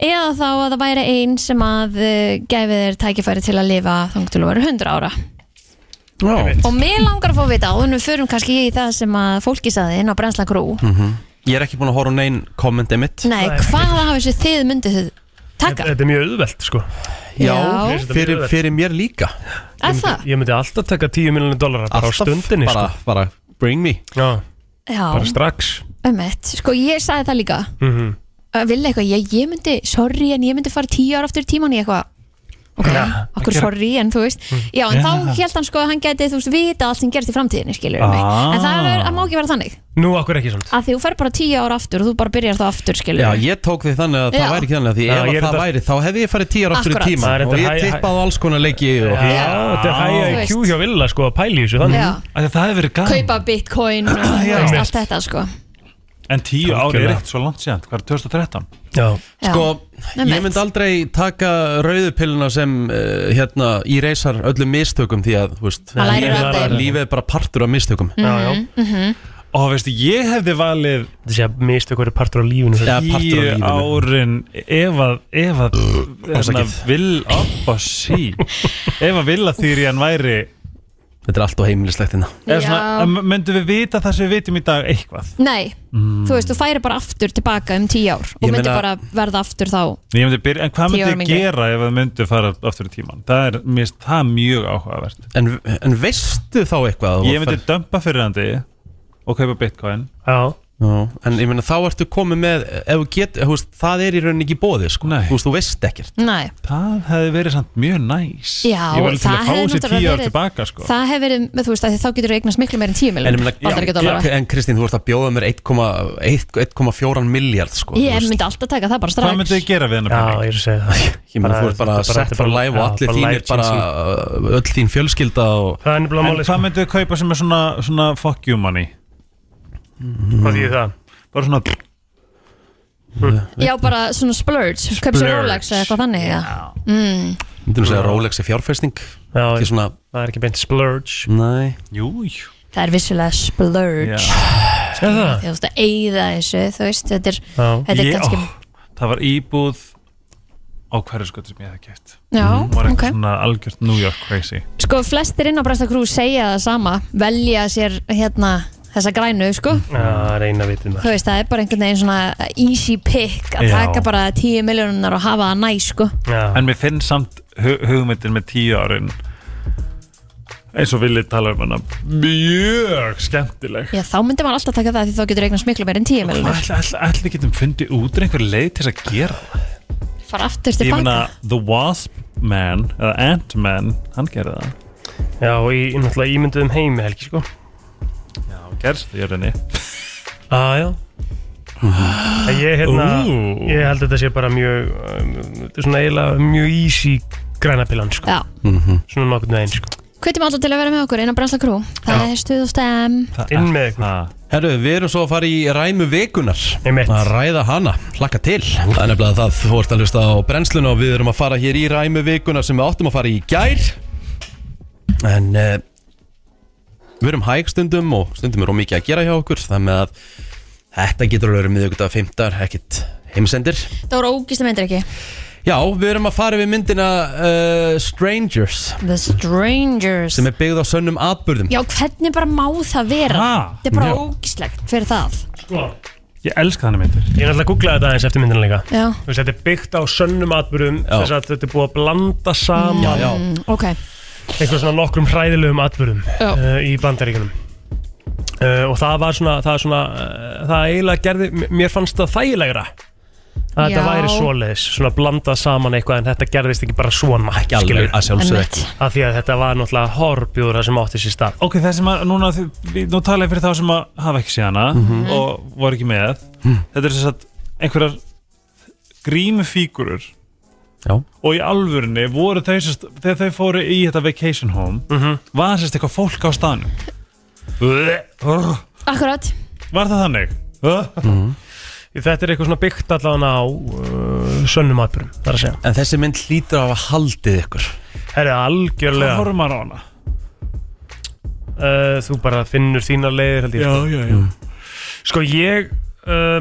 Speaker 2: eða þá að það væri einn sem að eh, gæfi þér tækifæri til að lifa þangt til að vera 100 ára
Speaker 1: Já.
Speaker 2: og mér langar að fá að vita áður en við förum kannski í það sem að fólki saði inn á Brensla Krú
Speaker 1: Ég er ekki búin að horfa á neinn kommenti mitt
Speaker 2: Nei, hvaða hafi þessu þið myndið þið taka?
Speaker 3: Þetta er mjög auðvelt sko
Speaker 2: Já.
Speaker 1: fyrir, fyrir mér líka
Speaker 2: Er það?
Speaker 3: Ég myndi alltaf taka 10 miljonir dólarar bara á stundinni
Speaker 1: bara,
Speaker 3: sko.
Speaker 1: bara bring me
Speaker 3: Já, bara
Speaker 2: Já,
Speaker 3: strax
Speaker 2: ummitt Sko, ég saði það líka
Speaker 3: mm
Speaker 2: Að Vilja eitthvað, ég, ég myndi, sorry en ég myndi fara tíu ára aftur í tíman í eitthvað Ok, okkur sorry en þú veist Já, en þá held hann sko að hann gæti, þú veist, vita allt sem gerist í framtíðinni, skilur mig
Speaker 7: Ah.
Speaker 2: En það er, það má ekki vera þannig
Speaker 3: Nú akkur ekki samt
Speaker 2: að því þú fer bara tíu ára aftur og þú bara byrjar þá aftur skilur
Speaker 1: Já,
Speaker 2: við.
Speaker 1: ég tók því þannig að
Speaker 2: Já.
Speaker 1: það væri ekki þannig að Því
Speaker 3: Já,
Speaker 1: ef
Speaker 3: ég er
Speaker 1: að það
Speaker 3: þetta-
Speaker 1: væri, þá hefði ég farið tíjar aftur í
Speaker 2: Akkurat.
Speaker 1: tíma
Speaker 3: Það er þetta
Speaker 1: Og
Speaker 3: hæ-
Speaker 1: ég
Speaker 3: hæ-
Speaker 1: tippaði á alls konar leiki
Speaker 3: Já,
Speaker 1: og
Speaker 3: þetta er
Speaker 2: Þú
Speaker 3: hægja í
Speaker 2: veist.
Speaker 3: Q hjá Villa sko að pæli þessu þannig
Speaker 2: Já.
Speaker 7: Það hefur verið gaman
Speaker 2: kaupa bitcoin og þú veist, allt þetta sko
Speaker 7: En tíu ári er
Speaker 3: Algjörlega.
Speaker 7: ekkert svo langt síðan, hvað er 2013?
Speaker 3: Já,
Speaker 2: Já.
Speaker 1: Sko,
Speaker 2: Einmitt.
Speaker 1: ég myndi aldrei taka rauðupilluna sem uh, hérna, í reysar öllum mistökum því að, þú veist,
Speaker 2: Maður lærir
Speaker 1: lífið-
Speaker 2: af þeim.
Speaker 1: lífið er bara partur af mistökum
Speaker 2: Mhm.
Speaker 3: já, já
Speaker 7: Og veistu, ég hefði valið
Speaker 3: Þetta sé að mistu hverju partur á lífinu
Speaker 1: Já, partur af
Speaker 7: tíu
Speaker 1: lífinu.
Speaker 7: árin ef að, ef að, hérna,
Speaker 1: afsakið.
Speaker 7: vil, opa, sí, ef að vilja þýri hann væri
Speaker 1: Þetta er allt og heimilislegt hérna
Speaker 7: Eða svona, m- myndum við vita það sem við vitum í dag eitthvað?
Speaker 2: Nei, þú veist, þú færi bara aftur tilbaka um tíu ár og
Speaker 7: Ég
Speaker 2: myndi
Speaker 7: meina-
Speaker 2: bara verða aftur þá
Speaker 7: Ég myndi byrja, en hvað
Speaker 2: Tíu árum
Speaker 7: myndi ég
Speaker 2: yngri.
Speaker 7: gera ef það myndi fara aftur í tíman? Það er, mér finnst það mjög áhugavert
Speaker 1: En, en veistu þá eitthvað?
Speaker 7: Ég myndi dömpa fyrir hann og kaupa bitcoin
Speaker 3: Já
Speaker 1: Já, en ég meina þá ertu komið með ef þú get, þú veist, það er í rauninni ekki bóði sko. þú, veist, þú veist ekkert
Speaker 11: Nei,
Speaker 7: Það hefði verið samt mjög næs
Speaker 2: Já,
Speaker 7: Ég var alveg til
Speaker 2: það
Speaker 7: að fá
Speaker 2: hefði
Speaker 7: þessi
Speaker 2: náttúrulega
Speaker 7: tíu ár
Speaker 2: verið-
Speaker 7: tilbaka sko.
Speaker 2: það hefur verið, með- þú veist, af því þá getur þú eignast miklu meir en tíu
Speaker 1: en, ég
Speaker 2: miljón
Speaker 1: meina,
Speaker 2: Bandaríkjadollara.
Speaker 1: en Kristín, þú ert að bjóða mér 1,4 miljard sko, þú
Speaker 2: Ég
Speaker 1: veist.
Speaker 2: myndi alltaf taka það bara strax
Speaker 7: þið gera við hennar
Speaker 3: Já, ég er að segja það
Speaker 1: ég meina, þú ert bara sett bara live og allir þínir bara uh, öll þín fjölskylda og
Speaker 3: Það er nefnilega sko.
Speaker 7: En hvað myndið þið kaupa sem er svona, svona fuck you money?
Speaker 3: Hvað þýðir það?
Speaker 7: Bara svona
Speaker 2: Já, bara svona splurge, köpsi
Speaker 1: Splurge.
Speaker 2: Rolex eða eitthvað þannig Já, mm.
Speaker 1: myndir þú segja Rolex er fjárfæsting já, ekki svona
Speaker 3: það er ekki beint splurge
Speaker 1: nei
Speaker 7: jú,
Speaker 2: það er vissulega splurge
Speaker 3: Segðu það?
Speaker 2: Þú veist, að eyða þessu, þú veist, þetta er,
Speaker 7: Já.
Speaker 2: þetta er
Speaker 7: Ég-
Speaker 2: kannski
Speaker 7: ó, Það var íbúð á hverju skotum sem ég hefði kæft
Speaker 2: Já,
Speaker 7: Hún var
Speaker 2: ok.
Speaker 7: eitthvað svona algjört New York crazy
Speaker 2: Sko, flestir inn á Bresta Crew segja það sama velja sér hérna þessa grænu, sko
Speaker 3: Já, reyna að vita um
Speaker 2: þú veist, það er bara einhvern veginn svona easy pick að
Speaker 7: Já.
Speaker 2: taka bara 10 miljónunar og hafa það næ, sko
Speaker 3: Já.
Speaker 7: En mér finnst samt hu- hugmyndin með tíu árin eins og viljið tala um hana mjög skemmtileg
Speaker 2: Já, þá myndi maður alltaf taka það því þá getur eignast miklu meir en 10 miljónur
Speaker 7: Allir getum fundið út úr einhver leið til þess að gera það
Speaker 2: fara aftur
Speaker 7: Ég
Speaker 2: tilbaka
Speaker 7: meina The Wasp Man eða Ant-Man, hann gerði það
Speaker 3: Já, og í, í náttúrulega ímynduðum heimi helgi, sko
Speaker 7: Já, gerst því jörðinni
Speaker 3: ah, Já, En Ég, hérna,
Speaker 7: Ú.
Speaker 3: ég held að þetta sé bara mjög um, þetta er svona eiginlega mjög easy grænapilan, sko
Speaker 2: Já.
Speaker 3: -hmm. Svona nokkurnu einn, sko
Speaker 2: hvetjum alla til að vera með okkur inn á Bresta Crew það er stuð og stem
Speaker 3: Inn með ykkur
Speaker 1: Herru, við erum svo að fara í ræmu vikunar
Speaker 3: Einmitt.
Speaker 1: að ræða hana, hlakka til það er nefnilega það, þú ert að hlusta á brennsluna og við erum að fara hér í ræmu vikunar sem við áttum að fara í í gær en uh, við erum hæg stundum og stundum er ómikið að gera hjá okkur þannig að þetta getur alveg verið miðvikudag fimmtar, ekkit heimsendir
Speaker 2: það voru ógist að myndir ekki
Speaker 1: Já, við erum að fara við myndina uh, Strangers
Speaker 2: The Strangers
Speaker 1: sem er byggð á sönnum atbyrðum
Speaker 2: Já, hvernig bara má það vera
Speaker 1: Ha?
Speaker 2: þetta er bara
Speaker 1: Já.
Speaker 2: ógistlegt fyrir það
Speaker 3: Sko.
Speaker 7: Ég elska þannig myndir
Speaker 3: Ég er alltaf að googla þetta aðeins eftir myndina líka
Speaker 2: Já.
Speaker 3: Þú veist, Þetta er byggt á sönnum atbyrðum
Speaker 1: Já.
Speaker 3: þess að þetta er búið að blanda saman
Speaker 2: Mm, ok,
Speaker 3: einhver svona nokkrum hræðilegum atbyrðum
Speaker 2: Já.
Speaker 3: uh, í bandaríkunum uh, og það var svona það, svona, uh, það eiginlega gerði m- mér fannst það þægilegra að þetta
Speaker 2: Já.
Speaker 3: væri svoleiðis svona blandað saman eitthvað en þetta gerðist ekki bara svona ekki
Speaker 1: alveg, að sjálfsögðu Einmitt. ekki.
Speaker 3: af því að þetta var náttúrulega horfbjóður sem átti sér stað
Speaker 7: Ok, það sem að núna, þið- við- nú tala ég fyrir þá sem að hafa ekki séð hana og voru ekki með Þetta er þess að einhverjar grímufígurur
Speaker 1: Já.
Speaker 7: og í alvörunni voru þau sérst, þegar þau fóru í þetta vacation home var sérst eitthvað fólk á staðnum Bleh.
Speaker 2: akkurat
Speaker 7: Var það þannig?
Speaker 3: Þetta er eitthvað svona byggt allan á uh, sönnum atbyrðum, það er að segja
Speaker 1: En þessi mynd hlýtur að hafa haldið ykkur
Speaker 3: Það er algjörlega
Speaker 7: Hvað horfum maður á hana?
Speaker 3: uh, þú bara finnur þínar leiðir held ég
Speaker 7: Já,
Speaker 3: sko.
Speaker 7: já, já.
Speaker 3: sko ég uh,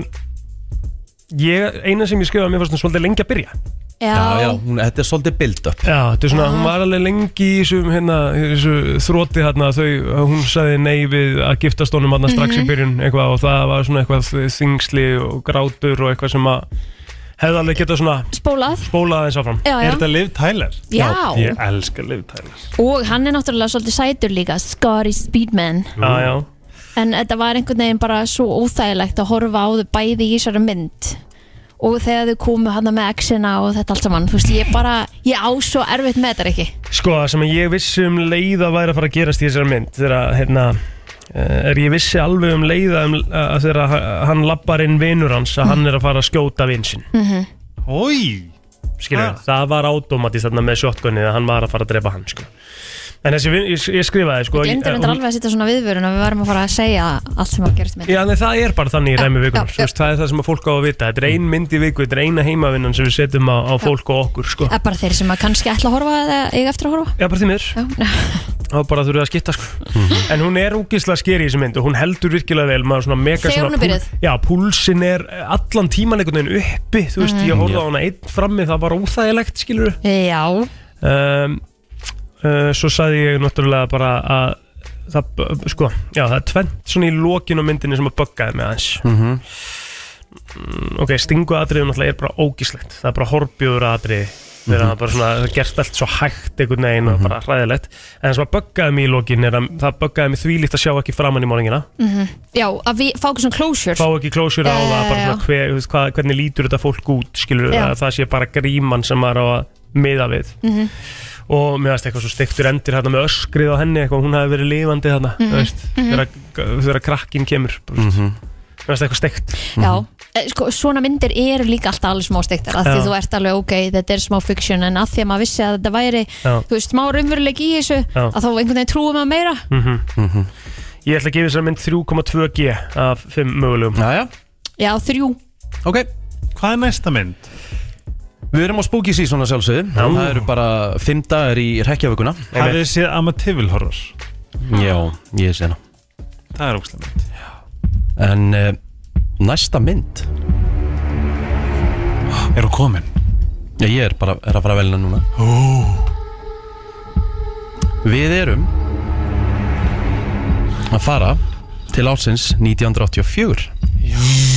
Speaker 3: ég, eina sem ég skrifaði mér fannst hún svolítið lengi að byrja
Speaker 2: Já,
Speaker 1: já, hún, þetta er svolítið build up
Speaker 3: Já, þetta er svona, hún var alveg lengi í þessum hérna, í þessu þróti hérna þau, hún sagði nei við að giftast honum hérna strax
Speaker 2: Mhm.
Speaker 3: í byrjun eitthvað og það var svona eitthvað þingsli og grátur og eitthvað sem að hefði alveg getað svona
Speaker 2: spólað
Speaker 3: spólað eins áfram
Speaker 2: Já, já. Er þetta
Speaker 7: Liv Tyler?
Speaker 2: Já.
Speaker 7: Ég elska Liv Tyler
Speaker 2: Og hann er náttúrulega svolítið sætur líka, Scotty Speedman.
Speaker 3: Já, já
Speaker 2: En þetta var einhvern veginn bara svo óþægilegt að horfa á þau bæði í þessari mynd. Og þegar þau komu hann með exina og þetta allt saman, þú veist, ég bara, ég á svo erfitt með þetta ekki.
Speaker 3: Sko, það sem ég vissi um leið að væri að fara að gerast í þessari mynd þegar að, hérna, eh, er ég vissi alveg um leiða um, að þegar að hann lappar inn vinur hans að hann er að fara að skjóta vin sinn
Speaker 2: Mm.
Speaker 7: Ói
Speaker 3: skilur
Speaker 2: Ah.
Speaker 3: við, það var automatist þarna með shotgunni að hann var að fara að drepa hann sko. en þessi, vin- ég, ég skrifaði sko,
Speaker 2: Ég glemdi þetta alveg að setja svona viðvörun að við varum að fara að segja allt sem var að gerast með.
Speaker 3: Já, nei, það er bara þannig í
Speaker 2: Já,
Speaker 3: ræmi vikunar
Speaker 2: já,
Speaker 3: Þú veist, það er það sem að fólk á að vita Þetta er ein mynd í viku, þetta er eina heimavinnan sem við setjum á, á fólk og okkur sko.
Speaker 2: Það er bara þeir sem að kannski ætla að horfa eða eiga eftir að horfa.
Speaker 3: Já, bara því miður Það bara þurfið að skipta sko. En hún er úkislega skeri í þessi mynd og hún heldur virkilega vel maður svona
Speaker 2: Þegar
Speaker 3: mega svona
Speaker 2: hún er byrjuð.
Speaker 3: púl- Já, púlsin er allan tíman einhvern veginn uppi Þú
Speaker 2: Mm.
Speaker 3: veist, ég horfði á hana einn frammi það var óþægilegt skilur
Speaker 2: Já,
Speaker 3: um, uh, svo sagði ég náttúrulega bara að það, b- sko, já, það er tvent svona í lokin á myndinni sem að buggaði mig aðeins
Speaker 1: Mhm.
Speaker 3: mm, ok, stingu atriðum náttúrulega er bara ógíslegt það er bara horbjóður atrið þegar
Speaker 1: Mhm.
Speaker 3: það bara svona, það gerst allt svo hægt einhvern veginn og bara hræðilegt en það sem að buggaði mig í lokin er að það buggaði mig þvílíkt að sjá ekki framann í morgingina
Speaker 12: Mhm. Já, að við fá ekki svona closure
Speaker 3: fá ekki klósur á
Speaker 12: Já,
Speaker 3: það
Speaker 12: já,
Speaker 3: bara
Speaker 12: já.
Speaker 3: svona hver, þú veist, hvað, hvernig lítur þetta fólk út skilur
Speaker 12: Já.
Speaker 3: að það sé bara gríman sem maður á að miða við
Speaker 12: Mhm.
Speaker 3: og mér veist eitthvað svo stektur endir hérna með öskrið á henni eitthvað hún hafi verið lifandi þarna mm
Speaker 12: Mhm.
Speaker 3: veist,
Speaker 12: Mhm.
Speaker 3: þegar, þegar krakkin kemur bara, þú veist. mér veist eitthvað stekt
Speaker 12: Já, eh, sko, svona myndir eru líka alltaf alveg smá steiktar að því
Speaker 3: Mhm. Já.
Speaker 12: þú ert alveg ok, þetta er smá fiction en að því að maður vissi að þetta væri
Speaker 3: Já.
Speaker 12: þú veist, smá raunveruleik í þessu
Speaker 3: Já. Mm.
Speaker 12: að þá einhvern veginn trúum að meira
Speaker 3: ég ætla að gefa þessar mynd 3,2G af 5 mögulegum
Speaker 1: já, já.
Speaker 12: Já, þrjú
Speaker 1: Ok
Speaker 7: Hvað er næsta mynd?
Speaker 1: Við erum á spooky season að sjálfsögðu Það eru bara fimm dagar í rekjavökunna
Speaker 7: Hafið þið séð Amativil horror?
Speaker 1: Já, ég sé hana
Speaker 7: Það er ógstlega mynd
Speaker 1: En uh, næsta mynd
Speaker 7: Er hún komin?
Speaker 1: Já, ég er bara er að fara að velna núna
Speaker 7: Ó.
Speaker 1: Við erum að fara til ársins 1984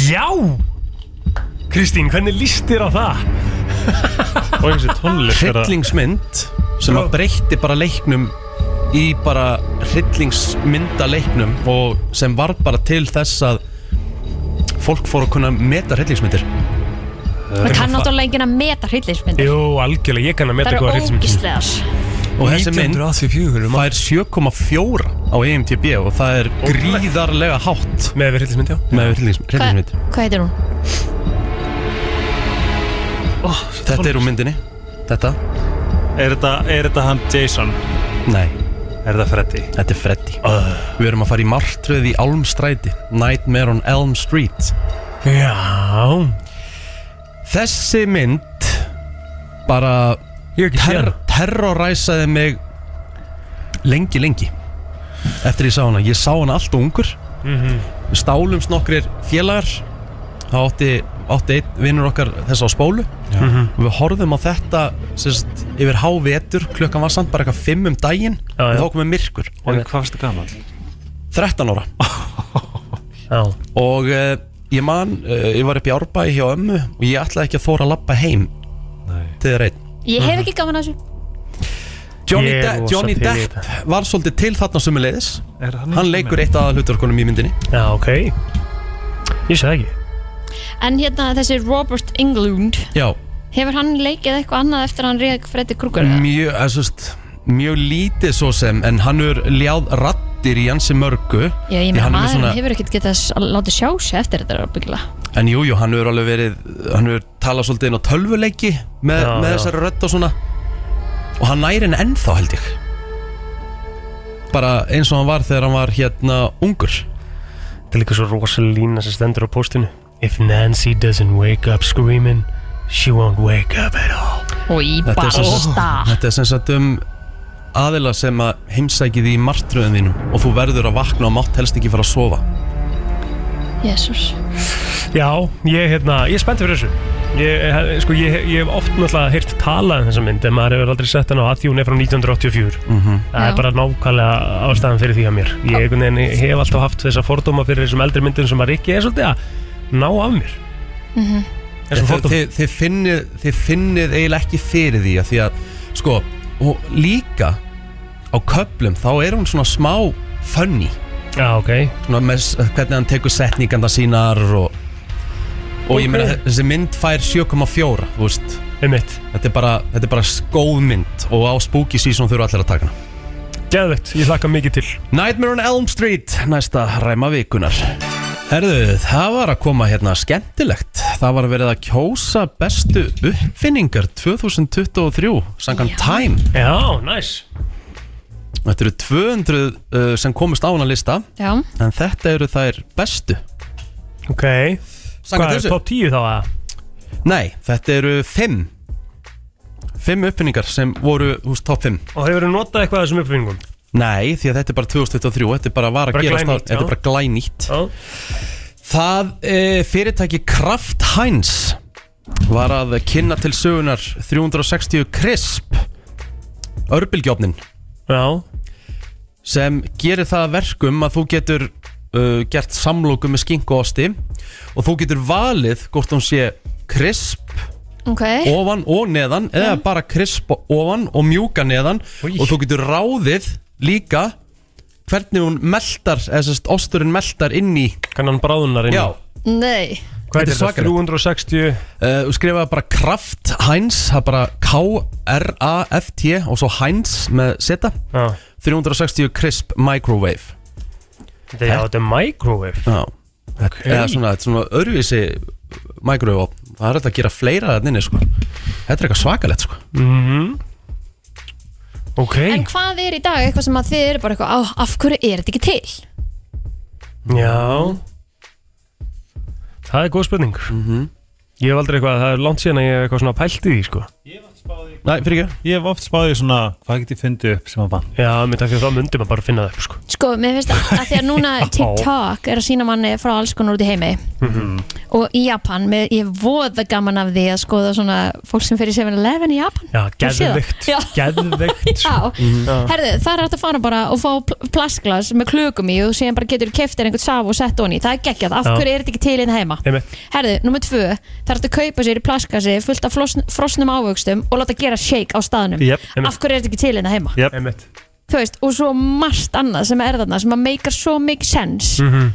Speaker 3: Já Kristín, hvernig líst þér á það?
Speaker 7: Og eins og tónlist er að-
Speaker 1: Hryllingsmynd sem að breytti bara leiknum í bara hryllingsmynda leiknum og sem var bara til þess að fólk fór að kunna meta hryllingsmyndir
Speaker 12: Það kann náttúrulega enginn að meta hryllingsmyndir
Speaker 3: Jú, algjörlega, ég kann að
Speaker 12: Það
Speaker 3: meta
Speaker 12: eru
Speaker 3: góða hryllingsmyndir
Speaker 12: ógislegar
Speaker 1: og þessi mynd fær 7,4 á E EMTB og það er gríðarlega hátt
Speaker 3: með hryllingsmynd, já
Speaker 1: með hryllingsmynd, hryllingsmynd.
Speaker 12: Hvað heitir hún?
Speaker 1: þetta er úr myndinni þetta,
Speaker 7: Er þetta, er þetta hann Jason?
Speaker 1: nei,
Speaker 7: Er þetta Freddy?
Speaker 1: þetta er Freddy við erum að fara í martröð í Almstræti Nightmare on Elm Street
Speaker 3: Já
Speaker 1: Þessi mynd bara ter terroræsaði mig lengi, lengi eftir ég sá hana. Ég sá hana alltaf ungur
Speaker 7: Mhm.
Speaker 1: Við stálumst nokkrir félagar það átti, átti einn vinnur okkar þess á spólu
Speaker 3: Mhm.
Speaker 1: og við horfðum á þetta sérst, yfir hávetur, klukkan var samt bara eitthvað fimm um daginn
Speaker 3: Já,
Speaker 1: og
Speaker 3: já.
Speaker 1: þá komið myrkur
Speaker 7: Og hvað varstu gaman?
Speaker 1: 13 ára
Speaker 3: Já
Speaker 1: og uh, ég man, uh, ég var upp í árbæði hjá ömmu og ég ætlaði ekki að þóra að labba heim
Speaker 7: Nei.
Speaker 1: til þeirra einn
Speaker 12: Ég
Speaker 1: Mhm.
Speaker 12: hef ekki gaman að þessu
Speaker 1: Johnny,
Speaker 3: Ég er
Speaker 1: De
Speaker 3: rosa
Speaker 1: Johnny
Speaker 3: til í
Speaker 1: Depp var svolítið til þarna sumulegis
Speaker 7: Er hann
Speaker 1: Hann
Speaker 7: ekki
Speaker 1: leikur
Speaker 7: með?
Speaker 1: eitt aðal hlutarkonum í myndinni
Speaker 3: Já, ok Ég sé það ekki
Speaker 12: En hérna þessi Robert Englund
Speaker 1: Já,
Speaker 12: Hefur hann leikið eitthvað annað eftir að hann reyðið Freddy Krueger? eða?
Speaker 1: mjög, að, svist, mjög lítið svo sem En hann er ljáð rattir í hansi mörgu
Speaker 12: Já, ég
Speaker 1: Því
Speaker 12: meina
Speaker 1: hann er með
Speaker 12: maður
Speaker 1: svona-
Speaker 12: hefur ekkert getað s- að láta sjá sig eftir þetta byggilega
Speaker 1: En jú, jú, hann er alveg verið Hann er talað svolítið inn á tölvuleiki Með,
Speaker 3: Já,
Speaker 1: með
Speaker 3: já.
Speaker 1: þessari rödd og svona Og hann næri henni ennþá held ég Bara eins og hann var þegar hann var hérna ungur
Speaker 3: Það er líka svo rosalega lína sem stendur á postinu If Nancy doesn't wake up screaming She won't wake up at all
Speaker 12: Og í
Speaker 1: Þetta er sem sagt-
Speaker 12: basta
Speaker 1: Þetta er sem sagt um aðila sem að heimsækið í martröðum þínum og þú verður að vakna og mátt helst ekki fara að sofa
Speaker 12: Jésús
Speaker 3: Já, ég, hérna, ég er spennt fyrir þessu Ég, eh, sko, ég, ég hef oft náttúrulega heyrt talað um þessa mynd en maður hefur aldrei sett hann á að því hún er frá 1984
Speaker 1: Mhm.
Speaker 3: Það er
Speaker 12: Já.
Speaker 3: bara nákvæmlega ástæðan fyrir því að mér Ég einhvern veginn hef alltaf haft þessa fordóma fyrir þessum eldri myndum sem maður ekki er svolítið að ná af mér Þessum
Speaker 1: Þið,
Speaker 3: fordóma
Speaker 1: þið, þið, finnið, þið finnið eiginlega ekki fyrir því að því að sko, og líka á köplum þá er hún svona smá funny,
Speaker 3: Já, ok
Speaker 1: svona með s- hvernig hann tekur setninganda sínar og og ég meina þessi mynd fær 7,4 þú veist,
Speaker 3: Einmitt.
Speaker 1: þetta er bara, þetta er bara góð mynd og á spooky season þurfa allir að taka hana
Speaker 3: Geðvegt, ég hlakka mikið til
Speaker 1: Nightmare on Elm Street, næsta ræma vikunar Herðu, það var að koma hérna skemmtilegt Það var að verið að kjósa bestu uppfinningar 2023 Sangan Time
Speaker 3: Já, næs
Speaker 1: Þetta eru 200 uh, sem komist á hana lista
Speaker 12: Já,
Speaker 1: En þetta eru þær bestu
Speaker 3: Ok, hvað
Speaker 1: Sangan
Speaker 3: er
Speaker 1: þessu?
Speaker 3: top 10 þá að?
Speaker 1: Nei, þetta eru 5 5 uppfinningar sem voru hús top 5
Speaker 3: Og hefur þú notað eitthvað af þessum uppfinningum?
Speaker 1: Nei, því að þetta er bara 2023 Þetta er bara var að
Speaker 3: Bara
Speaker 1: gerast á-
Speaker 3: glænýtt, já.
Speaker 1: Þetta er bara glænýtt
Speaker 3: Já
Speaker 1: Það e, fyrirtæki Kraft Heinz var að kynna til sögunar 360 krisp örbylgjófnin
Speaker 3: Já.
Speaker 1: sem gerir það að verkum að þú getur uh, gert samlóku með skinku og osti og þú getur valið hvort hún sé krisp
Speaker 2: Ok
Speaker 1: ofan og neðan eða bara krisp ofan og mjúka neðan og þú getur ráðið líka hvernig hún meldar eða sérst osturinn meldar inn í
Speaker 3: hvernig hann bráðunar
Speaker 1: inn í Já,
Speaker 2: Nei
Speaker 3: Hvað heitir þetta?
Speaker 1: 360 uh, Skrifaði bara Kraft Heinz Það er bara K-R-A-F-T Og svo Heinz með seta 360 Crisp Microwave
Speaker 3: Þetta já, þetta er microwave
Speaker 1: Já Eða svona, þetta er svona öðruvísi Microwave opn Það er hægt að gera fleira þarna inni sko Þetta er eitthvað svakalegt sko
Speaker 3: Mhm. Ok
Speaker 2: En hvað er í dag eitthvað sem að þið eru bara eitthvað á, af hverju er þetta ekki til?
Speaker 3: Já Það er góð spurning -hmm. Ég hef aldrei eitthvað, það er langt síðan að ég hef eitthvað svona pælt í því sko
Speaker 1: Nei, fyrir ekki
Speaker 7: Ég hef oft spáðið svona, hvað get ég fundið upp sem að vann
Speaker 3: Já, mér takk fyrir þá myndi maður bara finna það upp sko
Speaker 2: Sko, mér finnst að, að því að núna TikTok er að sína manni frá alls konar út í heimi
Speaker 3: Mhm.
Speaker 2: og í Japan, með, ég er voða gaman af því að skoða svona fólk sem fyrir 7-Eleven í Japan
Speaker 3: Já,
Speaker 2: Ég sé það.
Speaker 3: geðveikt
Speaker 2: Já.
Speaker 3: Geðveikt
Speaker 2: Já,
Speaker 3: Mhm. Já.
Speaker 2: herðu, það er hægt að fara bara og fá pl- plastglas með klökum í og síðan bara getur keftir einhvern saf og sett honi það er geggjað, af
Speaker 3: Já.
Speaker 2: hverju er þetta ekki til einn heima
Speaker 3: Einmitt.
Speaker 2: Herðu, nummer tvö, það er hægt að kaupa sér í plastglasi fullt af flosn, frosnum ávöxtum og láta gera shake á staðnum
Speaker 3: Jep, einmitt.
Speaker 2: af hverju er þetta ekki til einn heima
Speaker 3: Yep. Einmitt
Speaker 2: Þú veist, og svo margt annað sem er þarna sem að meikar svo mikið sens
Speaker 3: Mhm.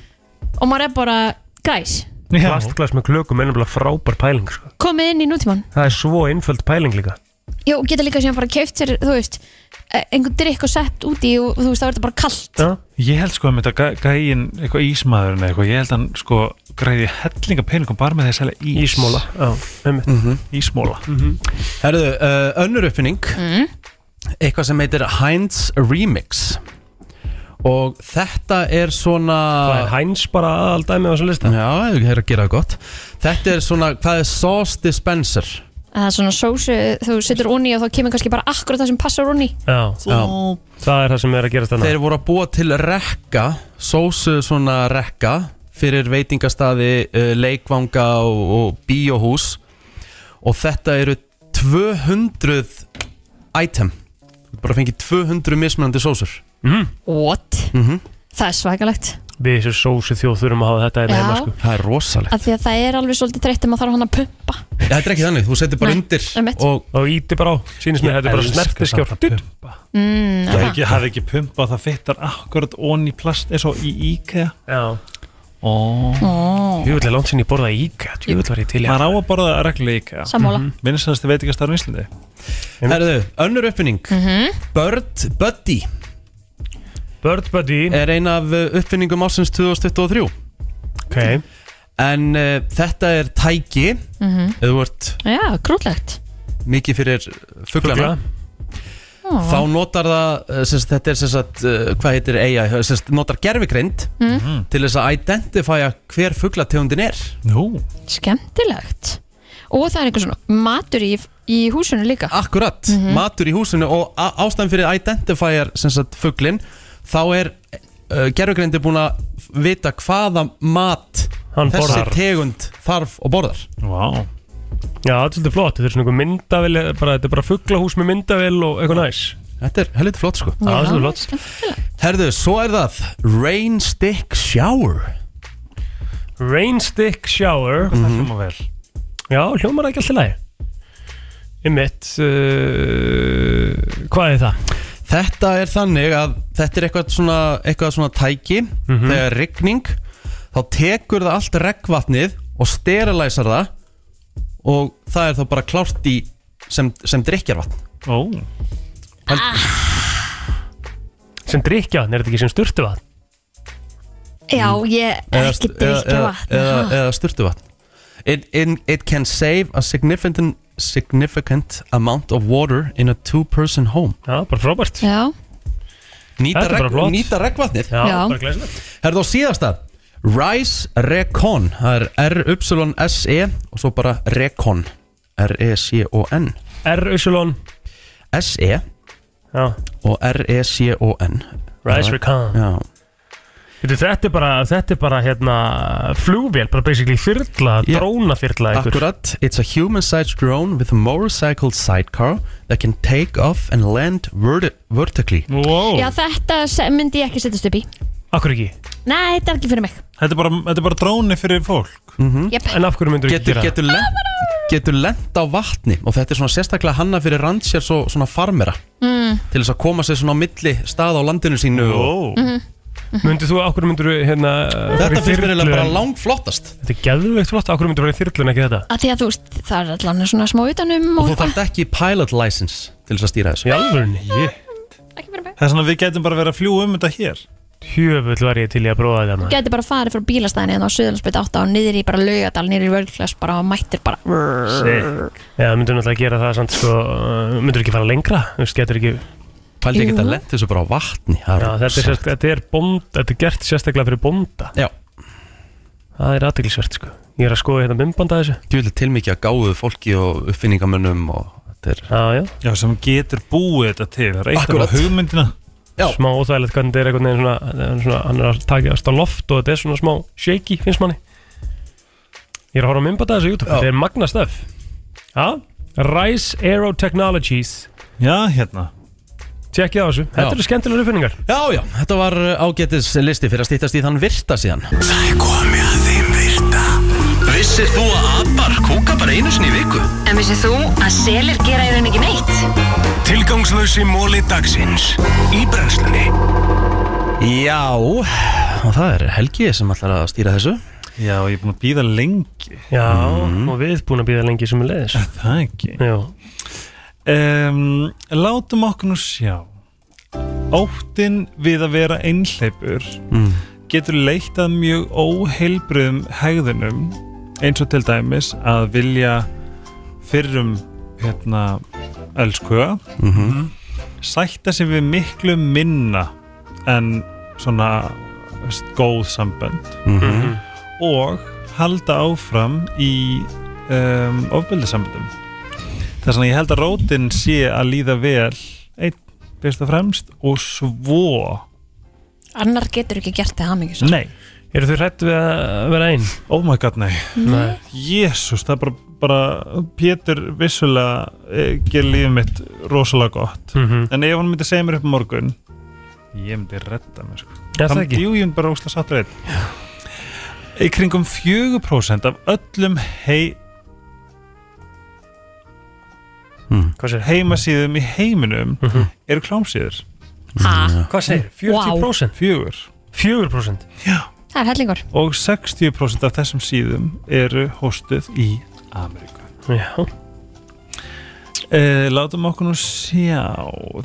Speaker 2: og maður er bara, guys,
Speaker 3: Plastglas með klökum er nefnilega frábær pæling sko
Speaker 2: komið inn í nútíman
Speaker 3: Það er svo einföld pæling líka
Speaker 2: Jó, geta líka síðan bara keift sér, þú veist eh, einhvern drikk og sett úti og þú veist, þá er þetta bara kallt
Speaker 7: Ég held sko að þetta gæ- gæinn eitthvað ísmaðurinn eða eitthvað, ég held hann sko græði hellinga peningum bara með því að selja ís
Speaker 3: Ísmóla, já, einmitt
Speaker 7: Ísmóla
Speaker 1: Herðu, uh, önnur uppfinning Eitthvað sem heitir Heinz Remix Og þetta er svona
Speaker 3: Það er hæns bara aðaldæmi á þessu lista
Speaker 1: Já, það er að gera það gott Þetta er svona, hvað er sauce dispenser?
Speaker 2: að það er svona sósu, þú setur onni og þá kemur kannski bara akkurat það sem passar onni
Speaker 3: Já,
Speaker 1: Já.
Speaker 3: það er það sem er að gera þetta
Speaker 1: Þeir voru að búa til rekka Sósu svona rekka Fyrir veitingastaði, eh, leikvanga og, og bíóhús Og þetta eru 200 item Þú bara fengið 200 mismunandi sósur
Speaker 3: mm.
Speaker 2: What?
Speaker 1: mm
Speaker 3: Mhm.
Speaker 1: -hmm.
Speaker 2: Það er svakalegt
Speaker 3: Við þessu sósu þjóð þurfum að hafa þetta
Speaker 2: Já.
Speaker 3: hérna heima sko
Speaker 1: Það er rosalegt
Speaker 2: af því að það er alveg svolítið þreytt að maður þarf hann að pumpa
Speaker 1: Þetta er ekki þannig, þú setur bara
Speaker 2: Nei,
Speaker 1: undir
Speaker 2: einmitt.
Speaker 1: og,
Speaker 3: og íti bara á, sýnist mér, þetta er bara snertiskjár.
Speaker 2: mm,
Speaker 7: Það
Speaker 2: aha.
Speaker 7: ekki, hafði ekki pumpa og það fittar akkurat onni plast eins og í IKEA
Speaker 3: Já
Speaker 7: oh.
Speaker 2: Ó.
Speaker 3: Jú, þetta er langt sinni ég borða íka Jú, þetta var ég til í
Speaker 7: Maður á að borða reglulega IKEA
Speaker 2: Sammála. Mhm.
Speaker 7: Vinnstæðasti veitingastar í Íslandi
Speaker 1: Herðu, önnur uppfinning
Speaker 2: Mhm.
Speaker 1: Bird Buddy
Speaker 3: Bird Buddy
Speaker 1: Er ein af uh, uppfinningum ásins 2023
Speaker 3: Ok
Speaker 1: En uh, þetta er tæki
Speaker 2: Mhm.
Speaker 1: Ef þú ert
Speaker 2: já, krúllegt
Speaker 1: mikið fyrir fuglana
Speaker 3: Fugla.
Speaker 1: Þá notar það, uh, sérst, þetta er sem sagt, uh, hvað heitir AI, sérst, notar gerfigreind
Speaker 2: Mhm.
Speaker 1: til þess að identifæja hver fuglategundin er.
Speaker 7: Nú.
Speaker 2: skemmtilegt og það er einhver svona matur í, í húsinu líka
Speaker 1: akkurat matur í húsinu og á- ástæðan fyrir identifier sem sagt fugglin þá er uh, gerfugrindi búin að vita hvaða mat
Speaker 3: Hann
Speaker 1: þessi
Speaker 3: borðar.
Speaker 1: tegund þarf og borðar
Speaker 7: Vá
Speaker 3: Já, þetta er svolítið flott, þetta er svona einhver myndavél eh, bara, Þetta er bara fuglahús með myndavél og eitthvað næs
Speaker 1: Þetta er helviti flott sko
Speaker 3: Það er svolítið flott
Speaker 1: Herðu, svo er það Rain Stick Shower
Speaker 3: Rainstick Shower
Speaker 1: Það hljómar
Speaker 7: vel
Speaker 3: Já, hljómar ekki alltaf lægi Einmitt uh, Hvað er það?
Speaker 1: Þetta er þannig að þetta er eitthvað svona, eitthvað svona tæki
Speaker 3: Mhm.
Speaker 1: þegar rigning þá tekur það allt regnvatnið og sterilæsar það og það er þá bara klárt í sem, sem drikkjarvatn
Speaker 7: Ó
Speaker 3: Sem drikja, er þetta ekki sem sturtu vatn?
Speaker 2: já, ég ekki drikja vatn
Speaker 1: Mm. eða,
Speaker 2: ha.
Speaker 1: eða sturtuvatn it, it, it can save a significant, significant amount of water in a two person home
Speaker 3: Já, bara frábært
Speaker 2: já,
Speaker 1: Nýta,
Speaker 3: Þetta er bara
Speaker 1: reg,
Speaker 3: flott.
Speaker 1: nýta regvatnið
Speaker 3: Já, Já. bara glæsilegt.
Speaker 1: Herðu á síðasta Rice Recon Það er R-Y-S-E E og svo bara Recon E R-E-C-O-N
Speaker 3: R-Y
Speaker 1: S-E E
Speaker 3: Já.
Speaker 1: og E R-E-C-O-N
Speaker 3: Rice
Speaker 1: Það-
Speaker 3: Recon.
Speaker 1: Já
Speaker 3: Þetta, þetta er bara, þetta er bara hérna, flugvél, bara basically þyrla, yeah. drónaþyrla einhver.
Speaker 1: Akkurat, it's a human-sized drone with a motorcycle sidecar that can take off and land verti vertically.
Speaker 3: Wow.
Speaker 12: Já, þetta se- myndi ég ekki setjast upp í
Speaker 3: Akkur ekki?
Speaker 12: Nei, þetta er ekki fyrir mig
Speaker 7: Þetta er bara, þetta er bara dróni fyrir fólk
Speaker 1: mm -hmm.
Speaker 12: Jep.
Speaker 3: En af hverju myndur
Speaker 1: getur,
Speaker 3: ekki gera
Speaker 1: getur lent, getur lent á vatni og þetta er svona sérstaklega hanna fyrir randsjár svo, svona farmera
Speaker 12: mm.
Speaker 1: til þess að koma sér svona á milli stað á landinu sínu
Speaker 7: oh.
Speaker 12: Mhm.
Speaker 3: Myndir þú, akkur myndur hérna
Speaker 1: Þetta finnst mér eiginlega bara
Speaker 3: langflottast Þetta er geðveikt flott, akkur myndur verið þyrlun ekki þetta
Speaker 12: að Því að þú veist, það er allan svona smá utanum
Speaker 1: og þú þarft ekki pilot license til þess að stýra þessu
Speaker 3: Í alvörunni, ég
Speaker 7: Það er svona að við getum bara verið að fljú um þetta hér
Speaker 3: Hjöfull var ég til ég að prófa þetta maður.
Speaker 12: Gæti bara farið frá bílastæðinni en á Suðalandsbyrð 8 og niður í bara laugadal, niður í vörglas bara og mættir bara
Speaker 3: Sick. Já, myndur náttúrulega gera það samt sko, myndur ekki fara lengra, þú veist, getur ekki
Speaker 1: Pældi ekki að lent þessu bara á vatni Já,
Speaker 3: þetta er, sérst, þetta, er bond, þetta er gert sérstaklega fyrir bonda
Speaker 1: Já
Speaker 3: Það er aðteglisvert sko Ég er að skoða hérna myndbanda þessu
Speaker 1: Þú vil til mikið að gáðu fólki og uppfinningamönnum og þetta er
Speaker 3: Já, já
Speaker 7: Já, sem getur búið þetta til Það er eitt af
Speaker 1: Akkurat.
Speaker 7: hugmyndina
Speaker 1: Já.
Speaker 3: Smá óþægilegt hvernig þetta er einhvern veginn svona, þetta er svona Hann er að takast á loft og þetta er svona smá shaky finnst manni Ég er að horfa á myndbanda þessu á YouTube Þetta er magna stöf Já, Rise Aero Technologies
Speaker 7: Já, hérna
Speaker 3: Tjekkið á þessu, þetta
Speaker 1: Já.
Speaker 3: eru skemmtilega uppfinningar
Speaker 1: Já, já, þetta var uh, ágætis listi fyrir að stýttast í þann virta síðan
Speaker 6: Það er komið að þeim virta
Speaker 1: Vissir þú að abar kúka bara einu sinni í viku?
Speaker 6: En vissið þú að selir gera í raun ekki neitt?
Speaker 13: Tilgangslösi móli dagsins Í brennslunni
Speaker 1: Já, og það er Helgi sem ætlar að stýra þessu
Speaker 7: Já, ég er búin að býða lengi
Speaker 3: Já, og við búin að býða lengi sem er leiðis
Speaker 7: Það ekki
Speaker 3: Mhm. Já
Speaker 7: um, Látum okkur nú sjá Óttin við að vera einhleipur
Speaker 1: Mm.
Speaker 7: getur leitt að mjög óheilbriðum hegðunum eins og til dæmis að vilja fyrrum hérna elskuða
Speaker 1: Mhm.
Speaker 7: sætta sig við miklu minna en svona veist, góð sambönd
Speaker 1: Mhm.
Speaker 7: og halda áfram í um, ofbeldisamböndum þess að ég held að rótin sé að líða vel einn fyrst og fremst og svo
Speaker 12: Annar getur ekki gert það hamingjus
Speaker 7: nei
Speaker 3: Eru þau hrættu við að vera einn?
Speaker 7: Oh my god, nei
Speaker 3: Nei.
Speaker 7: Jésús, það er bara, bara Pétur vissulega eh, gerir lífið mitt rosalega gott
Speaker 3: Mhm.
Speaker 7: en ef hann myndi segja mér upp á morgun ég myndi redda mér sko
Speaker 3: Já, það ekki.
Speaker 7: Jú, ég myndi bara ósla satt reitt Í kringum 4% af öllum hei
Speaker 3: Hvað segir?
Speaker 7: heimasíðum í heiminum
Speaker 3: Mhm.
Speaker 7: eru klámsíður
Speaker 1: Mm.
Speaker 12: Ha?
Speaker 3: Hvað segir? 40%?
Speaker 7: Fjögur
Speaker 3: 4%?
Speaker 12: Það er hellingur
Speaker 7: og 60% af þessum síðum eru hóstuð í Ameríku
Speaker 3: Já
Speaker 7: Uh, látum okkur nú sjá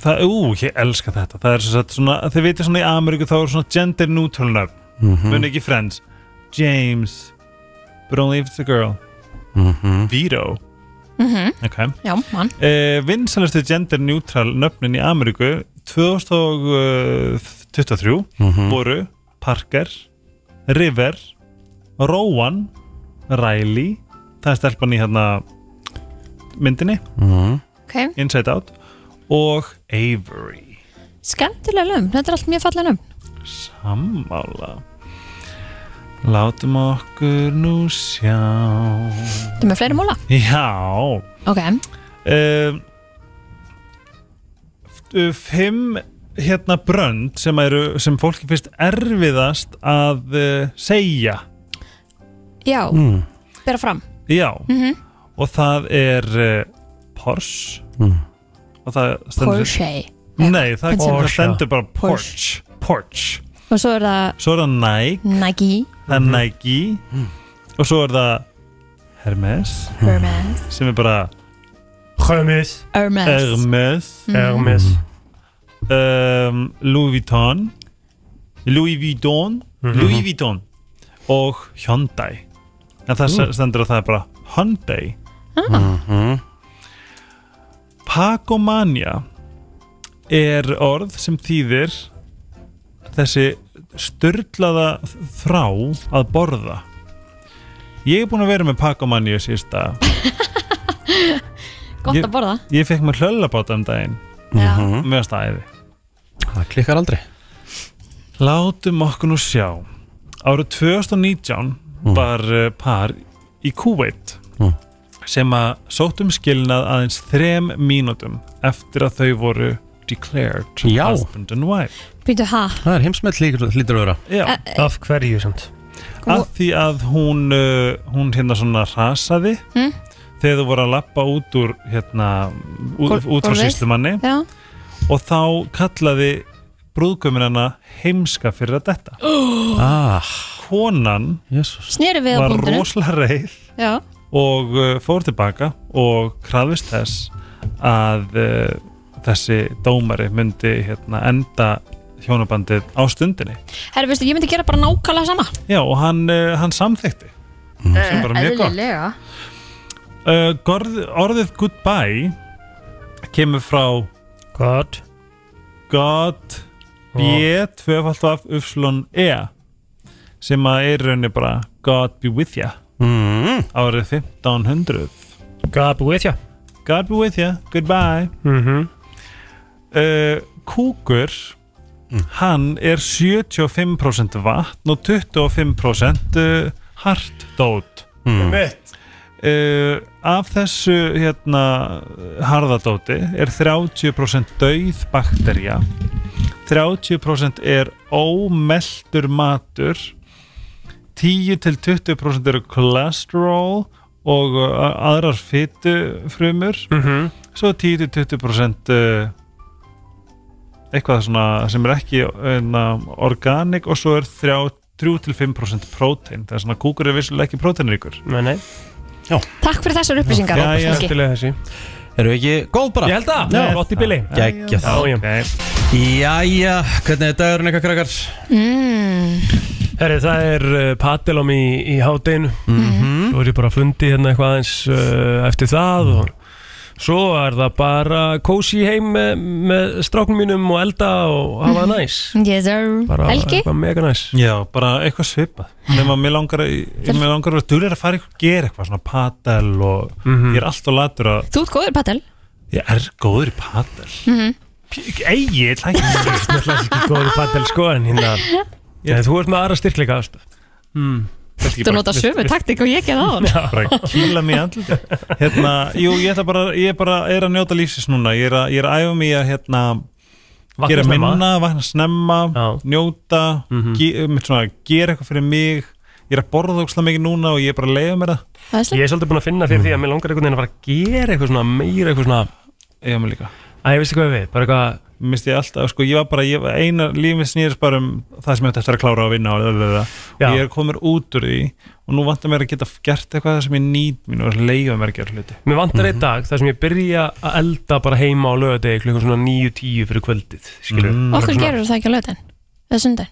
Speaker 7: það, ú, ég elska þetta það er svo satt svona, þið veitir svona í Ameríku þá er svona gender neutral nöfn
Speaker 1: Mhm.
Speaker 7: mun ekki Friends, James but only if it's a girl
Speaker 1: Mhm.
Speaker 7: Vito
Speaker 12: Mhm.
Speaker 7: ok
Speaker 12: Já, mann
Speaker 7: uh, vinsalastu gender neutral nöfnin í Ameríku eh, 2023
Speaker 1: Mhm.
Speaker 7: voru Parker River Rowan Riley það er stelpan í hérna myndinni
Speaker 1: Mhm.
Speaker 12: Ok.
Speaker 7: Inside Out og Avery
Speaker 12: Skemmtilega lögum, þetta er allt mjög fallega lögum
Speaker 7: Sammála Látum okkur nú sjá
Speaker 12: Þetta er með fleiri múla
Speaker 7: Já
Speaker 12: Ok,
Speaker 7: um, Fimm hérna brönd sem, eru, sem fólki finnst erfiðast að uh, segja
Speaker 12: já,
Speaker 1: Mm.
Speaker 12: bera fram
Speaker 7: Já
Speaker 12: Mhm.
Speaker 7: Og það er uh, Porsche
Speaker 1: mm.
Speaker 7: Og það stendur
Speaker 12: Porsche
Speaker 7: Nei, það,
Speaker 12: Hvernig
Speaker 7: það
Speaker 12: stendur?
Speaker 7: stendur bara
Speaker 12: Porsche.
Speaker 7: Porsche Porsche
Speaker 12: Og svo er það
Speaker 7: Svo er það Nike
Speaker 12: Nike
Speaker 7: það er Nike og svo er það Hermes
Speaker 12: Hermes
Speaker 7: sem er bara
Speaker 3: Hermes
Speaker 12: Hermes.
Speaker 7: Hermes,
Speaker 12: Mhm. Hermes.
Speaker 7: Um, Louis Vuitton Louis Vuitton Louis Vuitton og Hyundai en
Speaker 3: Mm.
Speaker 7: það stendur að það er bara Hyundai
Speaker 1: Mhm.
Speaker 7: Pagomania er orð sem þýðir þessi störlaða þrá að borða ég er búin að vera með Pagomania síðasta
Speaker 12: Gott
Speaker 7: Ég-
Speaker 12: að borða
Speaker 7: ég fekk mér hlöllabáta um daginn
Speaker 12: Já.
Speaker 7: meðan stæði
Speaker 1: Það klikkar aldrei
Speaker 7: Látum okkur nú sjá Árið 2019 var uh, par í Kuwait
Speaker 1: Mm.
Speaker 7: sem að sóttum skilnað aðeins þrem mínútum eftir að þau voru declared
Speaker 1: Já.
Speaker 7: husband and wife
Speaker 12: Býtu, ha?
Speaker 1: Það er heimsmet lítur að vera
Speaker 7: Já.
Speaker 3: Af hverju samt?
Speaker 7: að því að hún uh, hún hérna svona rasaði
Speaker 12: Mm.
Speaker 7: þegar þú voru að lappa út úr hérna, út,
Speaker 12: Gólf-
Speaker 7: út frá
Speaker 12: gólfið.
Speaker 7: sýslumanni
Speaker 12: Já.
Speaker 7: og þá kallaði brúðgömmin hana heimska fyrir að detta
Speaker 12: Oh.
Speaker 1: ah.
Speaker 7: konan
Speaker 12: Sneri við á
Speaker 7: var
Speaker 12: búndunum.
Speaker 7: rosalega reið
Speaker 12: Já.
Speaker 7: og uh, fór tilbaka og krafist þess að uh, þessi dómari myndi hérna, enda hjónabandið á stundinni
Speaker 12: Herri, veistu, ég myndi gera bara nákvæmlega sama
Speaker 7: Já, og hann, uh, hann samþykti sem bara mjög gott
Speaker 2: Eðlilega.
Speaker 7: uh, gorð, Orðið goodbye kemur frá God God B, tvöfalt af Ufslun E sem að er í rauninni bara God be with ya
Speaker 1: mm.
Speaker 7: árið 1500 God be with ya God be with ya, goodbye mm
Speaker 1: Mhm,
Speaker 7: -hmm. Eh, Kúkur hann er 75% vatn og 25% uh, hartdót
Speaker 3: Mm.
Speaker 7: Mitt Uh, af þessu hérna harðadóti er 30% dauð bakterja 30% er ómeltur matur 10-20% eru cholesterol og uh, aðrar fytu frumur -hmm.
Speaker 1: mhm.
Speaker 7: svo 10-20% uh, eitthvað svona sem er ekki uh, organik og svo er 3 3-5% prótein það er svona kúkur er vissulega ekki próteinríkur
Speaker 3: Nei, nei
Speaker 12: Takk fyrir þessar upplýsingar
Speaker 7: Já, já,
Speaker 12: Helgi.
Speaker 3: Skemmtilega þessi
Speaker 1: Erum við ekki góð bara?
Speaker 3: Ég held það,
Speaker 1: Já.
Speaker 3: gott í bili
Speaker 1: Gækja það
Speaker 3: Já,
Speaker 1: Jæja, hvernig er dagurinn eitthvað krakkar?
Speaker 2: mm.
Speaker 3: Herri, það er uh, patilum í, í hátinu
Speaker 1: Mhm.
Speaker 3: Svo er ég bara að fundi hérna eitthvað aðeins uh, eftir það og svo er það bara kósi heim með, með stráknum mínum og elda og hafa það næs
Speaker 12: Yes, sir
Speaker 3: Bara
Speaker 12: Mhm. Helgi?
Speaker 3: eitthvað mega næs
Speaker 7: Já, bara eitthvað svipað nema mér langar, í- mér langar að duðlega að fara eitthvað að gera eitthvað svona padel og ég er alltaf latur að
Speaker 12: Þú ert góður, Patel
Speaker 7: ég er góður í padel
Speaker 12: mm -hmm.
Speaker 7: Egil, hægt
Speaker 3: Það er ekki góður í padel sko en hérna yeah. Þú ert með aðra styrkleika ástu mm.
Speaker 12: Þú nota sömu taktík og ég gerði á hann
Speaker 7: bara kýla mig andlut hérna, jú, ég ætla bara, ég bara er að njóta lífsins núna, ég er að, ég er að æfa mig að hérna,
Speaker 3: Vakna
Speaker 7: gera
Speaker 3: snemma. Mhm.
Speaker 7: minna, vakna snemma njóta, ge, með svona, gera eitthvað fyrir mig, ég er að borða ókslega mikið núna og ég er bara að leiða mér það
Speaker 3: Ég er svolítið búinn að finna
Speaker 7: Mm.
Speaker 3: fyrir því að mér langar einhvern veginn að fara að gera eitthvað svona meira eitthvað svona
Speaker 7: Ég mér líka
Speaker 3: Æ, ég veist hvað við, bara eitthvað
Speaker 7: misti ég alltaf, sko, ég var bara ég, var- eina lífið snýðist bara um það sem ég átti eftir að klára að vinna og, lalalala. og ég er komin út úr því og nú vantar mér að geta gert eitthvað sem ég nýt mín og leiða mér að gera hluti
Speaker 3: Mér vantar
Speaker 7: Mhm.
Speaker 3: einn dag þar sem ég byrja að elda bara heima á lögadegi klukkan svona 9-10 fyrir kvöldið skilur mm.
Speaker 12: Okkur gerur það ekki á löðin Eða sundan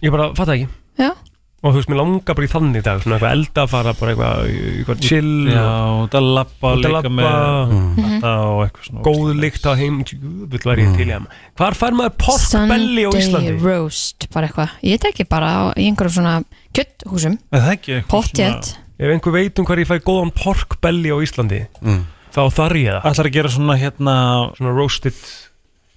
Speaker 3: Ég bara fatta ekki
Speaker 12: Já.
Speaker 3: Og þú veist, mér langar bara í þannig dag svona eitthvað elda að fara bara eitthvað, eitthvað chill
Speaker 7: Já,
Speaker 3: og-
Speaker 7: út að labba
Speaker 3: Út að
Speaker 7: líka
Speaker 3: labba.
Speaker 7: með
Speaker 3: Mhm.
Speaker 7: þetta og eitthvað svona
Speaker 3: Góð lykt á heim Jöfull var
Speaker 7: Mm.
Speaker 3: ég til í hann Hvar fær maður pork belly á Íslandi?
Speaker 12: roast bara eitthvað Ég teki bara á, í einhverjum svona kjötthúsum
Speaker 7: Er það ekki eitthvað
Speaker 12: Pottjött
Speaker 3: Ef einhver veit um hvar ég fæ góðan pork belly á Íslandi
Speaker 7: Mm.
Speaker 3: Þá þarf ég það
Speaker 7: Ætlar að gera svona hérna
Speaker 3: Svona roasted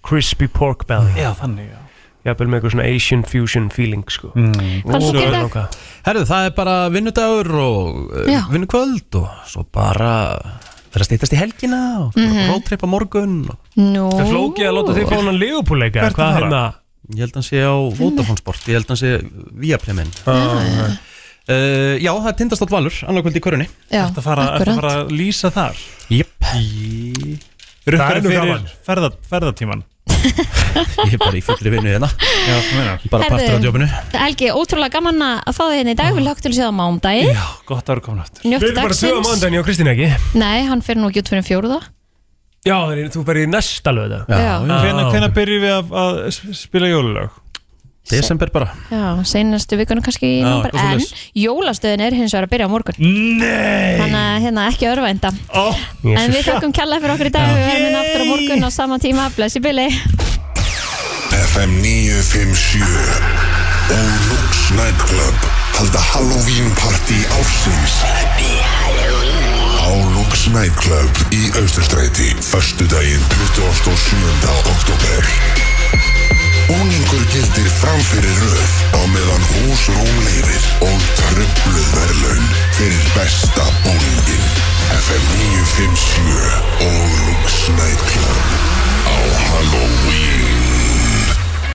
Speaker 3: crispy pork belly
Speaker 7: Já, þannig já
Speaker 3: Jafnvel með eitthvað svona Asian fusion feeling sko
Speaker 7: mm.
Speaker 2: Hvað er þú að gera í dag?
Speaker 1: Herðu, það er bara vinnudagur og
Speaker 2: Já.
Speaker 1: uh, vinnukvöld og svo bara þeirra stýttast í helgina og mm
Speaker 2: Mhm.
Speaker 1: -hmm. á morgun og...
Speaker 2: Nú
Speaker 3: Það er flókið að láta þig fá hann Leopoldleika
Speaker 1: Hvert
Speaker 3: Hvað
Speaker 1: að
Speaker 3: hérna?
Speaker 1: fara? Ég held að hann sé á Vodafone Sport, ég held að hann sé Viaplay minn uh, Já, það er tindastótt valur, annarkvöld í körunni
Speaker 2: Já,
Speaker 7: Ertu að fara, ertu að fara að lýsa þar?
Speaker 1: Jep
Speaker 7: Rukkar
Speaker 1: nú
Speaker 7: fyrir
Speaker 1: gaman.
Speaker 7: ferða, ferðatíman
Speaker 1: Ég er bara í fullri vinnu hérna
Speaker 7: Já, það meinar
Speaker 1: Bara partur á djópinu
Speaker 12: Helgi, ótrúlega gaman að fá þig hérna í dag Við lagt til að sjá það mándagi
Speaker 7: Já, gott að vera komin aftur
Speaker 12: Njóttu
Speaker 3: Við erum bara
Speaker 12: dagsins.
Speaker 3: sögum ándan ég og Kristín ekki
Speaker 12: Nei, hann fyrir nú ekki út fyrir fjóruða
Speaker 3: Já, þannig þú ferð í næsta lög
Speaker 12: Já. Já.
Speaker 7: Hvenær hvenær byrjum við að, að sp- spila jólulög?
Speaker 1: Desember bara
Speaker 12: Já, seinastu vikunum kannski
Speaker 7: Já,
Speaker 12: Já,
Speaker 7: eitthvað
Speaker 12: En
Speaker 7: svoleiðis.
Speaker 12: jólastöðin er hins vegar að byrja á morgun
Speaker 7: Nei
Speaker 12: Þannig að hérna ekki örvænda
Speaker 7: oh,
Speaker 12: En við þakkum kjalla fyrir okkur í dag Við verðum hérna aftur á morgun á sama tíma Blessi Billy
Speaker 14: FM 957 og Lux Nightclub halda Halloween party ársins á Lux Nightclub í Austurstræti förstu daginn 27. oktober Búningur gildir framfyrir röð á meðan húsrúm lengi